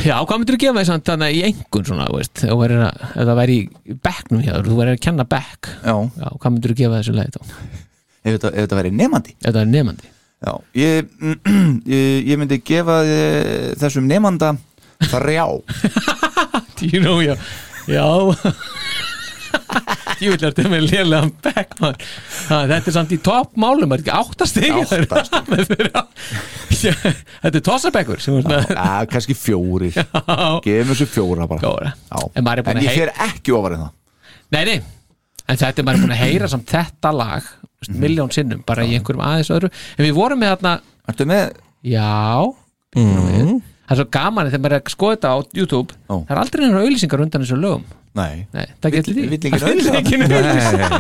Speaker 4: Já, hvað myndir þú gefa því samt þannig í engun svona, þú veist Þú verður að, ef það væri í bekknum hjá þér, þú verður að kenna bekk
Speaker 3: Já,
Speaker 4: Já, hvað myndir þú gefa þessu lægi þá?
Speaker 3: ef þetta, ef þetta verið nefandi
Speaker 4: Ef það er nefandi
Speaker 3: Já, ég, ég, ég myndi gefa eh, þessum nefanda þrjá
Speaker 4: You know, já Já Ég vil eftir með lélegan back man. Ha, Þetta er samt í topp málum er ekki áttastig
Speaker 3: Átta
Speaker 4: Þetta er tossabekkur sem er svona
Speaker 3: Já, kannski fjórir
Speaker 4: Já,
Speaker 3: Gefum þessu fjóra bara
Speaker 4: Fjóra.
Speaker 3: Já.
Speaker 4: En maður er búinn
Speaker 3: En
Speaker 4: að
Speaker 3: ég
Speaker 4: hey-
Speaker 3: fer ekki ofar en það
Speaker 4: Nei, nei En þetta er maður búin að heyra samt þetta lag
Speaker 3: Mhm.
Speaker 4: mm. miljón sinnum bara í einhverjum aðeins öðru en við vorum með þarna,
Speaker 3: Ertu með?
Speaker 4: já
Speaker 5: mm.
Speaker 4: það er svo gaman þegar maður er að skoða þetta á YouTube
Speaker 3: Mhm. Ó.
Speaker 4: það er aldrei einhverjum auðlýsingar undan þessu lögum
Speaker 3: Nei
Speaker 4: Nei, það getur því
Speaker 3: Vill enginn auglýsa?
Speaker 4: enginn auglýsa.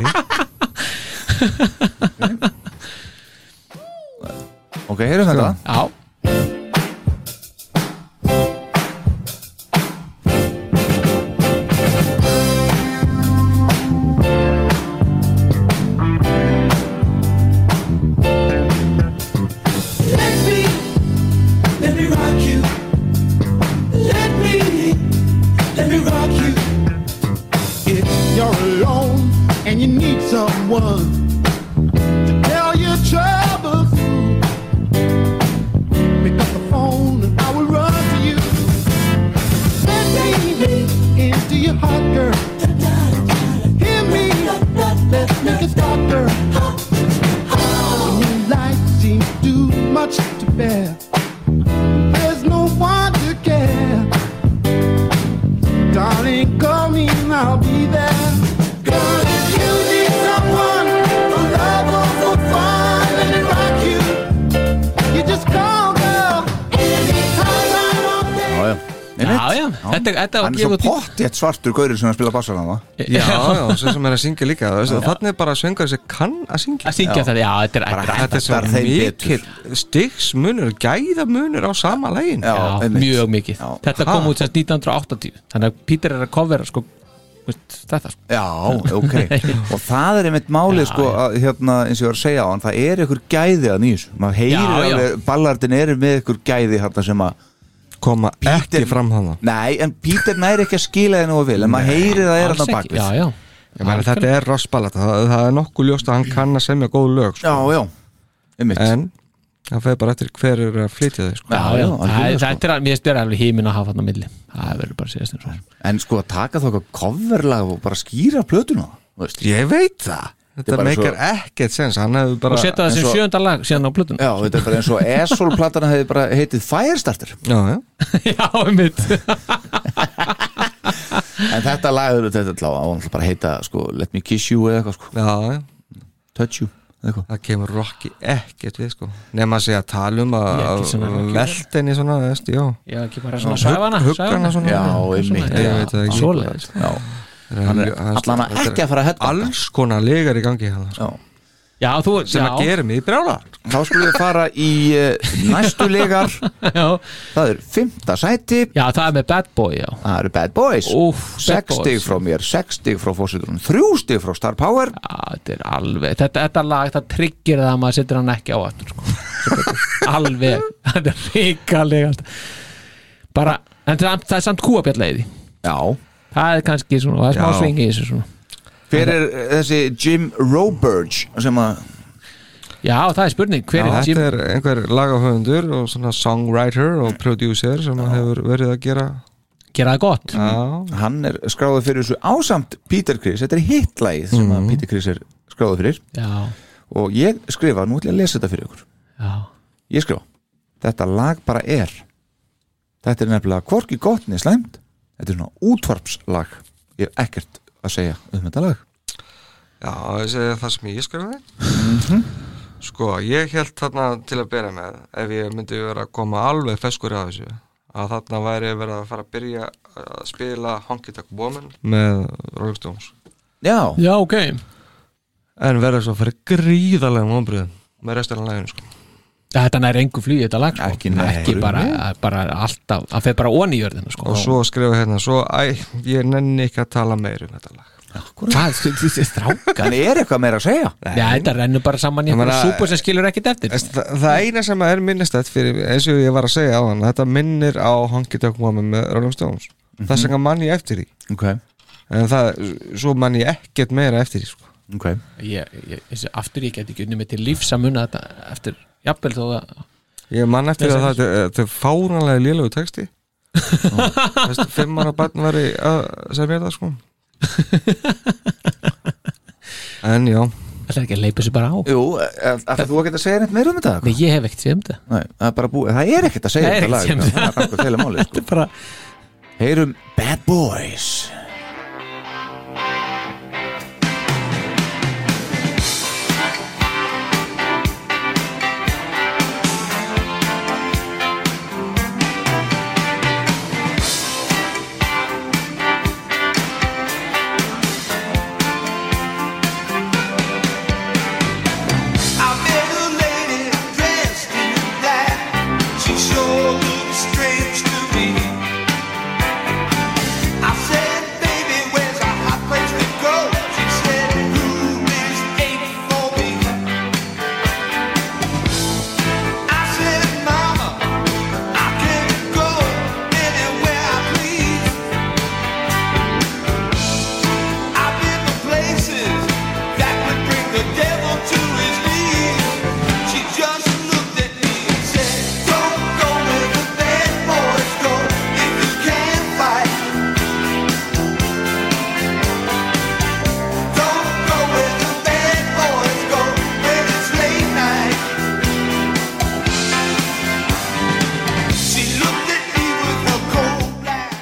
Speaker 3: Ok, heyrum þetta
Speaker 4: Já
Speaker 2: Let me rock you. Let me, let me rock you.
Speaker 7: If you're alone and you need someone to tell your troubles, pick up the phone and I will run to you. Let me into your heart, girl. Hear me, let's make a start, girl. When your life seems too much to bear, there's no one to care. Darling, call me and I'll be there. Girl, if you need someone, a lover for fun and rock you, you just call, girl. Anytime I want that.
Speaker 3: Já, já
Speaker 4: Já, já, þetta- þetta var
Speaker 3: Hann er svo
Speaker 4: gefið út í-
Speaker 3: pottjett svartur gaurið sem er að spila bassarann
Speaker 5: Já, já, sem sem er að syngja líka Þannig er bara að sönga þessi kann að syngja
Speaker 4: að syngja það, já, þetta er þetta er-
Speaker 5: Þetta er svo
Speaker 3: Hentar þeim
Speaker 5: mikill stigsmunur, gæðamunur á sama lægin
Speaker 3: Já,
Speaker 4: já,
Speaker 3: einmitt.
Speaker 4: mjög mikið
Speaker 3: Já.
Speaker 4: þetta kom út sérst 1980 þannig að Peter er að covera sko, veist, þetta sko.
Speaker 3: Já, ok Og það er einmitt málið sko að, hérna, eins og ég var að segja á hann, það er ykkur gæði að nýjus, maður heyrir
Speaker 4: Já, já.
Speaker 3: alveg ballardin eru með ykkur gæði hérna sem að
Speaker 5: Koma ekki fram hana
Speaker 3: Nei, en Pítur næri ekki að skila þið nú að vil en maður heyrir það er
Speaker 4: Alls
Speaker 3: hann á
Speaker 4: ekki.
Speaker 3: bakvið
Speaker 4: já, já,
Speaker 5: meni, Þetta er rossballat, það, það er nokkuð ljóst að hann kann að semja góð lög sko.
Speaker 3: já, já. einmitt
Speaker 5: En það fer bara eftir hver er að flytja þau sko.
Speaker 4: já, já, það
Speaker 3: algjörlega,
Speaker 4: er-
Speaker 3: sko.
Speaker 4: þetta er að- mér styrir alveg hímin að hafa þarna á milli það verður bara að segja stundum
Speaker 3: En sko að taka þá eitthvað coverlag og bara skýra plötuna þú veist.
Speaker 5: Ég veit það
Speaker 3: Þetta er
Speaker 5: Þetta
Speaker 3: bara
Speaker 5: meikar ekkert sens Hann hefur bara
Speaker 4: og setja það
Speaker 3: eins
Speaker 4: sem
Speaker 3: og-
Speaker 4: sjönda lag síðan á plötun
Speaker 3: Já, þetta er bara eins og Esol-platana hefði bara heitið Firestarter
Speaker 5: Já, já
Speaker 4: já, mitt
Speaker 3: En þetta lag hefur þetta til á að bara heita sko, Let me kiss you eða eitthvað sko,
Speaker 5: Já, já,
Speaker 3: Touch you eða eitthvað
Speaker 5: það kemur Rocky ekkert við sko Nefn að segja talum að
Speaker 4: Ég ekki svona Rocky.
Speaker 5: veltenni svona, veist, já
Speaker 4: já, ekki bara svona sæfana
Speaker 5: Huggana svona
Speaker 3: Já, einmitt
Speaker 5: Ég veit það ekki.
Speaker 4: svoleiðis
Speaker 3: Já,
Speaker 5: Hann
Speaker 3: er allan að ekki að fara að hetta
Speaker 5: Alls konar legar í gangi hann sko.
Speaker 3: já.
Speaker 4: já, þú,
Speaker 5: sem
Speaker 4: já,
Speaker 5: að gera mig í brjála
Speaker 3: Þá skulum við fara í uh, næstu legar
Speaker 4: já,
Speaker 3: Það er fymta sæti
Speaker 4: já, það er með Bad Boy já,
Speaker 3: Það eru Bad Boys
Speaker 4: Úff, Bad
Speaker 3: 6
Speaker 4: Boys.
Speaker 3: stig frá mér, 6 stig frá fósitunum 3 stig frá Star Power
Speaker 4: já þetta er alveg þetta, þetta lag, það tryggir það að maður setur hann ekki á aftur sko. alveg, þetta er ríkalegast bara, en það, það er samt kúabjallæði
Speaker 3: Já
Speaker 4: það er kannski svona, það er smá
Speaker 5: Já.
Speaker 4: svingi í þessu svona
Speaker 3: Hver er eh, þessi Jim Roberge sem að
Speaker 4: já, það er spurning, hver er Jim
Speaker 5: þetta er einhver lagahöfundur og svona songwriter og producer sem já. Mm. hefur verið að gera
Speaker 4: gera það gott
Speaker 5: já,
Speaker 3: hann er skráðið fyrir þessu ásamt Peter Criss, þetta er hitlægið sem að Peter Criss er skráðið fyrir
Speaker 4: já,
Speaker 3: og ég skrifa, nú ætla ég að lesa þetta fyrir ykkur
Speaker 4: já,
Speaker 3: ég skrifa, þetta lag bara er þetta er nefnilega hvorki gott niður slæmt, þetta er svona útvarpslag ég hef ekkert að segja um þetta lag
Speaker 5: já ég segi það sem ég skrifaði sko, ég held þarna til að byrja með ef ég myndi vera að koma alveg feskur á þessu að þarna væri verið að fara að byrja að spila Honky Tonk Woman með Rolling Stones
Speaker 3: já,
Speaker 4: já, ok
Speaker 5: en verður svo að fara gríðarlega mómbriðum með restina læginu sko
Speaker 4: þetta nær engu flýi þetta lag sko.
Speaker 3: Ekki nær.
Speaker 4: ekki bara, bara alltaf það fer bara onni í jörðina sko.
Speaker 5: og svo skrifa hérna svo, æ, ég nenni ekki að tala meir um þetta lag
Speaker 4: hvað, þessi strákar
Speaker 3: hann er eitthvað meira að segja
Speaker 4: já, þetta rennur bara saman í
Speaker 5: Ég meina-
Speaker 4: einhverja súpu sem skilur ekkit eftir
Speaker 5: Þa, það eina sem er minnistætt fyrir eins og ég var að segja á hann þetta minnir á Honky Tonk Woman með Rolling Stones þess vegna mann ég eftir því
Speaker 3: ok,
Speaker 5: en það, svo mann ég ekkert meira eftir því sko.
Speaker 3: ok
Speaker 4: ég, ég, þessi, aftur ég get ekki unni mig til lífs að muna þetta eftir jafnvel þó að
Speaker 5: ég mann eftir
Speaker 4: Ég
Speaker 5: því að það- þetta þetta er fáránlega lélegu texti Þessi fimm ára barn veri að segja mér það sko en já
Speaker 4: það er ekki að leipa sér bara á
Speaker 3: jú, alltaf þú ekkert að segja neitt meira um þetta
Speaker 4: Nei, ég hef ekkert séð um þetta
Speaker 3: Nei, það er bara búið, það er ekkert að segja
Speaker 4: Það er
Speaker 3: um
Speaker 4: ekkert
Speaker 3: þetta
Speaker 4: sem-
Speaker 3: lag það er akkur teila máli sko.
Speaker 4: þetta er bara
Speaker 3: heyrum Bad Boys
Speaker 2: Let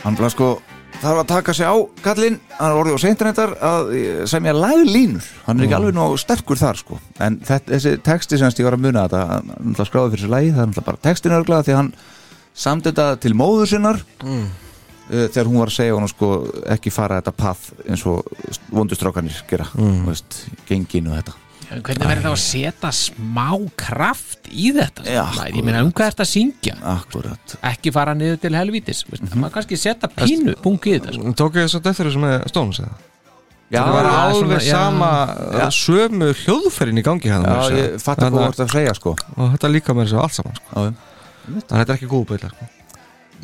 Speaker 3: Hann bara sko þarf að taka sig á kallinn hann er orðið á seintræntar að eh, semja laglínur hann er ekki alveg nóg sterkur þar sko en þetta, þessi texti sem ég var að muna þetta hann hann náttúrulega skráði fyrir þessu lagi það er náttúrulega bara textin örglega því að hann samt þetta til móður sinnar mm. þegar hún var að segja honum sko ekki fara þetta path eins og vondustrákanir gera mm. veist, gengin og þetta
Speaker 4: Hvernig verður þá að setja smá kraft í þetta?
Speaker 3: Já.
Speaker 4: Maður, Ég meina um hvað ertu að syngja?
Speaker 3: akkurat
Speaker 4: Ekki fara niður til helvítis mm Maður kannski setja pínu punkt í þetta sko.
Speaker 5: Tók ég þess að þetta er sem með Stones eða?
Speaker 3: Já,
Speaker 5: það var
Speaker 4: já,
Speaker 5: alveg
Speaker 4: svona, já.
Speaker 5: sama já. sömu hljóðferðin í gangi hérna
Speaker 3: já, ég fatt að hvað þú ert að segja sko
Speaker 5: og þetta líka með þessu allt saman sko.
Speaker 3: Já, já.
Speaker 5: þannig að þetta er ekki góð beila sko.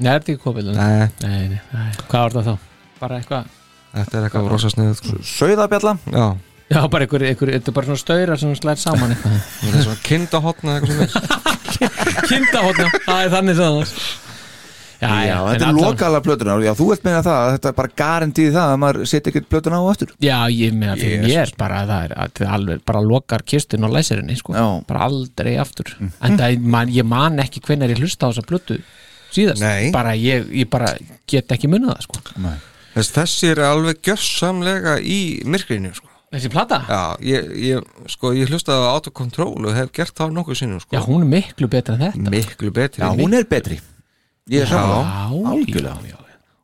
Speaker 4: Nei, er þetta ekki kopið? Nei,
Speaker 5: nei,
Speaker 4: nei, nei, hvað var það þá? Bara eitthvað
Speaker 5: þetta er eitthvað rosa sniðið sko.
Speaker 3: Sauðabjalla
Speaker 5: já,
Speaker 4: Já, bara einhver, einhver, þetta er bara svona staurar sem slæðir saman eitthvað
Speaker 5: þetta er svona kindahotn eða eitthvað svona
Speaker 4: Kindahotna, það er þannig sem það Já,
Speaker 3: Já,
Speaker 4: en
Speaker 3: þetta er
Speaker 4: allan-
Speaker 3: lokala plötuna Já, þú ert meina það, að þetta er bara garantíð það að maður setja ekkert plötuna á aftur
Speaker 4: Já, ég meina fyrir mér bara að það er að það alveg bara lokar kistun og læsirinni sko.
Speaker 3: Já.
Speaker 4: bara aldrei aftur en það, man, ég man ekki hvenær ég hlusta á þessa blötu síðast,
Speaker 5: Nei.
Speaker 4: bara ég, ég bara get ekki munið það sko.
Speaker 5: Þess, þessi er alveg gjörsamlega í myrkrinu sko.
Speaker 4: Þessi plata?
Speaker 5: já, ég, ég, sko, ég hlustaði á autokontról og hef gert það nokkuð sinnum sko.
Speaker 4: Já, hún er miklu betra en þetta
Speaker 5: miklu betri
Speaker 3: Já, hún er betri Ég er saman á
Speaker 4: Já, já, já.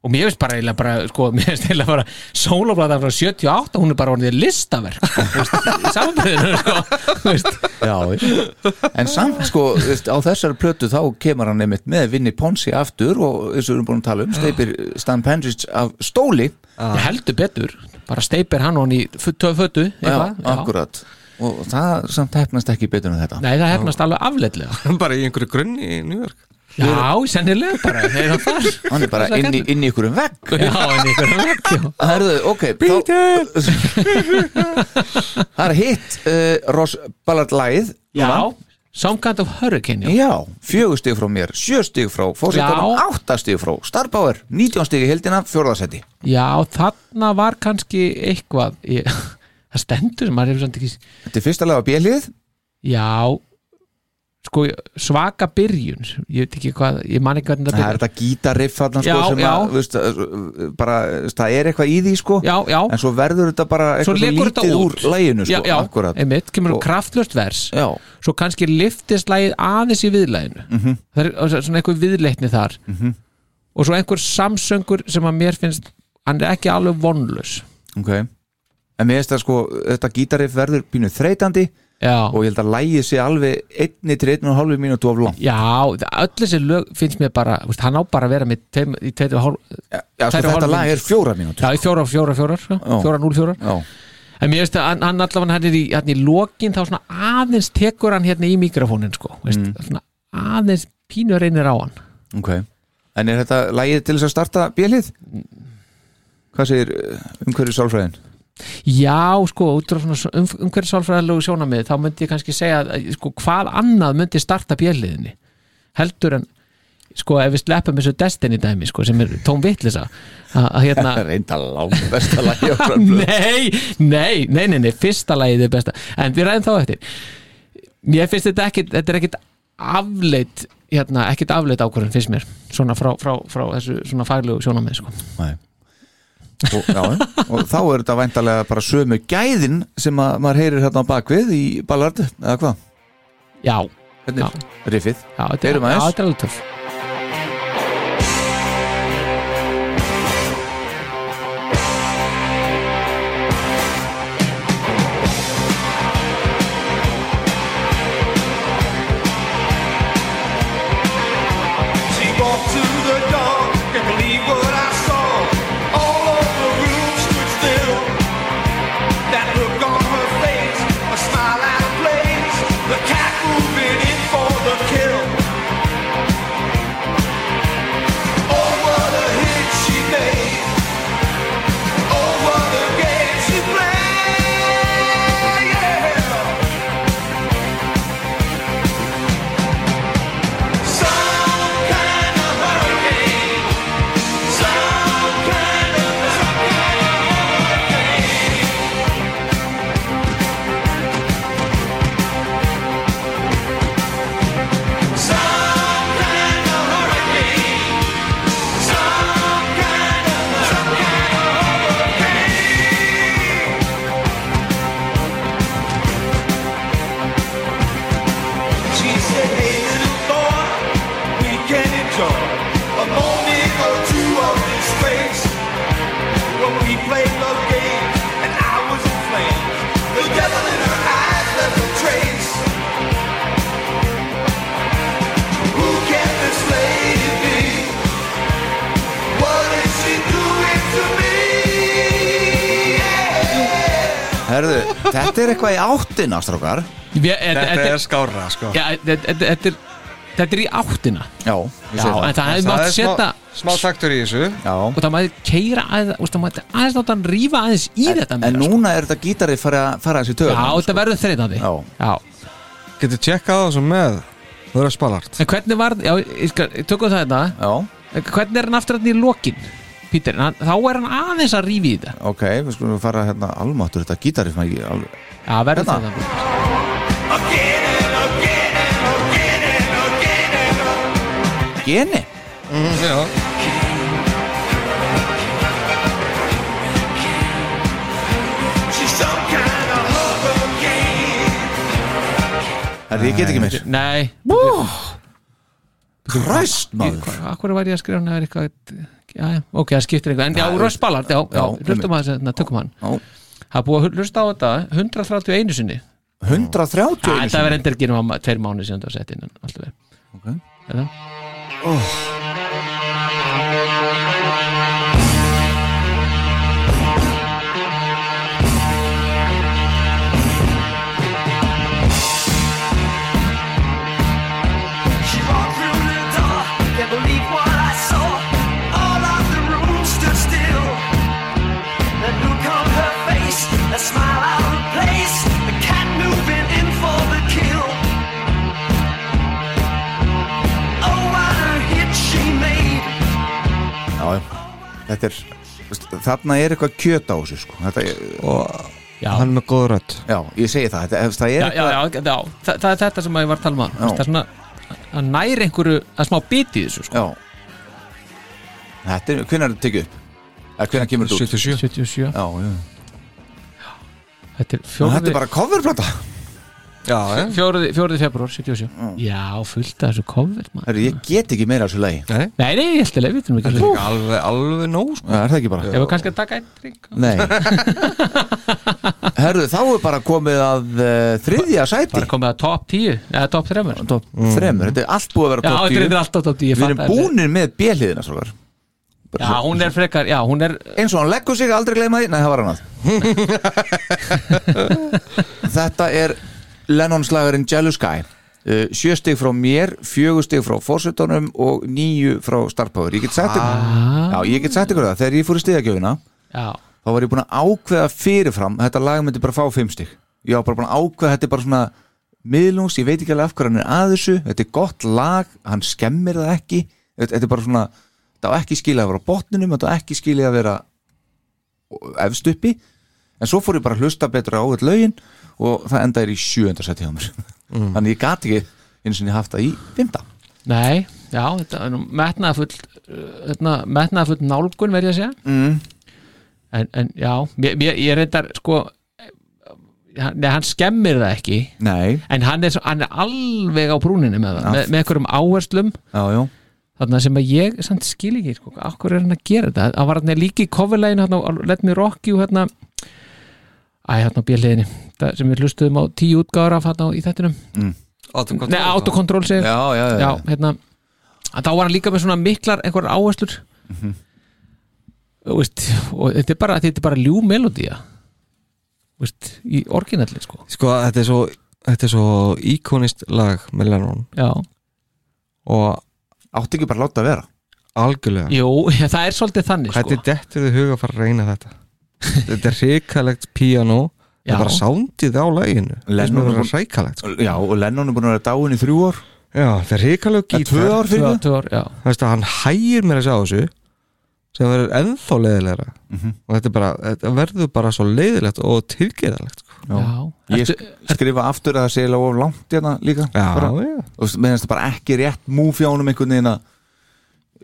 Speaker 4: og mér finnst bara eiginlega bara, sko, mér finnst eiginlega bara sólablata frá 78, hún er bara orðið listaverk samanbyrðinu, sko þú veist.
Speaker 3: En samt, sko, veist, á þessari plötu þá kemur hann einmitt með Vinni Ponsi aftur og eins og við erum búin að tala um steipir Stan Pendrich af stóli
Speaker 4: ég heldur betur, bara steipir hann hann í fötu, fötu
Speaker 3: Já,
Speaker 4: eitthvað,
Speaker 3: akkurat Og það samt hefnast ekki betur en þetta
Speaker 4: Nei, það hefnast alveg afleitlega
Speaker 5: bara í einhverju grunni í New York
Speaker 4: Já, sennilega bara, þeir það þar
Speaker 3: Hann er bara
Speaker 4: Þessar
Speaker 3: inn í,
Speaker 4: gætur.
Speaker 3: inn í ykkur um vegg
Speaker 4: Já, en ykkur er ekki
Speaker 3: Herðu, ok Beatle Það er hitt uh, Ross Ballard lagið
Speaker 4: Já, some kind of hurricane já.
Speaker 3: Já, fjögur stig frá mér, sjö stig frá fórsetunum,
Speaker 4: Já.
Speaker 3: átta stig frá Starbauer, 19 stig í heldina, fjórðasetti
Speaker 4: já, þarna var kannski eitthvað ég, Það stendur, maður hefur samt ekki
Speaker 3: Þetta er fyrsta lega bjelið
Speaker 4: Já sko, svaka byrjun ég veit ekki hvað, ég man ekki hvernig það
Speaker 3: Það er
Speaker 4: byrjun
Speaker 3: þetta gítarriff þarna sko
Speaker 4: Já,
Speaker 3: sem
Speaker 4: já.
Speaker 3: að, þú veist, að, bara, það er eitthvað í því sko
Speaker 4: Já, já,
Speaker 3: en svo verður þetta bara
Speaker 4: svo
Speaker 3: eitthvað
Speaker 4: legur þetta
Speaker 3: lítið úr
Speaker 4: út
Speaker 3: læginu sko,
Speaker 4: Já, já,
Speaker 3: akkurat
Speaker 4: einmitt, kemur
Speaker 3: Og-
Speaker 4: kraftlöst vers
Speaker 3: Já,
Speaker 4: svo kannski liftist lagið aðeins í viðlæginu
Speaker 3: Mhm.
Speaker 4: -hmm. það er og svo- svona einhver viðleitni þar -hmm. og svo einhver samsöngur sem að mér finnst hann er ekki alveg vonlaus
Speaker 3: ok En mér finnst það sko, þetta gítarriff verður pínu þreytandi
Speaker 4: já,
Speaker 3: og ég held að lægið sé alveg einni til einn og hálfu mínútu of langt
Speaker 4: já það- öll þessi lög finnst mér bara þú veist, hann á bara að vera með teim, í tveir og hálf
Speaker 3: Já, sko,
Speaker 4: Tvær og
Speaker 3: þetta
Speaker 4: hálf
Speaker 3: lag er fjóra mínútu
Speaker 4: já, í fjóra, fjóra, fjóra, sko, fjóra, núl, fjóra
Speaker 3: Já,
Speaker 4: en mér finnst að hann, hann allavega hann er í, hann í lokin þá svona aðeins tekur hann hérna í mikrofónin sko, veist, svona aðeins pínu reynir á hann
Speaker 3: ok En er þetta lægið til þess að starta bjelið? Hvað segir umhverju sálfræðin?
Speaker 4: Já, sko, út frá svona um, umhverfisálfræðilegu sjónamið, þá myndi ég kannski segja að, sko, hvað annað myndi starta bjelliðinni heldur en sko, ef við sleppum þessu Destiny dæmi sko, sem er tóm vitlisa að að hérna
Speaker 3: reynda langt besta lagi á framblöð
Speaker 4: nei, nei, nei, nei, nei, fyrsta lagið er besta en við ræðum þá eftir mér finnst þetta ekkit, þetta er ekkit afleitt, hérna, ekkit afleitt ákvörðin finnst mér, svona frá, frá, frá þessu svona faglegu sjónamið, sko
Speaker 3: og, já, og þá er þetta væntalega bara sömu gæðin sem að maður heyrir hérna á bakvið í ballard eða hvað,
Speaker 4: Já,
Speaker 3: hérna
Speaker 4: Já.
Speaker 3: er riffið
Speaker 4: já, þetta er,
Speaker 3: Heyrum
Speaker 4: já,
Speaker 3: aðeins.
Speaker 4: þetta er alveg töff
Speaker 2: She walked to the door, can't believe what I saw. All of the room stood still. That look on her face, a smile out of place. The cat moving in for the kill. Oh, Oh,
Speaker 3: Herðu, þetta er eitthvað í áttina, strókar
Speaker 5: Þetta
Speaker 4: Þetta
Speaker 5: er skára sko
Speaker 4: er Þetta er í áttina
Speaker 3: Já, ég
Speaker 4: Já,
Speaker 3: segi það
Speaker 4: en það hefði
Speaker 5: Það
Speaker 4: mátt
Speaker 5: er
Speaker 4: setja
Speaker 5: smá, smá taktur í þessu
Speaker 3: Já,
Speaker 4: og það maður keira aðeins og það maður aðeins láta hann rífa aðeins í þetta
Speaker 3: en
Speaker 4: meira, sko.
Speaker 3: núna er þetta gítarið fara, fara þessi töð
Speaker 4: Já, þetta verður þreytandi
Speaker 3: Já.
Speaker 4: Já.
Speaker 5: Getur tjekkað á þessu með Vera spalart
Speaker 4: En hvernig var, já, ég skal, ég tökum það hérna. þetta
Speaker 3: Já,
Speaker 4: En Hvernig er hann aftur hann í lokin, Pítur hann, Þá er hann aðeins að rífi í þetta
Speaker 3: ok, við skulum fara hérna almáttur þetta gítarið sem ekki alveg
Speaker 4: Já, verður
Speaker 3: Hérna.
Speaker 4: þreytandi
Speaker 3: Geni?
Speaker 5: Já
Speaker 3: Herðu, ég get ekki meir
Speaker 4: Nei,
Speaker 3: Kræst, maður
Speaker 4: akkur var ég að skrifa hann eða eitthvað Já, já, ok, það skiptir eitthvað En já, Ross Ballard, já, já,
Speaker 3: Já,
Speaker 4: hlustum að þetta, tökum hann
Speaker 3: Já.
Speaker 4: Það er búið að hlusta á þetta 131 sinni
Speaker 3: 130
Speaker 4: Æ,
Speaker 3: einu
Speaker 4: Það
Speaker 3: sinni.
Speaker 4: verður endur ekki nema tveir mánu síðan það var sett inn en Alltaf verið
Speaker 3: Ok.
Speaker 4: Eða?
Speaker 2: She walked through the door, can't believe what I saw. All of the room stood still. The look on her face, the smile out of place, the cat moving in for the kill. Oh, what a hit she made.
Speaker 3: Já, já. þetta er veist, Þarna er eitthvað kjöt á þessu sko. þetta, er-
Speaker 5: Og
Speaker 4: Já.
Speaker 5: hann er með góð rödd
Speaker 3: Já, ég segi það, þetta, ef það er
Speaker 4: já, já,
Speaker 3: eitthvað
Speaker 4: já, já, það, það er þetta sem ég var að tala um áðan.
Speaker 3: Já.
Speaker 4: það er svona að næri einhverju að smá biti í þessu sko.
Speaker 3: Já Þetta er, hvenær er þetta tekið upp? Eða hvenær kemur þetta út?
Speaker 5: 77
Speaker 4: 77,
Speaker 3: Já, já
Speaker 4: þetta er
Speaker 3: Nú,
Speaker 4: fjóruði
Speaker 3: Þetta er bara coverplata
Speaker 5: Já, já
Speaker 4: fjóruði, fjóruði februar 77 já, fullt af þessu COVID maður.
Speaker 3: Herru, ég get ekki meira af þessu lagi
Speaker 5: Nei
Speaker 4: nei, nei, ég held að leið, við þurfum ekki að leið
Speaker 5: Líka Alveg, alveg nóg sko.
Speaker 3: Er það ekki bara?
Speaker 4: ef við kannski að taka einn drink
Speaker 3: Nei Herðu, þá er bara komið að uh, þriðja sæti
Speaker 4: bara komið að top 10, eða top 3 já,
Speaker 3: Top þremur, þetta er allt búið að vera top
Speaker 4: þetta
Speaker 3: 10
Speaker 4: er alltaf top 10 ég
Speaker 3: Við erum
Speaker 4: fatta það.
Speaker 3: búnir með bjöliðina svo
Speaker 4: já, hún er frekar, já, hún er
Speaker 3: eins og hann leggur sig aldrei gleyma því, nei það var hann að þetta er Lennon slagurinn Jealous Guy uh, sjö stig frá mér, fjögur stig frá fórsetunum og níu frá starfpáður ég get sagt ykkur, já, ég get sagt ykkur það þegar ég fór í stigagjöfina
Speaker 4: já,
Speaker 3: þá var ég búin að ákveða fyrirfram að þetta lag myndi bara fá fimm stig ég var bara búin að ákveða, þetta er bara svona miðlungs, ég veit ekki alveg af hverju hann er að þessu þetta er gott lag, hann skemmir það ekki þetta þetta er bara svona þetta á ekki skilja að vera á botninum, þetta á ekki skilja að vera efst uppi en svo fór ég bara að hlusta betur á öll lögin og það enda er í sjöunda seti hjá mér þannig ég gat ekki eins og ég haft það í fymta
Speaker 4: nei, já, þetta er nú metnaðafull uh, metnaðafull nálgun verð ég að segja
Speaker 3: mm.
Speaker 4: en, en já, mér, mér, ég reyndar sko hann, nei, hann skemmir það ekki
Speaker 3: nei,
Speaker 4: en hann er, svo, hann er alveg á brúninni með það,
Speaker 3: Já.
Speaker 4: með, með einhverjum áherslum
Speaker 3: já, já,
Speaker 4: þarna sem að ég samt skil ekki sko, akkur er hann að gera þetta, hann var hann líka í coverlegin hann á Let Me Rock You hérna Æ, hérna á bjöliðinni sem við hlustuðum á tíu útgáður af hérna á- í þettinum, nei, autokontrol segir
Speaker 3: já, já, já,
Speaker 4: já, hérna að þá var hann líka með svona miklar einhverjar áherslur þú veist, og þetta er bara, þetta er bara ljú melodía Þú veist, í orginalli sko
Speaker 5: Sko, þetta er svo Þetta er svo íkonist lag með Lennon
Speaker 4: já,
Speaker 5: Og
Speaker 3: átti ekki bara að láta að vera
Speaker 5: algjörlega
Speaker 4: Jú, það er svolítið þannig sko
Speaker 5: Hvernig dettur þið huga að fara að reyna þetta? þetta er ríkalegt piano Það
Speaker 4: Já.
Speaker 5: er bara sándið á læginu
Speaker 3: Lennon
Speaker 5: Lennon
Speaker 3: er
Speaker 5: er
Speaker 3: búinn-
Speaker 5: ríkalegt sko.
Speaker 3: já, og Lennon er búin að vera dáin í þrjú ár
Speaker 5: Já, þetta er ríkalegu
Speaker 3: Eða tvö
Speaker 5: gítar
Speaker 3: ár fyrir það
Speaker 4: Tvö- tvö ár, já.
Speaker 5: Það veist að hann hægir mér að sjá þessu sem verður ennþá leiðilegra og þetta, er bara, þetta verður bara svo leiðilegt og tilgeðalegt sko.
Speaker 4: Já.
Speaker 3: Ég
Speaker 4: Ertu-
Speaker 3: sk- skrifa aftur að það sé eiginlega of langt hérna líka
Speaker 5: Já,
Speaker 3: bara,
Speaker 5: já.
Speaker 3: og þú meðan það bara ekki rétt múfjánum einhvern veginn að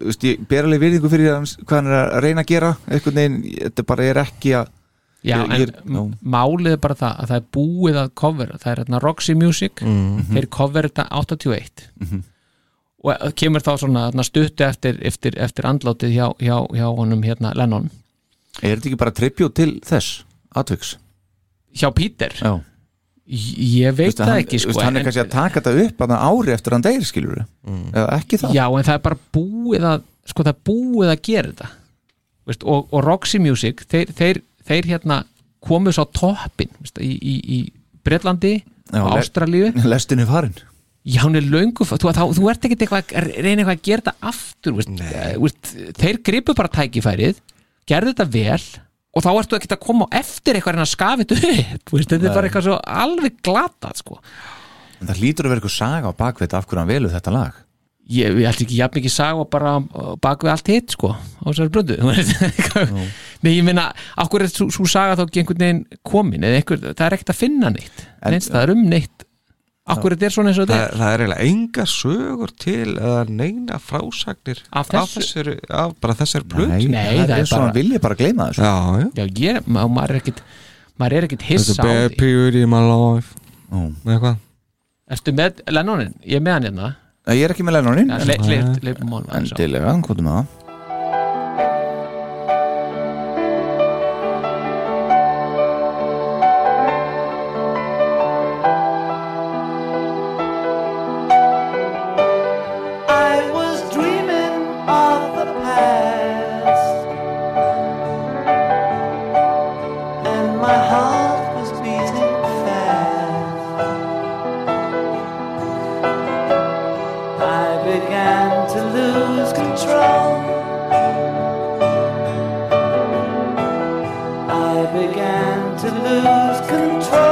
Speaker 3: þú veist, ég ber alveg virðingu fyrir hans, hvað hann er að reyna að gera einhvern veginn, þetta bara er ekki að
Speaker 4: já,
Speaker 3: Ég-
Speaker 4: en
Speaker 3: ég- já.
Speaker 4: málið er bara það að það er búið að cover það er hérna Roxy Music
Speaker 3: Mhm.
Speaker 4: þeir cover þetta 81 og kemur þá svona hérna, stuttu eftir, eftir, eftir andlátið hjá, hjá, hjá honum hérna Lennon
Speaker 3: er þetta ekki bara tribut til þess atviks
Speaker 4: hjá Peter
Speaker 3: Já.
Speaker 4: Ég ég veit
Speaker 3: Veistu,
Speaker 4: það
Speaker 3: hann,
Speaker 4: ekki sko
Speaker 3: veistu, hann er
Speaker 4: en-
Speaker 3: kannski að taka þetta upp að ári eftir hann degir skilur eða ekki það
Speaker 4: Já, en það er bara búið að sko það er búið að gera þetta Veist, og, og Roxy Music þeir, þeir, þeir hérna komu svo toppin í, í, í Bretlandi
Speaker 3: Já,
Speaker 4: og
Speaker 3: le-
Speaker 4: Ástralíu
Speaker 3: lestin er farin
Speaker 4: Já, hún er löngu þú, þá, þú ert ekkert eitthvað að reyna eitthvað að gera þetta aftur veist, eh, veist, þeir gripu bara tækifærið gerðu þetta vel og þá ertu ekkert að koma á eftir eitthvað að reyna að skafa þetta upp veist, þetta er bara eitthvað svo alveg glatað sko.
Speaker 3: en það hlýtur að vera eitthvað saga á bakveit af hverju hann velur þetta lag
Speaker 4: ég, ég held ekki jafn mikið saga bara uh, bak við allt hitt sko á þessari blöndu Nei, ég meina, okkur er svo saga þá ekki einhvern veginn komin eða einhver, það er ekkert að finna neitt
Speaker 3: En-
Speaker 4: neins, það er um neitt okkur þetta er svona eins og
Speaker 5: það,
Speaker 4: þetta er
Speaker 5: það er eiginlega enga sögur til eða neina frásagnir
Speaker 4: Af þessu?
Speaker 5: þessari, af bara þessari plötu
Speaker 4: Nei, það
Speaker 3: það
Speaker 4: er
Speaker 3: er svona
Speaker 4: bara-
Speaker 3: vilja bara að gleyma þessu
Speaker 5: Já, já
Speaker 4: Já, ég, ma maður er ekkert maður er ekkert
Speaker 5: Þetta
Speaker 4: hissa á
Speaker 5: er bad
Speaker 4: því
Speaker 5: period in my life
Speaker 3: Ó.
Speaker 5: Eitthvað
Speaker 4: Ertu með Lennonin? Ég er með hann hérna
Speaker 3: ég er ekki með Lennonin en-
Speaker 4: Leifum honum aðeins á.
Speaker 3: endilega, hann kvotum með það
Speaker 6: I was dreaming of the past, and my heart was beating fast. I began to lose control. I began to lose control.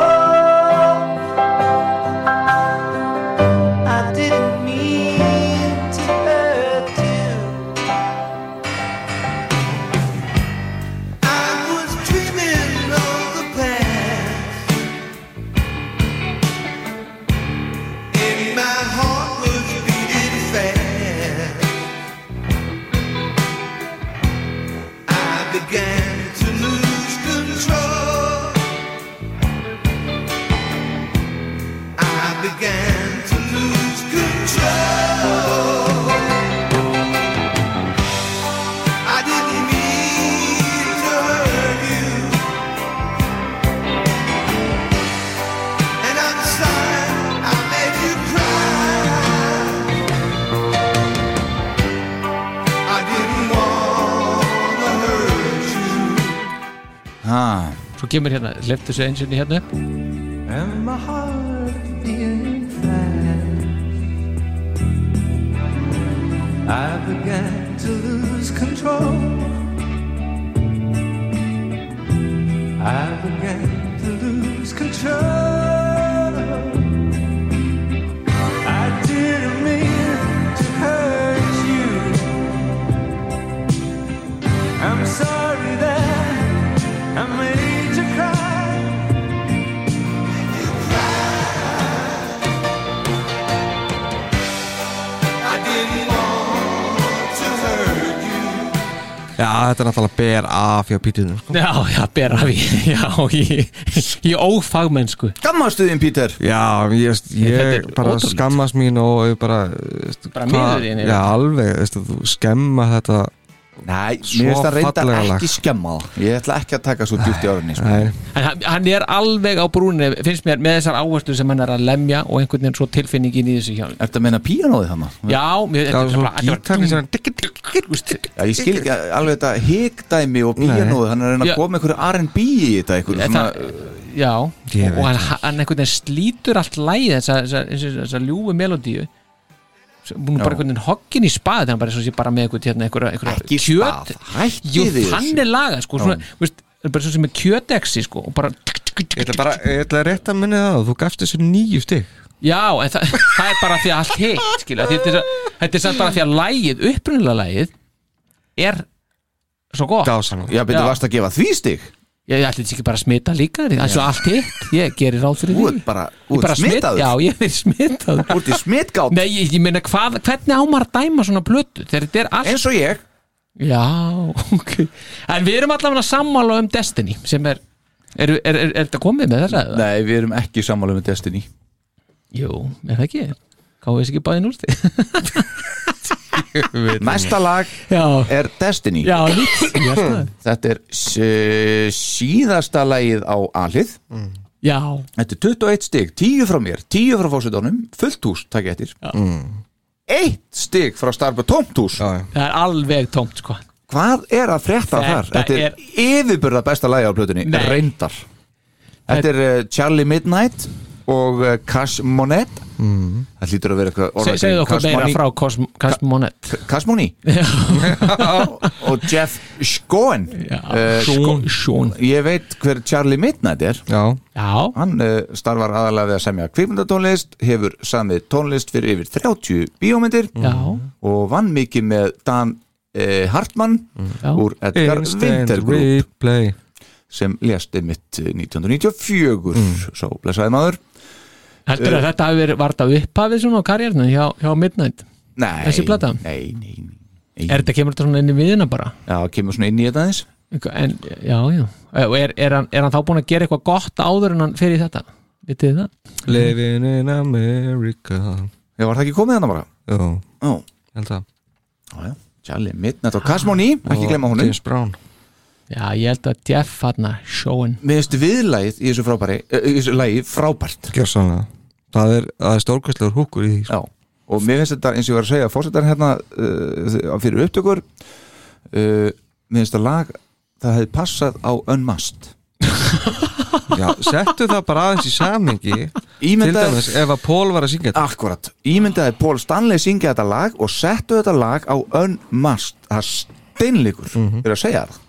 Speaker 6: I didn't mean to hurt you. I was dreaming of the past. And my heart was beating fast. I began to lose control. I began to lose control. I didn't mean to hurt you, and I'm sorry I made you cry. I didn't wanna hurt you.
Speaker 3: ha,
Speaker 4: Svo kemur hérna, leiftu þessu eins og hérna upp
Speaker 6: And my heart beating fast. I began to lose control. I began to lose control. I didn't mean to hurt you. I'm sorry that I made you cry.
Speaker 5: Já, þetta er náttúrulega ber af hjá pítinu sko.
Speaker 4: Já, já, bera af í Já, ég, ég ófagmennsku
Speaker 3: gammastuðin Pítur
Speaker 5: Já, ég, veist,
Speaker 4: Þetta
Speaker 5: ég
Speaker 4: er
Speaker 5: bara
Speaker 4: ótrúlegt.
Speaker 5: skammast mín og ég bara veist,
Speaker 4: Bara
Speaker 5: hvað-
Speaker 4: miður þín, ég
Speaker 5: Já, alveg, veist, þú skemma þetta
Speaker 3: Nei,
Speaker 5: Svo
Speaker 3: mér finnst það reynda
Speaker 5: fallega lag.
Speaker 3: ekki skemma það Ég ætla ekki að taka svo djúpt í orðinni sko.
Speaker 5: Nei,
Speaker 4: En hann- hann er alveg á brúnni finnst mér með þessar áherslu sem hann er að lemja og einhvern veginn svo tilfinningin í þessu hjá honum.
Speaker 3: Ertu að meina píanóið þannig?
Speaker 4: Já, mér,
Speaker 5: það
Speaker 4: þetta
Speaker 5: var
Speaker 4: er
Speaker 5: svo
Speaker 4: bara- þetta var-
Speaker 5: gítarni sem
Speaker 3: Já, ég skil ekki alveg þetta hikdæmi og píanóið, hann er að reyna
Speaker 4: Já.
Speaker 3: að koma með einhverju R&B í þetta einhverju
Speaker 4: Eða
Speaker 3: svona,
Speaker 4: það, já,
Speaker 5: Ég
Speaker 4: og
Speaker 5: veit
Speaker 4: hann, hann einhvern veginn slítur allt lægi þessa, þessa, þessa, þessa ljúfu melodíu sem- hún er bara
Speaker 3: Já.
Speaker 4: einhvern veginn hoggin í spað þannig að bara svo sé bara með einhvern hérna, einhverja, einhverja
Speaker 3: Ekki í
Speaker 4: kjöt
Speaker 3: spað, hætti
Speaker 4: Jú,
Speaker 3: þið
Speaker 4: hann
Speaker 3: þessu.
Speaker 4: er lagað sko, svona, veist, það er bara svo sem er kjöteksi sko, og bara
Speaker 5: Ég ætla bara, ég ætla rétt að minna það Þú gafst þessu nýju stig
Speaker 4: já, en það, það er bara því að allt hitt skilja, þetta er, svo- þetta er samt bara því að lægið, upprunalega lægið er svo gott
Speaker 5: Dásanlega
Speaker 3: Já, betur
Speaker 4: Já.
Speaker 3: varst að gefa því stig
Speaker 4: ég ætla þetta ekki bara að smita líka það er svo allt hitt, ég gerir ráð fyrir
Speaker 3: Þú
Speaker 4: því
Speaker 3: ert bara,
Speaker 4: Ég
Speaker 3: þú ert
Speaker 4: smit-
Speaker 3: smitaður
Speaker 4: já, ég er smitaður
Speaker 3: Þú ert í smitgátt,
Speaker 4: Nei, ég, ég meina, hvað, hvernig ámar að dæma svona plötu þegar þetta er allt
Speaker 3: eins og ég
Speaker 4: Já, ok En við erum allavega sammála um Destiny sem er, er, er, er, er þetta komið með þessa? eða?
Speaker 3: Nei, við erum ekki sammála með Destiny
Speaker 4: Jú, er það ekki? Káðu þess ekki bæðin úr þig?
Speaker 3: Næsta lag
Speaker 4: já,
Speaker 3: er Destiny
Speaker 4: já, nýtt ég held það.
Speaker 3: Þetta er s- síðasta lagið á alið
Speaker 4: Já,
Speaker 3: Þetta er 21 stig, 10 frá mér, 10 frá fósitónum, fullt hús, takk ég eftir Eitt stig frá starfa tómt hús
Speaker 5: Já, já.
Speaker 4: það er alveg tómt, sko
Speaker 3: Hvað er að frétta
Speaker 4: Þetta
Speaker 3: þar? Þetta er, yfirburða besta lagi á plötunni
Speaker 4: Nei.
Speaker 3: Reyndar Þetta er uh, Charlie Midnight og uh, Cash Monet Það hlýtur að vera eitthvað
Speaker 4: Se,
Speaker 3: orðakring.
Speaker 4: segðu okkur
Speaker 3: Cash
Speaker 4: meira
Speaker 3: Money-
Speaker 4: frá Cosm- Cosmonet
Speaker 3: K- Cash Money og Jeff Schoen Eh,
Speaker 4: Sjón Sjón
Speaker 3: Ég veit hver Charlie Midnight er
Speaker 5: Já,
Speaker 4: Já,
Speaker 3: Hann uh, starfar aðalega við að semja kvikmyndatónlist hefur samið tónlist fyrir yfir 30 bíómyndir
Speaker 4: já,
Speaker 3: og vann mikið með Dan uh, Hartmann
Speaker 4: já
Speaker 3: úr Edgar
Speaker 5: Instant
Speaker 3: Winter Group
Speaker 5: replay
Speaker 3: sem lést einmitt eh, 1994
Speaker 4: Mm.
Speaker 3: svo blessaði maður
Speaker 4: Heldur
Speaker 3: Eh.
Speaker 4: að þetta hafi verið varta upphafið svona á karriérnum hjá, hjá Midnight
Speaker 3: nei,
Speaker 4: Þessi plata?
Speaker 3: nei, nei, nei.
Speaker 4: Er þetta kemur þetta svona inn í miðina bara?
Speaker 3: Já, kemur svona inn í þetta aðeins
Speaker 4: En, já, já Eh, Og er, er, hann, er hann þá búin að gera eitthvað gott áður en hann fyrir þetta? Vitið þið það?
Speaker 5: Living in America
Speaker 3: Já, var það ekki komið þannig bara?
Speaker 5: Já,
Speaker 3: Já,
Speaker 5: held það
Speaker 3: já, já Charlie Midnight og
Speaker 4: Ah,
Speaker 3: Kasmóni, ekki
Speaker 5: Og
Speaker 3: glemma honum
Speaker 5: James Brown
Speaker 4: Já, ég held að Jeff hann sjóin
Speaker 3: Mér finnst viðlægið í þessu frábæri eh, í þessu lægi frábært
Speaker 5: Gjörsanlega Það er, það er stórkvæslegur húkur í því sko.
Speaker 3: Já, og mér finnst þetta eins og ég var að segja fórsetar hérna uh, fyrir upptökur uh, mér finnst þetta lag það hefði passað á Unmast
Speaker 5: Já, settu það bara aðeins í samingi Til
Speaker 3: Ímyndaði,
Speaker 5: dæmis ef að Pól var að syngja þetta
Speaker 3: akkurat Ímyndaði Paul Stanley syngja þetta lag og settu þetta lag á Unmast það er steinleikur mm
Speaker 5: Mhm.
Speaker 3: -hmm. að segja það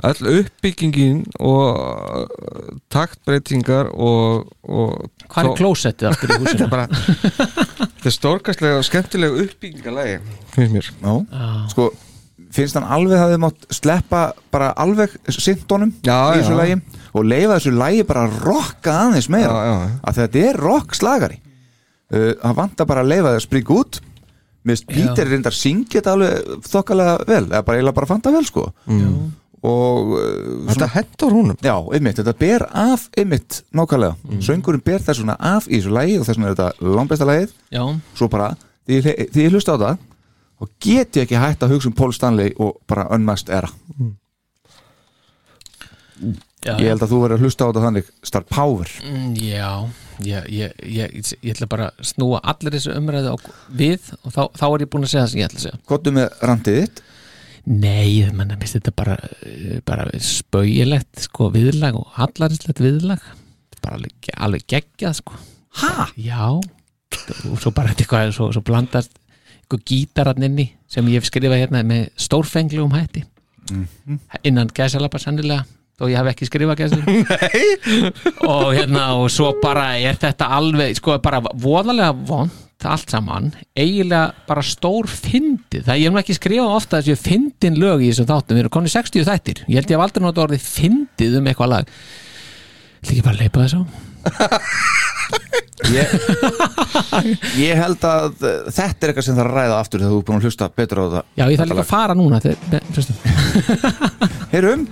Speaker 5: All uppbyggingin og uh, taktbreytingar og, og
Speaker 4: Hvað er
Speaker 5: og-
Speaker 4: klósettið aftur í húsinu?
Speaker 5: bara Þetta er stórkastlega og skemmtilega uppbyggingalagi finnst mér
Speaker 3: Já, sko finnst hann alveg að þið mátt sleppa bara alveg syndónum í
Speaker 5: Já,
Speaker 3: þessu
Speaker 5: já.
Speaker 3: lagi og leifa þessu lagi bara að rokka aðeins meira
Speaker 5: Já, já, já.
Speaker 3: að þetta er rock slagari uh, hann vantar bara að leifa það að springa út minnst Peter reyndar syngja þetta alveg þokkalega vel, eða bara eiginlega bara fanta vel sko mm. og uh, svona,
Speaker 5: Þetta hendur húnum
Speaker 3: já, einmitt, þetta ber af einmitt nákvæmlega, söngurinn ber það svona af í þessu lagi og þess vegna er þetta langbesta lagið
Speaker 4: Já,
Speaker 3: svo bara, því ég, hle- því ég hlusta á það og get ég ekki hægt að hugsa um Paul Stanley og bara unmasked era
Speaker 4: já,
Speaker 3: ég held að þú verður að hlusta á það þannig Star Power
Speaker 4: Mm, Já, ég, ég, ég, ég, ég ætla bara að snúa allir þessu umræðu á, við og þá, þá er ég búin að segja það sem ég ætla að segja
Speaker 3: Kottu með randið þitt
Speaker 4: Nei, menn, mér finnst þetta bara, eh, bara spauilegt sko, viðlag og allarislegt viðlag Þetta er bara alveg, alveg geggjað sko. Hæ? Já, og svo bara þetta eitthvað svo, svo blandast eitthvað gítarann inni sem ég hef skrifað hérna með stórfenglugum hætti innan gæsalapa sannilega þó ég hef ekki skrifað gæsalapa og hérna og svo bara er þetta alveg sko bara voðalega vond allt saman, eiginlega bara stór fyndið, það ég hef nú ekki skrifað ofta þessi fyndin lög í þessum þáttum við erum konið 60 þættir, ég held ég hef aldrei notað orðið fyndið um eitthvað lag Það ekki bara að leipa þess á
Speaker 3: ég, ég held að uh, þetta er eitthvað sem það er að ræða aftur þegar þú er búin að hlusta betur á það
Speaker 4: Já, ég þarf líka að fara núna þetta er- hlustum.
Speaker 3: Heyrum,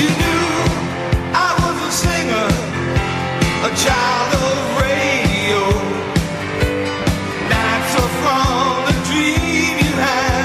Speaker 2: You knew I was a singer, a child of radio. Nights are from the dream you had.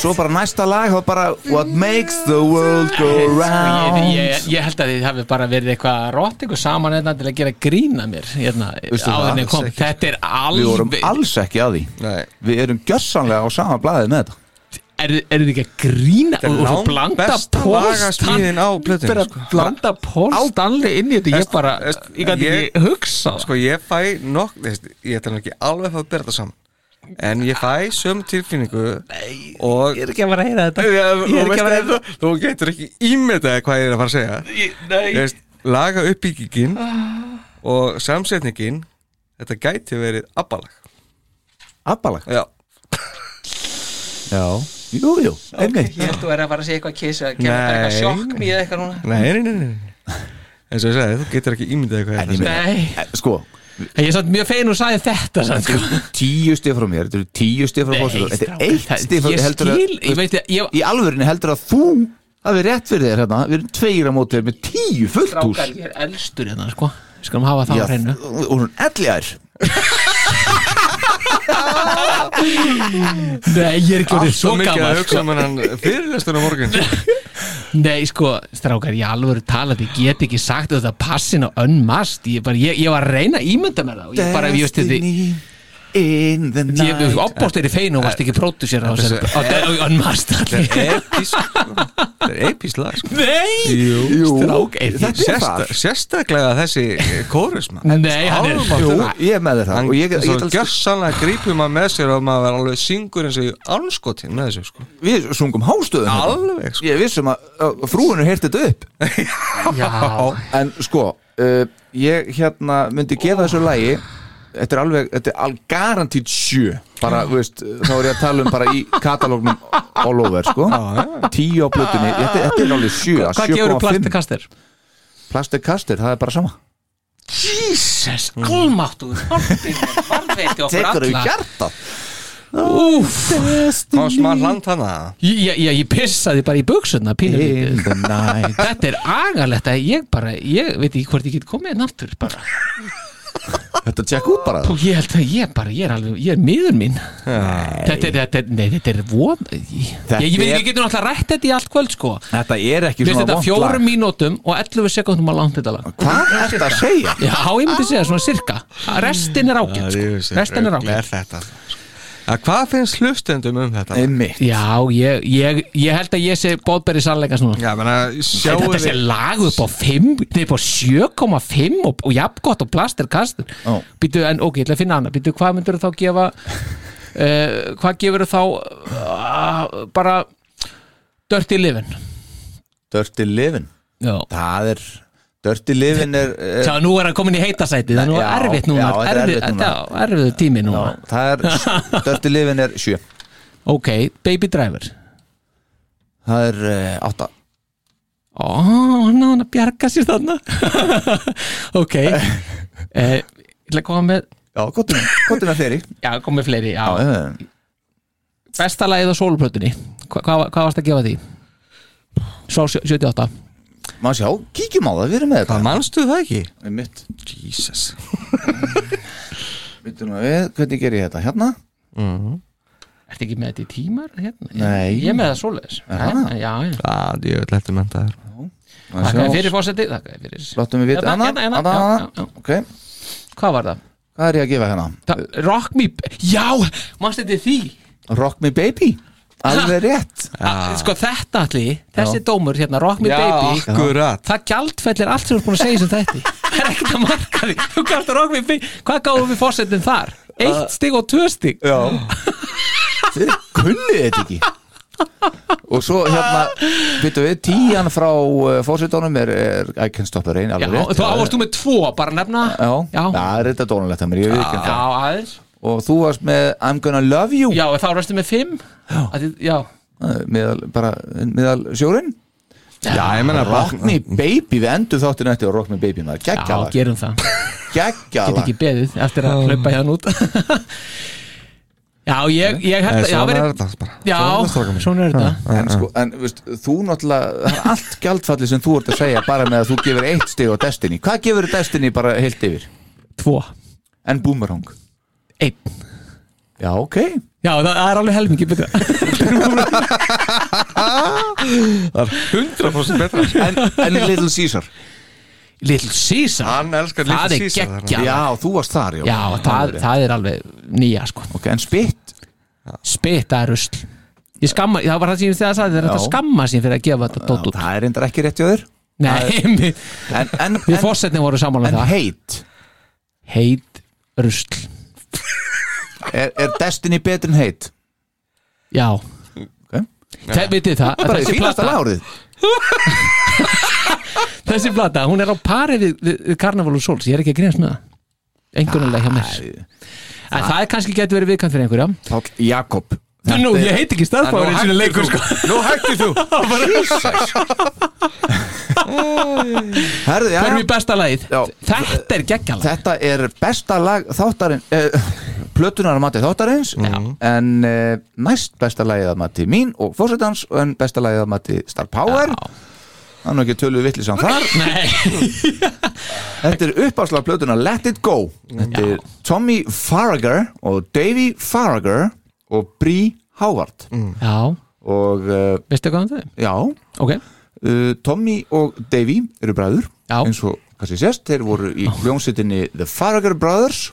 Speaker 3: svo bara næsta lag þá bara What makes the world go round
Speaker 4: Sko, ég, ég, ég held að þið hafi bara verið eitthvað að rótt ykkur saman hérna til að gera grína mér hérna,
Speaker 3: Veistu það? sko.
Speaker 4: áðinni kom, þetta er
Speaker 3: Við vorum
Speaker 4: alveg
Speaker 3: alls ekki að því
Speaker 5: Nei.
Speaker 3: Við erum gjössanlega á sama blaðið með þetta
Speaker 4: er, er þið ekki að grína
Speaker 5: er
Speaker 4: og, og svo
Speaker 5: lang
Speaker 4: blanda
Speaker 5: besta lagasmíðin á plötunni,
Speaker 4: bara
Speaker 5: sko.
Speaker 4: blanda póstanli inn í þetta ég
Speaker 5: Veist-
Speaker 4: bara,
Speaker 5: veist,
Speaker 4: ég gæti
Speaker 5: ég-
Speaker 4: ekki hugsa
Speaker 5: Sko ég fæ nokk veist, Ég ætla nú ekki alveg að fá að bera þetta saman En ég fæ söm tilfinningu Nei, og,
Speaker 4: ég er ekki að vera að heyra þetta
Speaker 5: Já,
Speaker 4: ég er ekki
Speaker 5: þú
Speaker 4: að
Speaker 5: veist
Speaker 4: vera að
Speaker 5: að
Speaker 4: heyra
Speaker 5: þú- Þú getur ekki ímyndaði hvað ég er að fara að segja Ég
Speaker 4: þetta
Speaker 5: veist, Laga uppbyggingin Og samsetningin Þetta gæti verið abbalag
Speaker 3: Abbalag
Speaker 5: Já,
Speaker 3: Já, jú, jú, einmitt
Speaker 8: Ég held þú er að fara að segja eitthvað kiss að
Speaker 5: gera
Speaker 8: gera
Speaker 5: bara
Speaker 8: eitthvað
Speaker 5: eitthvað Nei. sjokk
Speaker 8: sjokk mýð eitthvað núna
Speaker 5: nei, nei, nei, nei. En svo ég segi, þú getur ekki ímyndaði hvað ég er að
Speaker 3: Ég meina,
Speaker 4: nei,
Speaker 3: eh, Sko,
Speaker 4: ég er samt mjög fein og sagði þetta samt, sko.
Speaker 3: tíu stið frá mér Þetta eru tíu stið frá
Speaker 4: Nei,
Speaker 3: fósitur Þetta
Speaker 4: strákar,
Speaker 3: er eitt
Speaker 4: það-
Speaker 3: stið frá
Speaker 4: ég
Speaker 3: heldur að-
Speaker 4: skil, ég veit að- ég-
Speaker 3: Í alvörinu heldur að þú hafi rétt fyrir þér hérna Við erum tveira mótið með tíu fullt hús
Speaker 4: strákar, ég er elstur hérna sko. við skulum hafa það á
Speaker 3: Já,
Speaker 4: hreinu
Speaker 3: og hún elljar
Speaker 4: nei, ég er ekki orðið
Speaker 5: Svo
Speaker 4: svo
Speaker 5: mikið að
Speaker 4: gammal
Speaker 5: hugsa
Speaker 4: sko.
Speaker 5: um hann fyrirlestunum morgun
Speaker 4: nei, sko, strákar, ég alveg tala ég get ekki sagt þetta passin og önnmast ég, bara, ég, ég var að reyna að ímynda mér það og ég bara, ég veist þetta
Speaker 3: Destiny in the
Speaker 4: ég
Speaker 3: night
Speaker 4: hef opbóst þeirri fein og varst ekki pródusir á þessu og önnmast
Speaker 5: Þetta er epís Þetta er epís lag sko.
Speaker 4: nei,
Speaker 5: Jú,
Speaker 3: Jú,
Speaker 4: strák, ey,
Speaker 3: þetta er
Speaker 5: Sérsta,
Speaker 3: það
Speaker 5: sérstaklega þessi kórus maður.
Speaker 4: nei, hann er
Speaker 3: Jú, ég er með þér það
Speaker 5: Hann
Speaker 3: og ég, ég,
Speaker 5: svo
Speaker 3: ég, ég,
Speaker 5: gjössanlega grípur maður með sér og maður verður alveg syngur eins og í anskotin með þessu sko.
Speaker 3: við sungum hástöðum hérna.
Speaker 5: Alveg sko.
Speaker 3: ég vissum að, að frúinu heyrti þetta upp
Speaker 4: já,
Speaker 3: en sko uh, ég hérna myndi gefa þessu lægi þetta er alveg, þetta er alveg garantíð sjö bara, þú veist, þá er ég að tala um bara í katalógnum all over, sko tíu á blötunni, þetta, þetta er alveg sjö að
Speaker 4: hvað gefur
Speaker 3: 7,5.
Speaker 4: plastikastir?
Speaker 3: Plastikkaster, það er bara sama
Speaker 4: Jesus, allmáttu varveiti okkur
Speaker 3: tekur þau
Speaker 4: alla
Speaker 3: hjarta
Speaker 4: úf
Speaker 5: Má smá hland hana
Speaker 4: Ég, ég, ég- ég pissaði bara í buksuna
Speaker 3: in
Speaker 4: pínulítið
Speaker 3: the night
Speaker 4: Þetta er agalegt að ég bara ég veit ekki hvort ég get komið einn aftur bara.
Speaker 3: þetta tjekk út bara
Speaker 4: og ég held að ég bara, ég er alveg ég er miður mín þetta, er- þetta, er- nei, þetta er von ég,
Speaker 3: Þetta
Speaker 4: ég, ég,
Speaker 3: er-
Speaker 4: ég getur náttúrulega rætt þetta í allt kvöld sko.
Speaker 3: þetta er ekki
Speaker 4: Vist,
Speaker 3: svona
Speaker 4: þetta
Speaker 3: vont
Speaker 4: fjórum
Speaker 3: lag.
Speaker 4: mínútum og 11 sekundum á langt þetta lag
Speaker 3: hvað er þetta að segja?
Speaker 4: Já, ég myndi segja svona cirka Restin er ágætt sko. Restin er ágætt
Speaker 5: þetta Ja, hvað finnst hlustendum um þetta?
Speaker 3: einmitt
Speaker 4: Já, ég, ég, ég held að ég sé bóðberi sannleikans núna
Speaker 5: Já, menna,
Speaker 4: Er
Speaker 5: sjáu
Speaker 4: þetta sé lag upp á 5 Nei, upp á 7,5 og, og jafn gott og plastir kastur
Speaker 3: Ó.
Speaker 4: Býtu, en ok, ég ætla að finna hana Býtu, hvað myndur þú þá gefa uh, Hvað gefur þú þá uh, bara Dirty Living
Speaker 3: Dirty Livin
Speaker 4: Já
Speaker 3: það er Dirty Livin er, er
Speaker 4: Sjá, nú er hann komin í heitasæti Það er nú
Speaker 3: Já,
Speaker 4: erfitt núna
Speaker 3: já, þetta er
Speaker 4: erfið,
Speaker 3: erfitt núna.
Speaker 4: Já, erfiðu tími núna
Speaker 3: Já, það er Dirty Livin er sjö
Speaker 4: Ok, Baby Driver
Speaker 3: það er uh, átta
Speaker 4: Ó, hann á hann að bjarga sér þarna Ok uh, Ég ætla að koma með
Speaker 3: já, gott um, gott um að þeirri
Speaker 4: Já, komið fleiri, já,
Speaker 3: já, eh,
Speaker 4: Besta lagið á sólplötunni Hva, hvað, hvað varst að gefa því? Svo 78
Speaker 3: maður sjá, kíkjum á það, við erum með
Speaker 5: Það
Speaker 3: þetta
Speaker 5: manstu það ekki?
Speaker 3: Nei, mitt,
Speaker 5: Jesus
Speaker 3: mitt nú við, hvernig ger ég þetta, hérna
Speaker 4: Ertu ekki með þetta í tímar? Hérna?
Speaker 3: Nei.
Speaker 4: Ég er með það svoleiðis Hérna,
Speaker 3: það?
Speaker 4: Já, já
Speaker 5: Það er öll eftir mentaður
Speaker 3: Maður
Speaker 4: Þakkaði
Speaker 3: sjá,
Speaker 4: fyrir fórseti Þakkaði fyrir
Speaker 3: láttum við vita
Speaker 4: Hérna,
Speaker 3: annað,
Speaker 4: hérna, hérna,
Speaker 3: annað,
Speaker 4: já, já,
Speaker 3: annað. ok,
Speaker 4: Hvað var það?
Speaker 3: hvað er ég að gefa hérna
Speaker 4: það rock me Já, mannst þetta því
Speaker 3: Rock Me Baby, alveg rétt
Speaker 4: ah. Sko þetta allir Þessi dómur hérna Rock me baby
Speaker 3: sko,
Speaker 5: akkurat
Speaker 4: Það gjaldfellir allt sem þú er búin að segja sem þetta Það er ekkert að marka því Þú gafst að rock me baby Hvað gáðum við fórsetin þar? Eitt stig og tvö stig
Speaker 3: já þið kunnið þetta ekki og svo hérna veitum við, tíjan frá uh, fósitónum er, er I Can Stop the Rain
Speaker 4: Já,
Speaker 3: alveg rétt
Speaker 4: þú ávarst þú með tvo Bara að nefna
Speaker 3: Já,
Speaker 4: já.
Speaker 3: það er þetta dónalegt að mér, ég veit ekki um
Speaker 4: Já,
Speaker 3: það
Speaker 4: aðeins
Speaker 3: Og þú varst með I'm Gonna Love You
Speaker 4: Já, þá restu með fimm Að þið- Já,
Speaker 3: eh, meðal, bara, meðal sjórinn
Speaker 5: Já, ég menna
Speaker 3: Rock Me Baby, við endum þáttinu eftir á Rock Me Baby maður,
Speaker 4: já,
Speaker 3: geggjala
Speaker 4: gerum það Get
Speaker 3: geggjala
Speaker 4: ekki beðið eftir að hlaupa hérna út Já, ég, ég held að já,
Speaker 5: Eh, Svona er
Speaker 4: verið-
Speaker 5: þetta bara
Speaker 4: Já,
Speaker 5: Svona er þetta, strákar mínir.
Speaker 4: svona er þetta
Speaker 3: En, sko, en veist, þú náttúrulega, það er allt gjaldfalli sem þú ert að segja bara með að þú gefur eitt stig á Destiny Hvað gefur Destiny bara heilt yfir?
Speaker 4: Tvo,
Speaker 3: En Boomerang
Speaker 4: einn
Speaker 3: Já, ok
Speaker 4: Já, það, það er alveg helmingi betra
Speaker 5: það er 100% betra sko.
Speaker 3: En, en Little Caesar
Speaker 4: Little Caesar
Speaker 5: Hann elskar
Speaker 4: Það er
Speaker 5: Little Caesar
Speaker 4: geggja Já,
Speaker 3: Já, þú varst þar, já
Speaker 4: það, það er alveg nýja sko
Speaker 3: Ok, en spitt
Speaker 4: Spita er rusl Ég skamma, það var það sem ég þegar sagði
Speaker 3: Já.
Speaker 4: Þetta skamma sín fyrir að gefa þetta dót út
Speaker 3: Það er reyndar ekki rétt hjá þér
Speaker 4: Nei, við-
Speaker 3: En, en,
Speaker 4: við
Speaker 3: en,
Speaker 4: fórsetni voru samanlega
Speaker 3: en
Speaker 4: um það
Speaker 3: heit
Speaker 4: Heit rusl
Speaker 3: er, er Destiny betur en heit?
Speaker 4: Já Það vitið það að
Speaker 3: Bara í
Speaker 4: þessi
Speaker 3: fínasta
Speaker 4: plata,
Speaker 3: lárið
Speaker 4: þessi plata, hún er á pari við, við, við Carnival of Souls, ég er ekki að grínast með það einhvernlega hjá mér en það er kannski getur verið viðkant fyrir einhverja
Speaker 3: Páll Jakob
Speaker 4: Nú, ég heit ekki staðfáður eins og leikur sko
Speaker 3: Nú hættu þú Jesus Herðu, já,
Speaker 4: Förum í
Speaker 3: já
Speaker 4: besta lagið
Speaker 3: Já.
Speaker 4: Þetta er geggjala
Speaker 3: Þetta er besta lag þáttarins uh, Plötunar að mati þáttarins En uh, næst besta lagið að mati mín Og fórsetans En besta lagið að mati Star Power Það er nú ekki tölu vittlisam þar
Speaker 4: Nei,
Speaker 3: Þetta er uppáslag plötuna Let It Go Þetta er Tommy Farragher og Davey Farragher og Bree Howard
Speaker 4: já,
Speaker 3: og uh,
Speaker 4: veistu hvað um þau?
Speaker 3: já
Speaker 4: Ok,
Speaker 3: uh, Tommy og Davey eru bræður
Speaker 4: Já.
Speaker 3: eins og kannski sést, þeir voru í hljómsveitinni The Farragher Brothers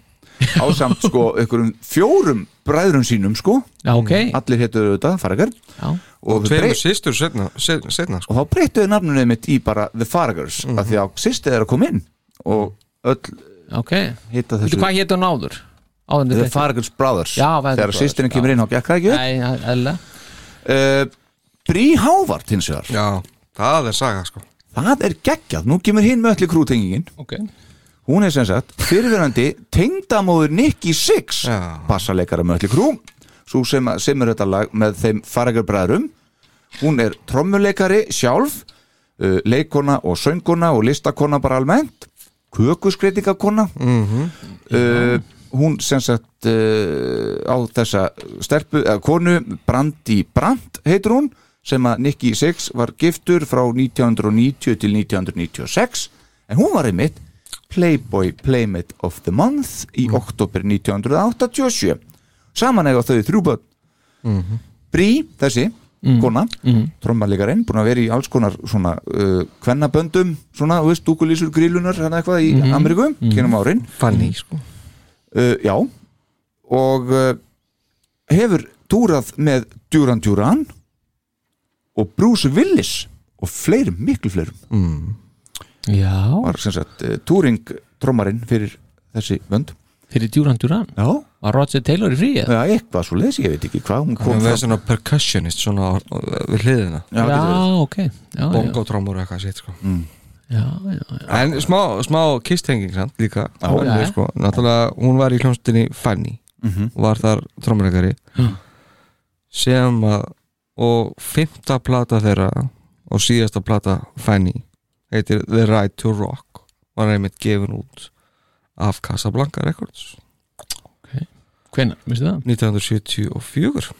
Speaker 3: ásamt sko einhverjum fjórum bræðurum sínum sko
Speaker 4: já, ok Já,
Speaker 3: allir héttu auðvitað Farragher og, þau brey-
Speaker 5: Tveimur sýstur setna, se- setna sko.
Speaker 3: og þá breyttuðu nafnunum mitt í bara The Farraghers mm -hmm.
Speaker 4: Mhm.
Speaker 3: af því að sýstu þeir að koma inn og öll
Speaker 4: ok Veitu
Speaker 3: hitta þessu
Speaker 4: hvað hétt hún áður? Áður
Speaker 3: The
Speaker 4: en þetta
Speaker 3: Fargus Brothers
Speaker 4: Já,
Speaker 3: þegar
Speaker 4: Fargus Brothers,
Speaker 3: sýstirinn
Speaker 4: já.
Speaker 3: kemur inn á bjakka ekki
Speaker 4: Nei, eðla
Speaker 3: uh, Brí Hávart hins vegar
Speaker 5: Já, það er saga sko
Speaker 3: það er geggjað, nú kemur hinn með öllu krútengingin
Speaker 4: Ok
Speaker 3: hún er sem sagt fyrirverandi tengdamóður Nicky Six
Speaker 5: Já.
Speaker 3: bassaleikara með öllu krú svo sem, sem er þetta lag með þeim faragarbræðrum hún er trommuleikari sjálf uh, leikona og söngona og listakona bara almennt kökuskreitingakona mm uh, hún sem sagt uh, á þessa stelpu eða konu Brandi Brand heitur hún sem að Nicky Six var giftur frá 1990 til 1996 en hún var einmitt Playboy Playmate of the Month í oktober 1987 saman eiga þau þrjúböld Brí, þessi kona, Mhm. mm -hmm. trommalíkarinn búin að vera í alls konar svona uh, kvennaböndum, svona, þú veist, dúkulísur grílunar, hérna eitthvað í Ameríku mm -hmm. kynum árin,
Speaker 5: Fanny sko
Speaker 3: uh, já og uh, hefur túrað með Duran Duran og Bruce Willis og fleirum, miklu fleirum
Speaker 4: Já,
Speaker 3: var sem sagt uh, túring trommarinn fyrir þessi vönd
Speaker 4: fyrir Duran Duran
Speaker 3: já,
Speaker 4: Var Roger Taylor í fríið?
Speaker 3: ja, eitthvað svo leiðis, ég veit ekki hvað hún kom
Speaker 5: Hún
Speaker 3: fram
Speaker 5: er svona percussionist svona á- á- við hliðina
Speaker 3: Já,
Speaker 4: Já,
Speaker 3: getur verið.
Speaker 4: ok Já, já,
Speaker 5: Bongotrómur og eitthvað sitt sko
Speaker 4: já, já, já.
Speaker 5: En smá, smá kisthenging samt líka
Speaker 3: Já.
Speaker 5: Fanny,
Speaker 4: Já.
Speaker 5: sko. Náttúrulega hún var í hljómsdini Fanny Var þar trómuleikari Sem að Og fymta plata þeirra Og síðasta plata Fanny Heitir The Right to Rock Var einmitt gefin út Af Casablanca Records
Speaker 4: Hvenær, veistu það?
Speaker 5: 1974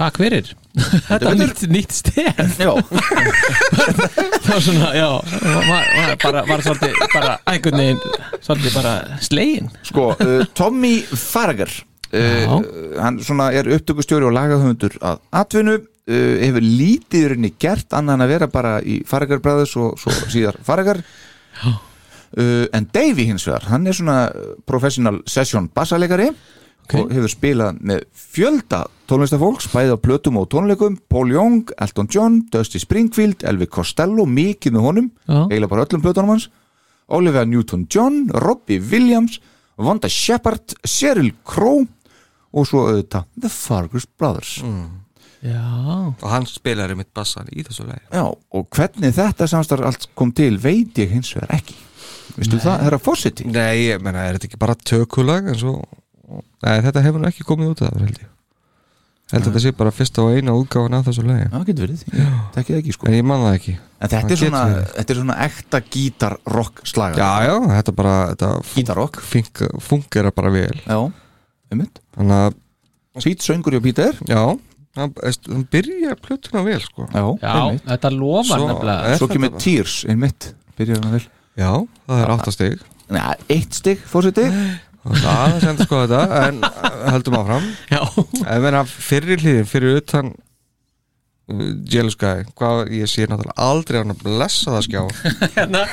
Speaker 4: Takk fyrir Þetta var nýtt, nýtt stef
Speaker 3: Já,
Speaker 4: Það var svona, já Var, var, bara, var svolítið bara einhvern veginn Svolítið bara slegin
Speaker 3: sko, uh, Tommy Farger
Speaker 4: Já.
Speaker 3: uh, hann svona er upptökustjóri og lagahöfundur að atvinnu uh, hefur lítið í rauninni gert annan en að vera bara í Farger bræðis og svo síðar Farger uh, en Davey hins vegar, hann er svona uh, professional session bassalegari og hefur spilað með fjölda tónlistafólks, bæði á plötum og tónleikum Paul Young, Elton John, Dusty Springfield Elvi Costello, mikið með honum
Speaker 4: Já.
Speaker 3: eiginlega bara öllum plötunum hans Olivia Newton-John, Robbie Williams Vonda Shepard, Sheryl Crow og svo auðvitað The Fargus Brothers
Speaker 4: Já,
Speaker 5: Og hann spilar einmitt bassan í þessu lagi
Speaker 3: Já, og hvernig þetta samstarf allt kom til veit ég hins vegar ekki Vistu það, herra Fossetti?
Speaker 5: Nei, ég menna, er þetta ekki bara tökulag en svo, nei, þetta hefur nú ekki komið út af það, held ég held að þetta sé bara fyrsta og eina útgáfan af þessu lagi
Speaker 3: Já, getur verið, ég tekki það ekki sko
Speaker 5: en ég man það ekki
Speaker 3: En þetta
Speaker 5: Það
Speaker 3: er svona,
Speaker 5: getur verið.
Speaker 3: þetta er svona ekta gítarrock slaga
Speaker 5: já, já, þetta bara þetta fun-
Speaker 3: Gítarrock
Speaker 5: fink- fungera bara vel
Speaker 3: Já, einmitt
Speaker 5: þannig að,
Speaker 3: Sýt söngur hjá Peter
Speaker 5: já hann, veist, hann byrja plötuna vel, sko
Speaker 3: Já,
Speaker 4: já þetta lofar
Speaker 5: Svo-
Speaker 4: nefnilega
Speaker 5: er
Speaker 3: Svo
Speaker 5: þetta
Speaker 3: kemur
Speaker 5: bara-
Speaker 3: Tears, einmitt Byrjar hann vel
Speaker 5: já, það er áttastig
Speaker 3: Nei, eitt stig fórseti
Speaker 5: Það er aðeins endur skoða þetta En eh, höldum áfram
Speaker 4: Já,
Speaker 5: Ég meina fyrir hlýðin, fyrir utan uh, Jealous Guy Hvað ég sé náttúrulega aldrei á hann að blessa það skjá
Speaker 4: hérna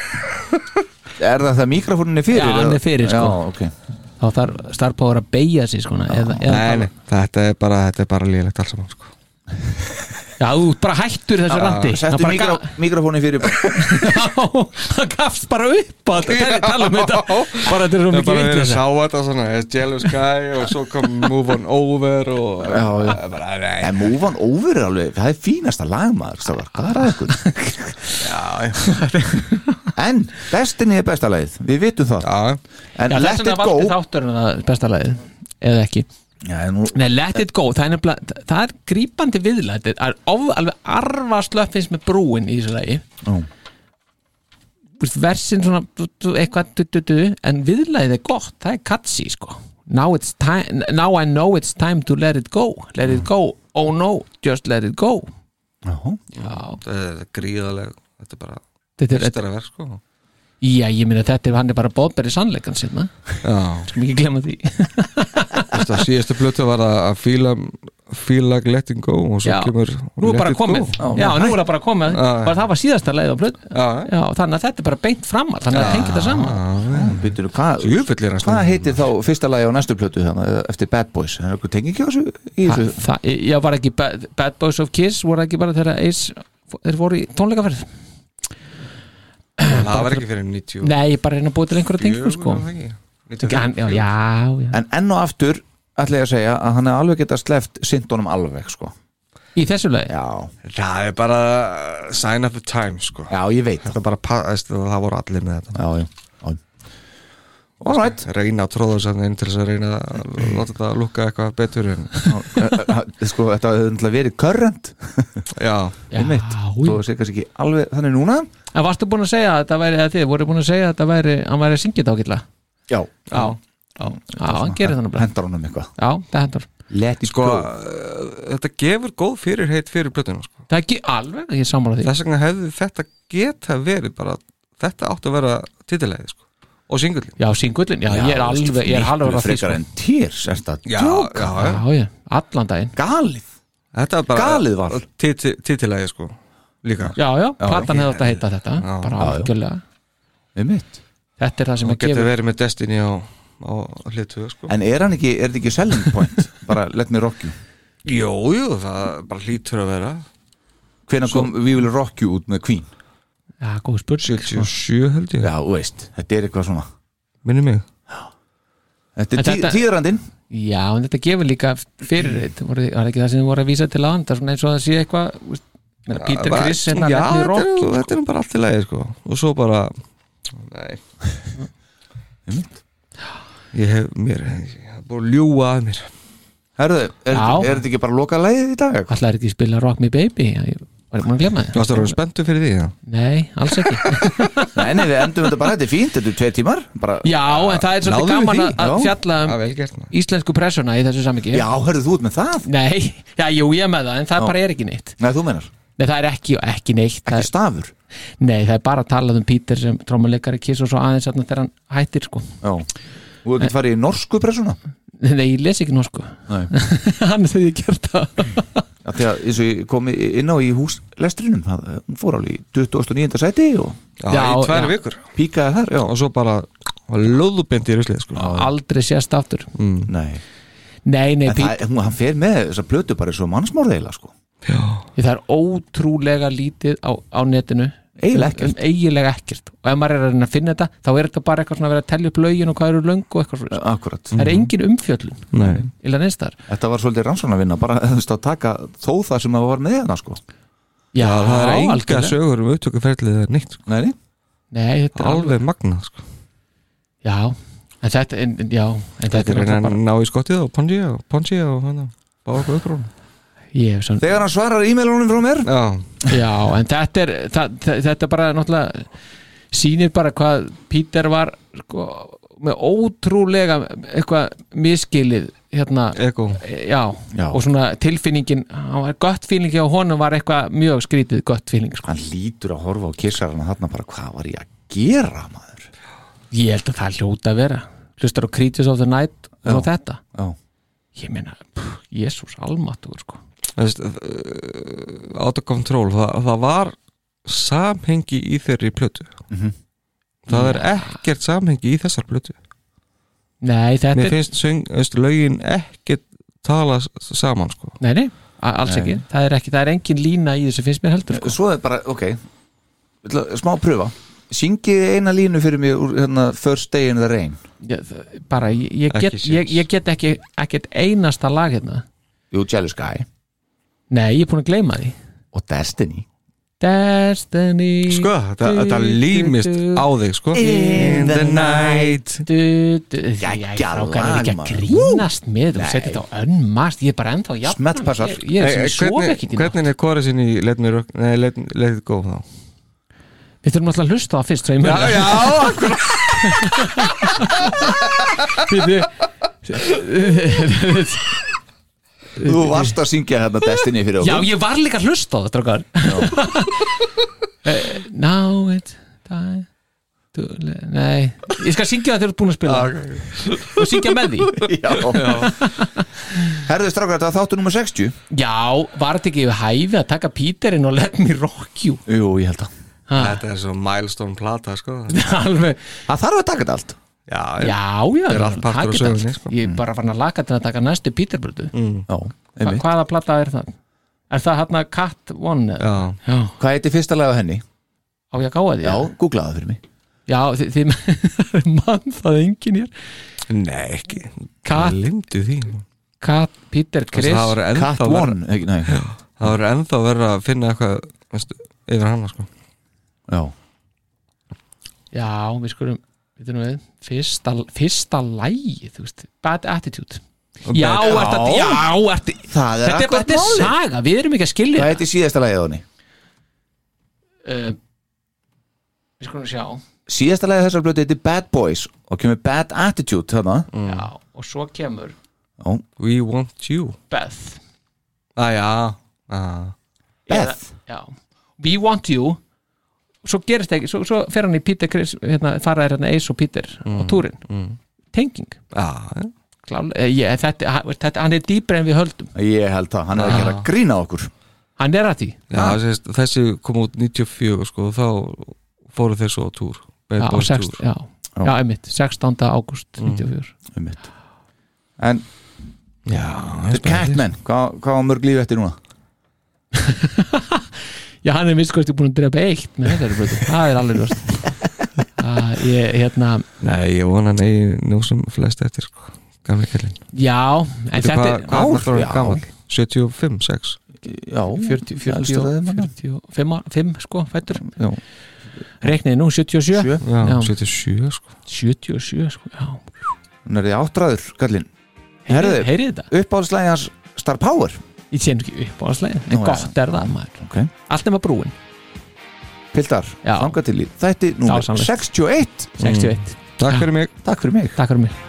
Speaker 3: Er það það mikrofóninni fyrir?
Speaker 4: Já, hann er
Speaker 3: eða?
Speaker 4: fyrir, sko.
Speaker 3: Já, ok
Speaker 4: Þá þarf starfbáður að beigja sig sko eða, eða,
Speaker 5: Nei, nei, þetta er bara, þetta er bara lýðilegt alls saman sko.
Speaker 4: Já, þú ert bara hættur þessu randi Það
Speaker 3: Settu
Speaker 4: bara
Speaker 3: mikro,
Speaker 4: gaf-
Speaker 3: mikrofónin fyrir
Speaker 4: Já, það gafst bara upp á þetta tala- tala um þetta Bara þetta er svo
Speaker 5: Ég
Speaker 4: mikið
Speaker 5: bara verið
Speaker 4: vitt
Speaker 5: að sá þetta svona eh, Jealous Guy og svo kom Move On Over og
Speaker 3: Já, já.
Speaker 5: Eh, bara, nei,
Speaker 3: En Move On Over er alveg, það er fínasta lagmaður Stafar, hvað er að ykkur? en bestinni er besta lagið, við vitum það
Speaker 5: Já,
Speaker 3: En
Speaker 4: Já,
Speaker 3: Let
Speaker 4: þess
Speaker 3: It
Speaker 4: vegna
Speaker 3: Go
Speaker 4: valdi þátturinn að besta lagið Eða ekki
Speaker 3: Já, en nú,
Speaker 4: Nei, let it go, það er, nefnilega, það er grípandi viðlætið Það er of, alveg arfa slöffins með brúin í þessu lagi
Speaker 3: Ó.
Speaker 4: Þú veist, Versin svona du- du- eitthvað du, du, du, En viðlætið er gott, það er katsi sko. now, it's time, now I know it's time to let it go Let it go, oh no, just let it go Já,
Speaker 5: þetta er gríðaleg Þetta er bara
Speaker 4: þetta er,
Speaker 5: bestara verð sko
Speaker 4: já ég meina þetta er hann er bara bóðberi sannleikan sinna
Speaker 5: Já,
Speaker 4: Skum ekki glemma því
Speaker 5: þetta síðastu Sko, plötu var að að fíla fíla letting go og svo
Speaker 4: Já,
Speaker 5: kemur
Speaker 4: nú er
Speaker 5: Let
Speaker 4: bara
Speaker 5: It Go.
Speaker 4: komið Já, nú er það bara komið
Speaker 5: Já, já.
Speaker 4: Bara Það var síðasta leið á blöð
Speaker 5: Já, já.
Speaker 4: Já, þannig að þetta er bara beint fram Þannig að tengja þetta saman
Speaker 3: býtur, hvað
Speaker 5: Djöfull er hann
Speaker 3: Hvað
Speaker 5: snemma.
Speaker 3: heitir þá fyrsta lagi á næstu plötu þannig, eða eftir Bad Boys? Er eitthvað tengi ekki á þessu? Í
Speaker 4: Þa,
Speaker 3: þessu?
Speaker 4: það, Já, var ekki Bad, Bad Boys of Kiss voru ekki bara þegar Ace þeir voru í tónleikaferð
Speaker 5: Það var ekki fyrir 90
Speaker 4: Nei, ég bara reyna að búa til einhverja tengum sko Hann- Já, já, já
Speaker 3: En enn og aftur ætla ég að segja að hann er alveg geta sleft syndunum alveg, sko
Speaker 4: Í þessu leið
Speaker 3: Já,
Speaker 5: Það er bara uh, sign of the time sko
Speaker 3: já, ég veit það
Speaker 5: Þetta bara paðast og það voru allir með þetta
Speaker 3: Já, já, já All right
Speaker 5: Reyna að tróða sann inn til þess að reyna að láta þetta lukka eitthvað betur en
Speaker 3: Sko, þetta hefur náttúrulega verið current
Speaker 5: Já,
Speaker 4: Já,
Speaker 3: einmitt.
Speaker 4: já.
Speaker 3: Þú sé kannski ekki alveg þannig núna
Speaker 4: En varstu búin að segja að þetta væri að þið voru búin að segja að þetta væri, hann væri að syngja þetta ágætlega
Speaker 3: Já,
Speaker 4: Já, já, hann gerir þannig bara
Speaker 3: Hendar honum eitthvað
Speaker 4: Já, það hendur
Speaker 3: Let it
Speaker 5: sko
Speaker 3: go
Speaker 5: eh, Þetta gefur góð fyrirheit fyrir plötuna sko.
Speaker 4: Það er ekki alveg, ég er sammála því
Speaker 5: Þess vegna hefði þetta geta verið bara, þetta átt að vera titilegið sko og singullin
Speaker 4: Já, syngullin, já, ég er alveg, ég er halvur
Speaker 3: Miklu
Speaker 4: að því
Speaker 3: frekar
Speaker 4: sko.
Speaker 3: en týrs, er þetta
Speaker 5: Já, já, já.
Speaker 4: Já, já, allan daginn
Speaker 3: Galið
Speaker 5: Þetta er bara
Speaker 3: Galið val.
Speaker 5: Titilægi sko Líka
Speaker 4: Já, já, platan hefði átt að heita þetta
Speaker 5: Já,
Speaker 4: Bara
Speaker 3: já, já.
Speaker 4: algjörlega
Speaker 3: Um mitt
Speaker 4: Þetta er það sem
Speaker 5: Þú
Speaker 4: að
Speaker 5: getur
Speaker 4: gefa
Speaker 5: verið með Destiny á, á hlutu sko
Speaker 3: En er hann ekki, er þetta ekki selling point? Bara let me rock you
Speaker 5: Jú, jú, það bara hlýtur að vera
Speaker 3: Hvenær kom We Will Rock You út með Queen?
Speaker 4: Já, góð spurning sko.
Speaker 5: 77 held ég,
Speaker 3: Já, þú veist, þetta er eitthvað svona
Speaker 5: minni mig
Speaker 3: Þetta
Speaker 4: En
Speaker 3: er tí,
Speaker 4: þetta-
Speaker 3: tíðrandinn
Speaker 4: Já, en þetta gefur líka fyrirreit Var var ekki það sem þið voru að vísa til aðan Það er svona eins og það sé eitthvað þú veist, meina, Peter
Speaker 5: Bara-
Speaker 4: Criss, hérna,
Speaker 5: Já,
Speaker 4: nefnir
Speaker 5: þetta er,
Speaker 4: rock
Speaker 5: þetta er nú bara allt í lagi sko Og svo bara Nei
Speaker 3: Einmitt.
Speaker 5: Ég hef, mér, ég hef búið að ljúga að mér
Speaker 3: Herðu, er
Speaker 4: Já.
Speaker 3: er þetta ekki bara lokað lægið í dag?
Speaker 4: Alltaf er ekki að spila Rock Me Baby Já, ég Var ég búin að glemma
Speaker 5: Þú varst að vera
Speaker 4: þið?
Speaker 5: spenntu fyrir því já
Speaker 4: Nei, alls ekki
Speaker 3: Nei, nei, við endum þetta bara, þetta er fínt, þetta er tveir tímar bara,
Speaker 4: Já, en það er
Speaker 3: Náðum
Speaker 4: svolítið
Speaker 3: við
Speaker 4: gaman
Speaker 3: því?
Speaker 4: að- að
Speaker 3: Já.
Speaker 4: fjalla
Speaker 5: Það
Speaker 4: um
Speaker 5: er vel gert maður
Speaker 4: íslensku pressuna í þessu samhengi
Speaker 3: já herðu þú út með það?
Speaker 4: Nei, já, jú, ég er með það En það bara er ekki neitt
Speaker 3: Nei, þú meinar,
Speaker 4: Nei, það er ekki, ekki neitt það
Speaker 3: ekki
Speaker 4: er,
Speaker 3: stafur
Speaker 4: Nei, það er bara að tala um Peter sem trómuleikari kiss og svo aðeins þarna þegar hann hættir sko
Speaker 3: Já, þú hefur ekki farið í norsku pressuna
Speaker 4: Nei, ég les ekki nú sko
Speaker 3: Nei,
Speaker 4: Hann er þegar ég gert það
Speaker 3: já, því að eins og ég kom í- inn á í húslestrinum það, eh, hún fór alveg í 29. sæti og
Speaker 5: Já,
Speaker 4: Já,
Speaker 5: í tvær
Speaker 4: já.
Speaker 5: vikur
Speaker 3: píkaði þar, já
Speaker 5: Og svo bara Lóðubindi í ruslið sko
Speaker 4: Aldrei sést aftur
Speaker 3: Nei,
Speaker 4: Nei, nei,
Speaker 3: en
Speaker 4: Peter,
Speaker 3: það, hún, hann fer með þessa plötu bara eins og mannsmórðeila, sko
Speaker 4: það er ótrúlega lítið á, á netinu
Speaker 3: Eiginlega ekkert.
Speaker 4: Um Eiginlega ekkert Og ef maður er að reyna að finna þetta, þá er þetta bara eitthvað svona að vera að tellja upp lögin og hvað eru löng og eitthvað svona
Speaker 3: Akkurat,
Speaker 4: Það er engin umfjöllun
Speaker 5: Nei
Speaker 4: Illa neins þar
Speaker 3: þetta var svolítið rannsóknarvinna bara þú veist, að taka þó það sem það var með hérna, sko
Speaker 4: Já,
Speaker 5: Já, það er enga
Speaker 4: algjörlega.
Speaker 5: sögur um upptökuferlið eða neitt sko.
Speaker 3: Nei, nei
Speaker 4: Nei, þetta er alveg
Speaker 5: Alveg magnað sko.
Speaker 4: Já, en þetta, en, en- já, en þetta
Speaker 5: Þetta
Speaker 4: er náttúrulega
Speaker 5: er reyna
Speaker 4: bara
Speaker 5: að ná í skottið og pongi og pongi og hann Bá okkur upprónu
Speaker 4: Ég hef svona
Speaker 3: Þegar hann svarar e-mailunum frá mér
Speaker 5: Já,
Speaker 4: Já, en þetta er það, þe- þetta bara náttúrulega sýnir bara hvað Pítur var sko, með ótrúlega eitthvað miskilið hérna,
Speaker 5: eko
Speaker 4: já,
Speaker 3: Já.
Speaker 4: og svona tilfinningin hann var gött fílingi og honum var eitthvað mjög skrítið gött fíling sko.
Speaker 3: Hann lítur að horfa á kissarana þarna bara hvað var ég að gera maður
Speaker 4: ég held að það hljóta að vera hlustar á Creatures of the Night og
Speaker 3: Já.
Speaker 4: þetta
Speaker 3: Já.
Speaker 4: ég meina, jésús, almatúr sko.
Speaker 5: Veist, uh, out of control það, það var samhengi í þeirri plötu það er ekkert samhengi í þessar plötu
Speaker 4: nei, þetta
Speaker 5: mér
Speaker 4: er,
Speaker 5: finnst söng, veist, lögin ekkert tala s- saman sko.
Speaker 4: nei, nei, a- alls
Speaker 3: Nei.
Speaker 4: ekki það er ekki, það er engin lína í þessu finnst mér heldur sko.
Speaker 3: Svo er bara, ok Ég ætla- Smá pröfa Syngiði eina línu fyrir mig úr hérna First Day in the Rain
Speaker 4: ég, það- bara, ég, ég,
Speaker 5: Ekki
Speaker 4: get,
Speaker 5: séns.
Speaker 4: ég, ég get ekki ekkert einasta lag hérna
Speaker 3: Jú, Jealous Guy
Speaker 4: nei, ég er búin að gleyma því
Speaker 3: og Destiny
Speaker 4: Destiny
Speaker 5: sko, þetta, þetta límist á þig sko. in the night
Speaker 4: du, du, já, já,
Speaker 3: Geggjað
Speaker 4: frákar er
Speaker 3: lag,
Speaker 4: ekki að
Speaker 3: maður.
Speaker 4: grínast með þetta og setja þetta á önnmast ég er bara ennþá jafn
Speaker 3: Smellpassar.
Speaker 4: ég, ég er sem
Speaker 5: Eh,
Speaker 4: ég sof ekki hérna.
Speaker 5: hvernig, hvernig er kóra sinni let me, rock, nei, let, let it go þá
Speaker 4: við þurfum alltaf að hlusta á það fyrst svo ég muni það.
Speaker 5: já,
Speaker 3: Þú varst að syngja hérna Destiny fyrir
Speaker 4: já, ég var líka að hlusta á það strákar Eh, now it's time to le- nei, ég skal syngja það þegar þú ert búin að
Speaker 5: Ah,
Speaker 4: spila og syngja með því
Speaker 3: já. Herðu strákar, þetta var þáttu nummer 60
Speaker 4: já, var þetta ekki yfir hæfi að taka Píterinn og let me rock you
Speaker 3: Jú, ég held að
Speaker 4: ha,
Speaker 5: þetta er svo milestone plata sko.
Speaker 4: alveg
Speaker 3: Það þarf að taka þetta allt
Speaker 5: já, já.
Speaker 4: Já, já,
Speaker 5: er allt partur af
Speaker 4: takið
Speaker 5: sögunni,
Speaker 4: allt.
Speaker 5: sko.
Speaker 4: Ég er bara farin að laka til að taka næstu Píterbrödu
Speaker 3: Já,
Speaker 4: Hva,
Speaker 3: einmitt
Speaker 4: Hvaða plata er það? Er það hann að Cat One? eða?
Speaker 5: já.
Speaker 4: já
Speaker 3: Hvað heiti fyrsta lag á henni?
Speaker 4: Á ég að gáða því?
Speaker 3: Já, googlaðu það fyrir mig
Speaker 4: Já, þi- þið mann það engin hér
Speaker 5: nei, ekki
Speaker 4: Kat,
Speaker 5: lindu því
Speaker 4: Kat, Píter, Chris
Speaker 5: það var
Speaker 3: Cat
Speaker 5: ennþá verra-
Speaker 3: One, ekki, nei
Speaker 5: það var ennþá verið að finna eitthvað veist, yfir hana sko.
Speaker 3: Já,
Speaker 4: Já, við skulum við þurfum við Fyrsta, fyrsta lægi, þú veist Bad Attitude Já,
Speaker 5: Bad-
Speaker 4: er þetta, já, er þetta
Speaker 3: það er
Speaker 4: Þetta er bara
Speaker 3: akkurat
Speaker 4: þetta er
Speaker 3: málið
Speaker 4: saga, við erum ekki að skilja
Speaker 3: Hvað heiti síðasta lagið á henni?
Speaker 4: uh, Við skulum sjá
Speaker 3: Síðasta lagið á þessar blötu heiti Bad Boys og kemur Bad Attitude þarna
Speaker 5: Mm.
Speaker 4: Já, og svo kemur
Speaker 3: Já,
Speaker 5: we want you
Speaker 4: Beth
Speaker 5: ah, já, ah.
Speaker 3: Beth
Speaker 4: Já. We want you svo gerist ekki, svo, svo fer hann í Peter Chris, hérna, fara er hérna Ace og Peter á
Speaker 5: Mm,
Speaker 4: túrin, tenging
Speaker 5: Ah, já.
Speaker 4: Klál, ég, þetta, hann- þetta, hann er dýpri en við höldum
Speaker 3: Ég held það, hann er að gera grín á okkur
Speaker 4: hann er að því
Speaker 5: Já, sést, þessi kom út 94 sko, og þá fóru þeir svo á túr Mm. Bad
Speaker 4: já,
Speaker 5: Boys
Speaker 4: sext,
Speaker 5: Tour.
Speaker 4: já. Já. einmitt, 16. ágúst 94
Speaker 3: um mitt En
Speaker 5: já,
Speaker 3: The Catman, hvað hvað á mörg lífi eftir núna?
Speaker 4: já, hann er minnskvæmst búin að drepa eitt með þetta eru brötu, það er alveg ljóst Uh, ég, hérna,
Speaker 5: Nei, ég vona hann eigi nú sem flest eftir sko. gamli kallinn
Speaker 4: já en
Speaker 5: Veitu
Speaker 4: þetta
Speaker 5: hvað-
Speaker 4: er
Speaker 5: hvað
Speaker 3: ár?
Speaker 5: er náttúrulega
Speaker 3: Já.
Speaker 5: gamall? 75, 6
Speaker 3: Já,
Speaker 4: 40, 40,
Speaker 3: elstu ræðum manna.
Speaker 4: 45 5 sko, fættur
Speaker 3: Já.
Speaker 4: reikniði nú 77
Speaker 3: Sjö.
Speaker 5: já,
Speaker 4: Já.
Speaker 5: 77 sko.
Speaker 4: 77 sko, já
Speaker 3: Hún er í áttræður, kallinn
Speaker 4: heyrið,
Speaker 3: Herðu.
Speaker 4: heyrið þetta,
Speaker 3: Uppáhaldslægi hans Star Power
Speaker 4: ég sé ekki upp á slæðin en
Speaker 3: Nú, Mm.
Speaker 4: gott er það maður,
Speaker 3: okay.
Speaker 4: allt nema brúin
Speaker 3: Piltar,
Speaker 4: Já.
Speaker 3: þanga til í Þætti númer
Speaker 4: Dásamlegt.
Speaker 3: 61
Speaker 4: 61,
Speaker 5: Takk fyrir mig
Speaker 3: Takk fyrir mig
Speaker 4: takk fyrir mig
Speaker 2: Oh,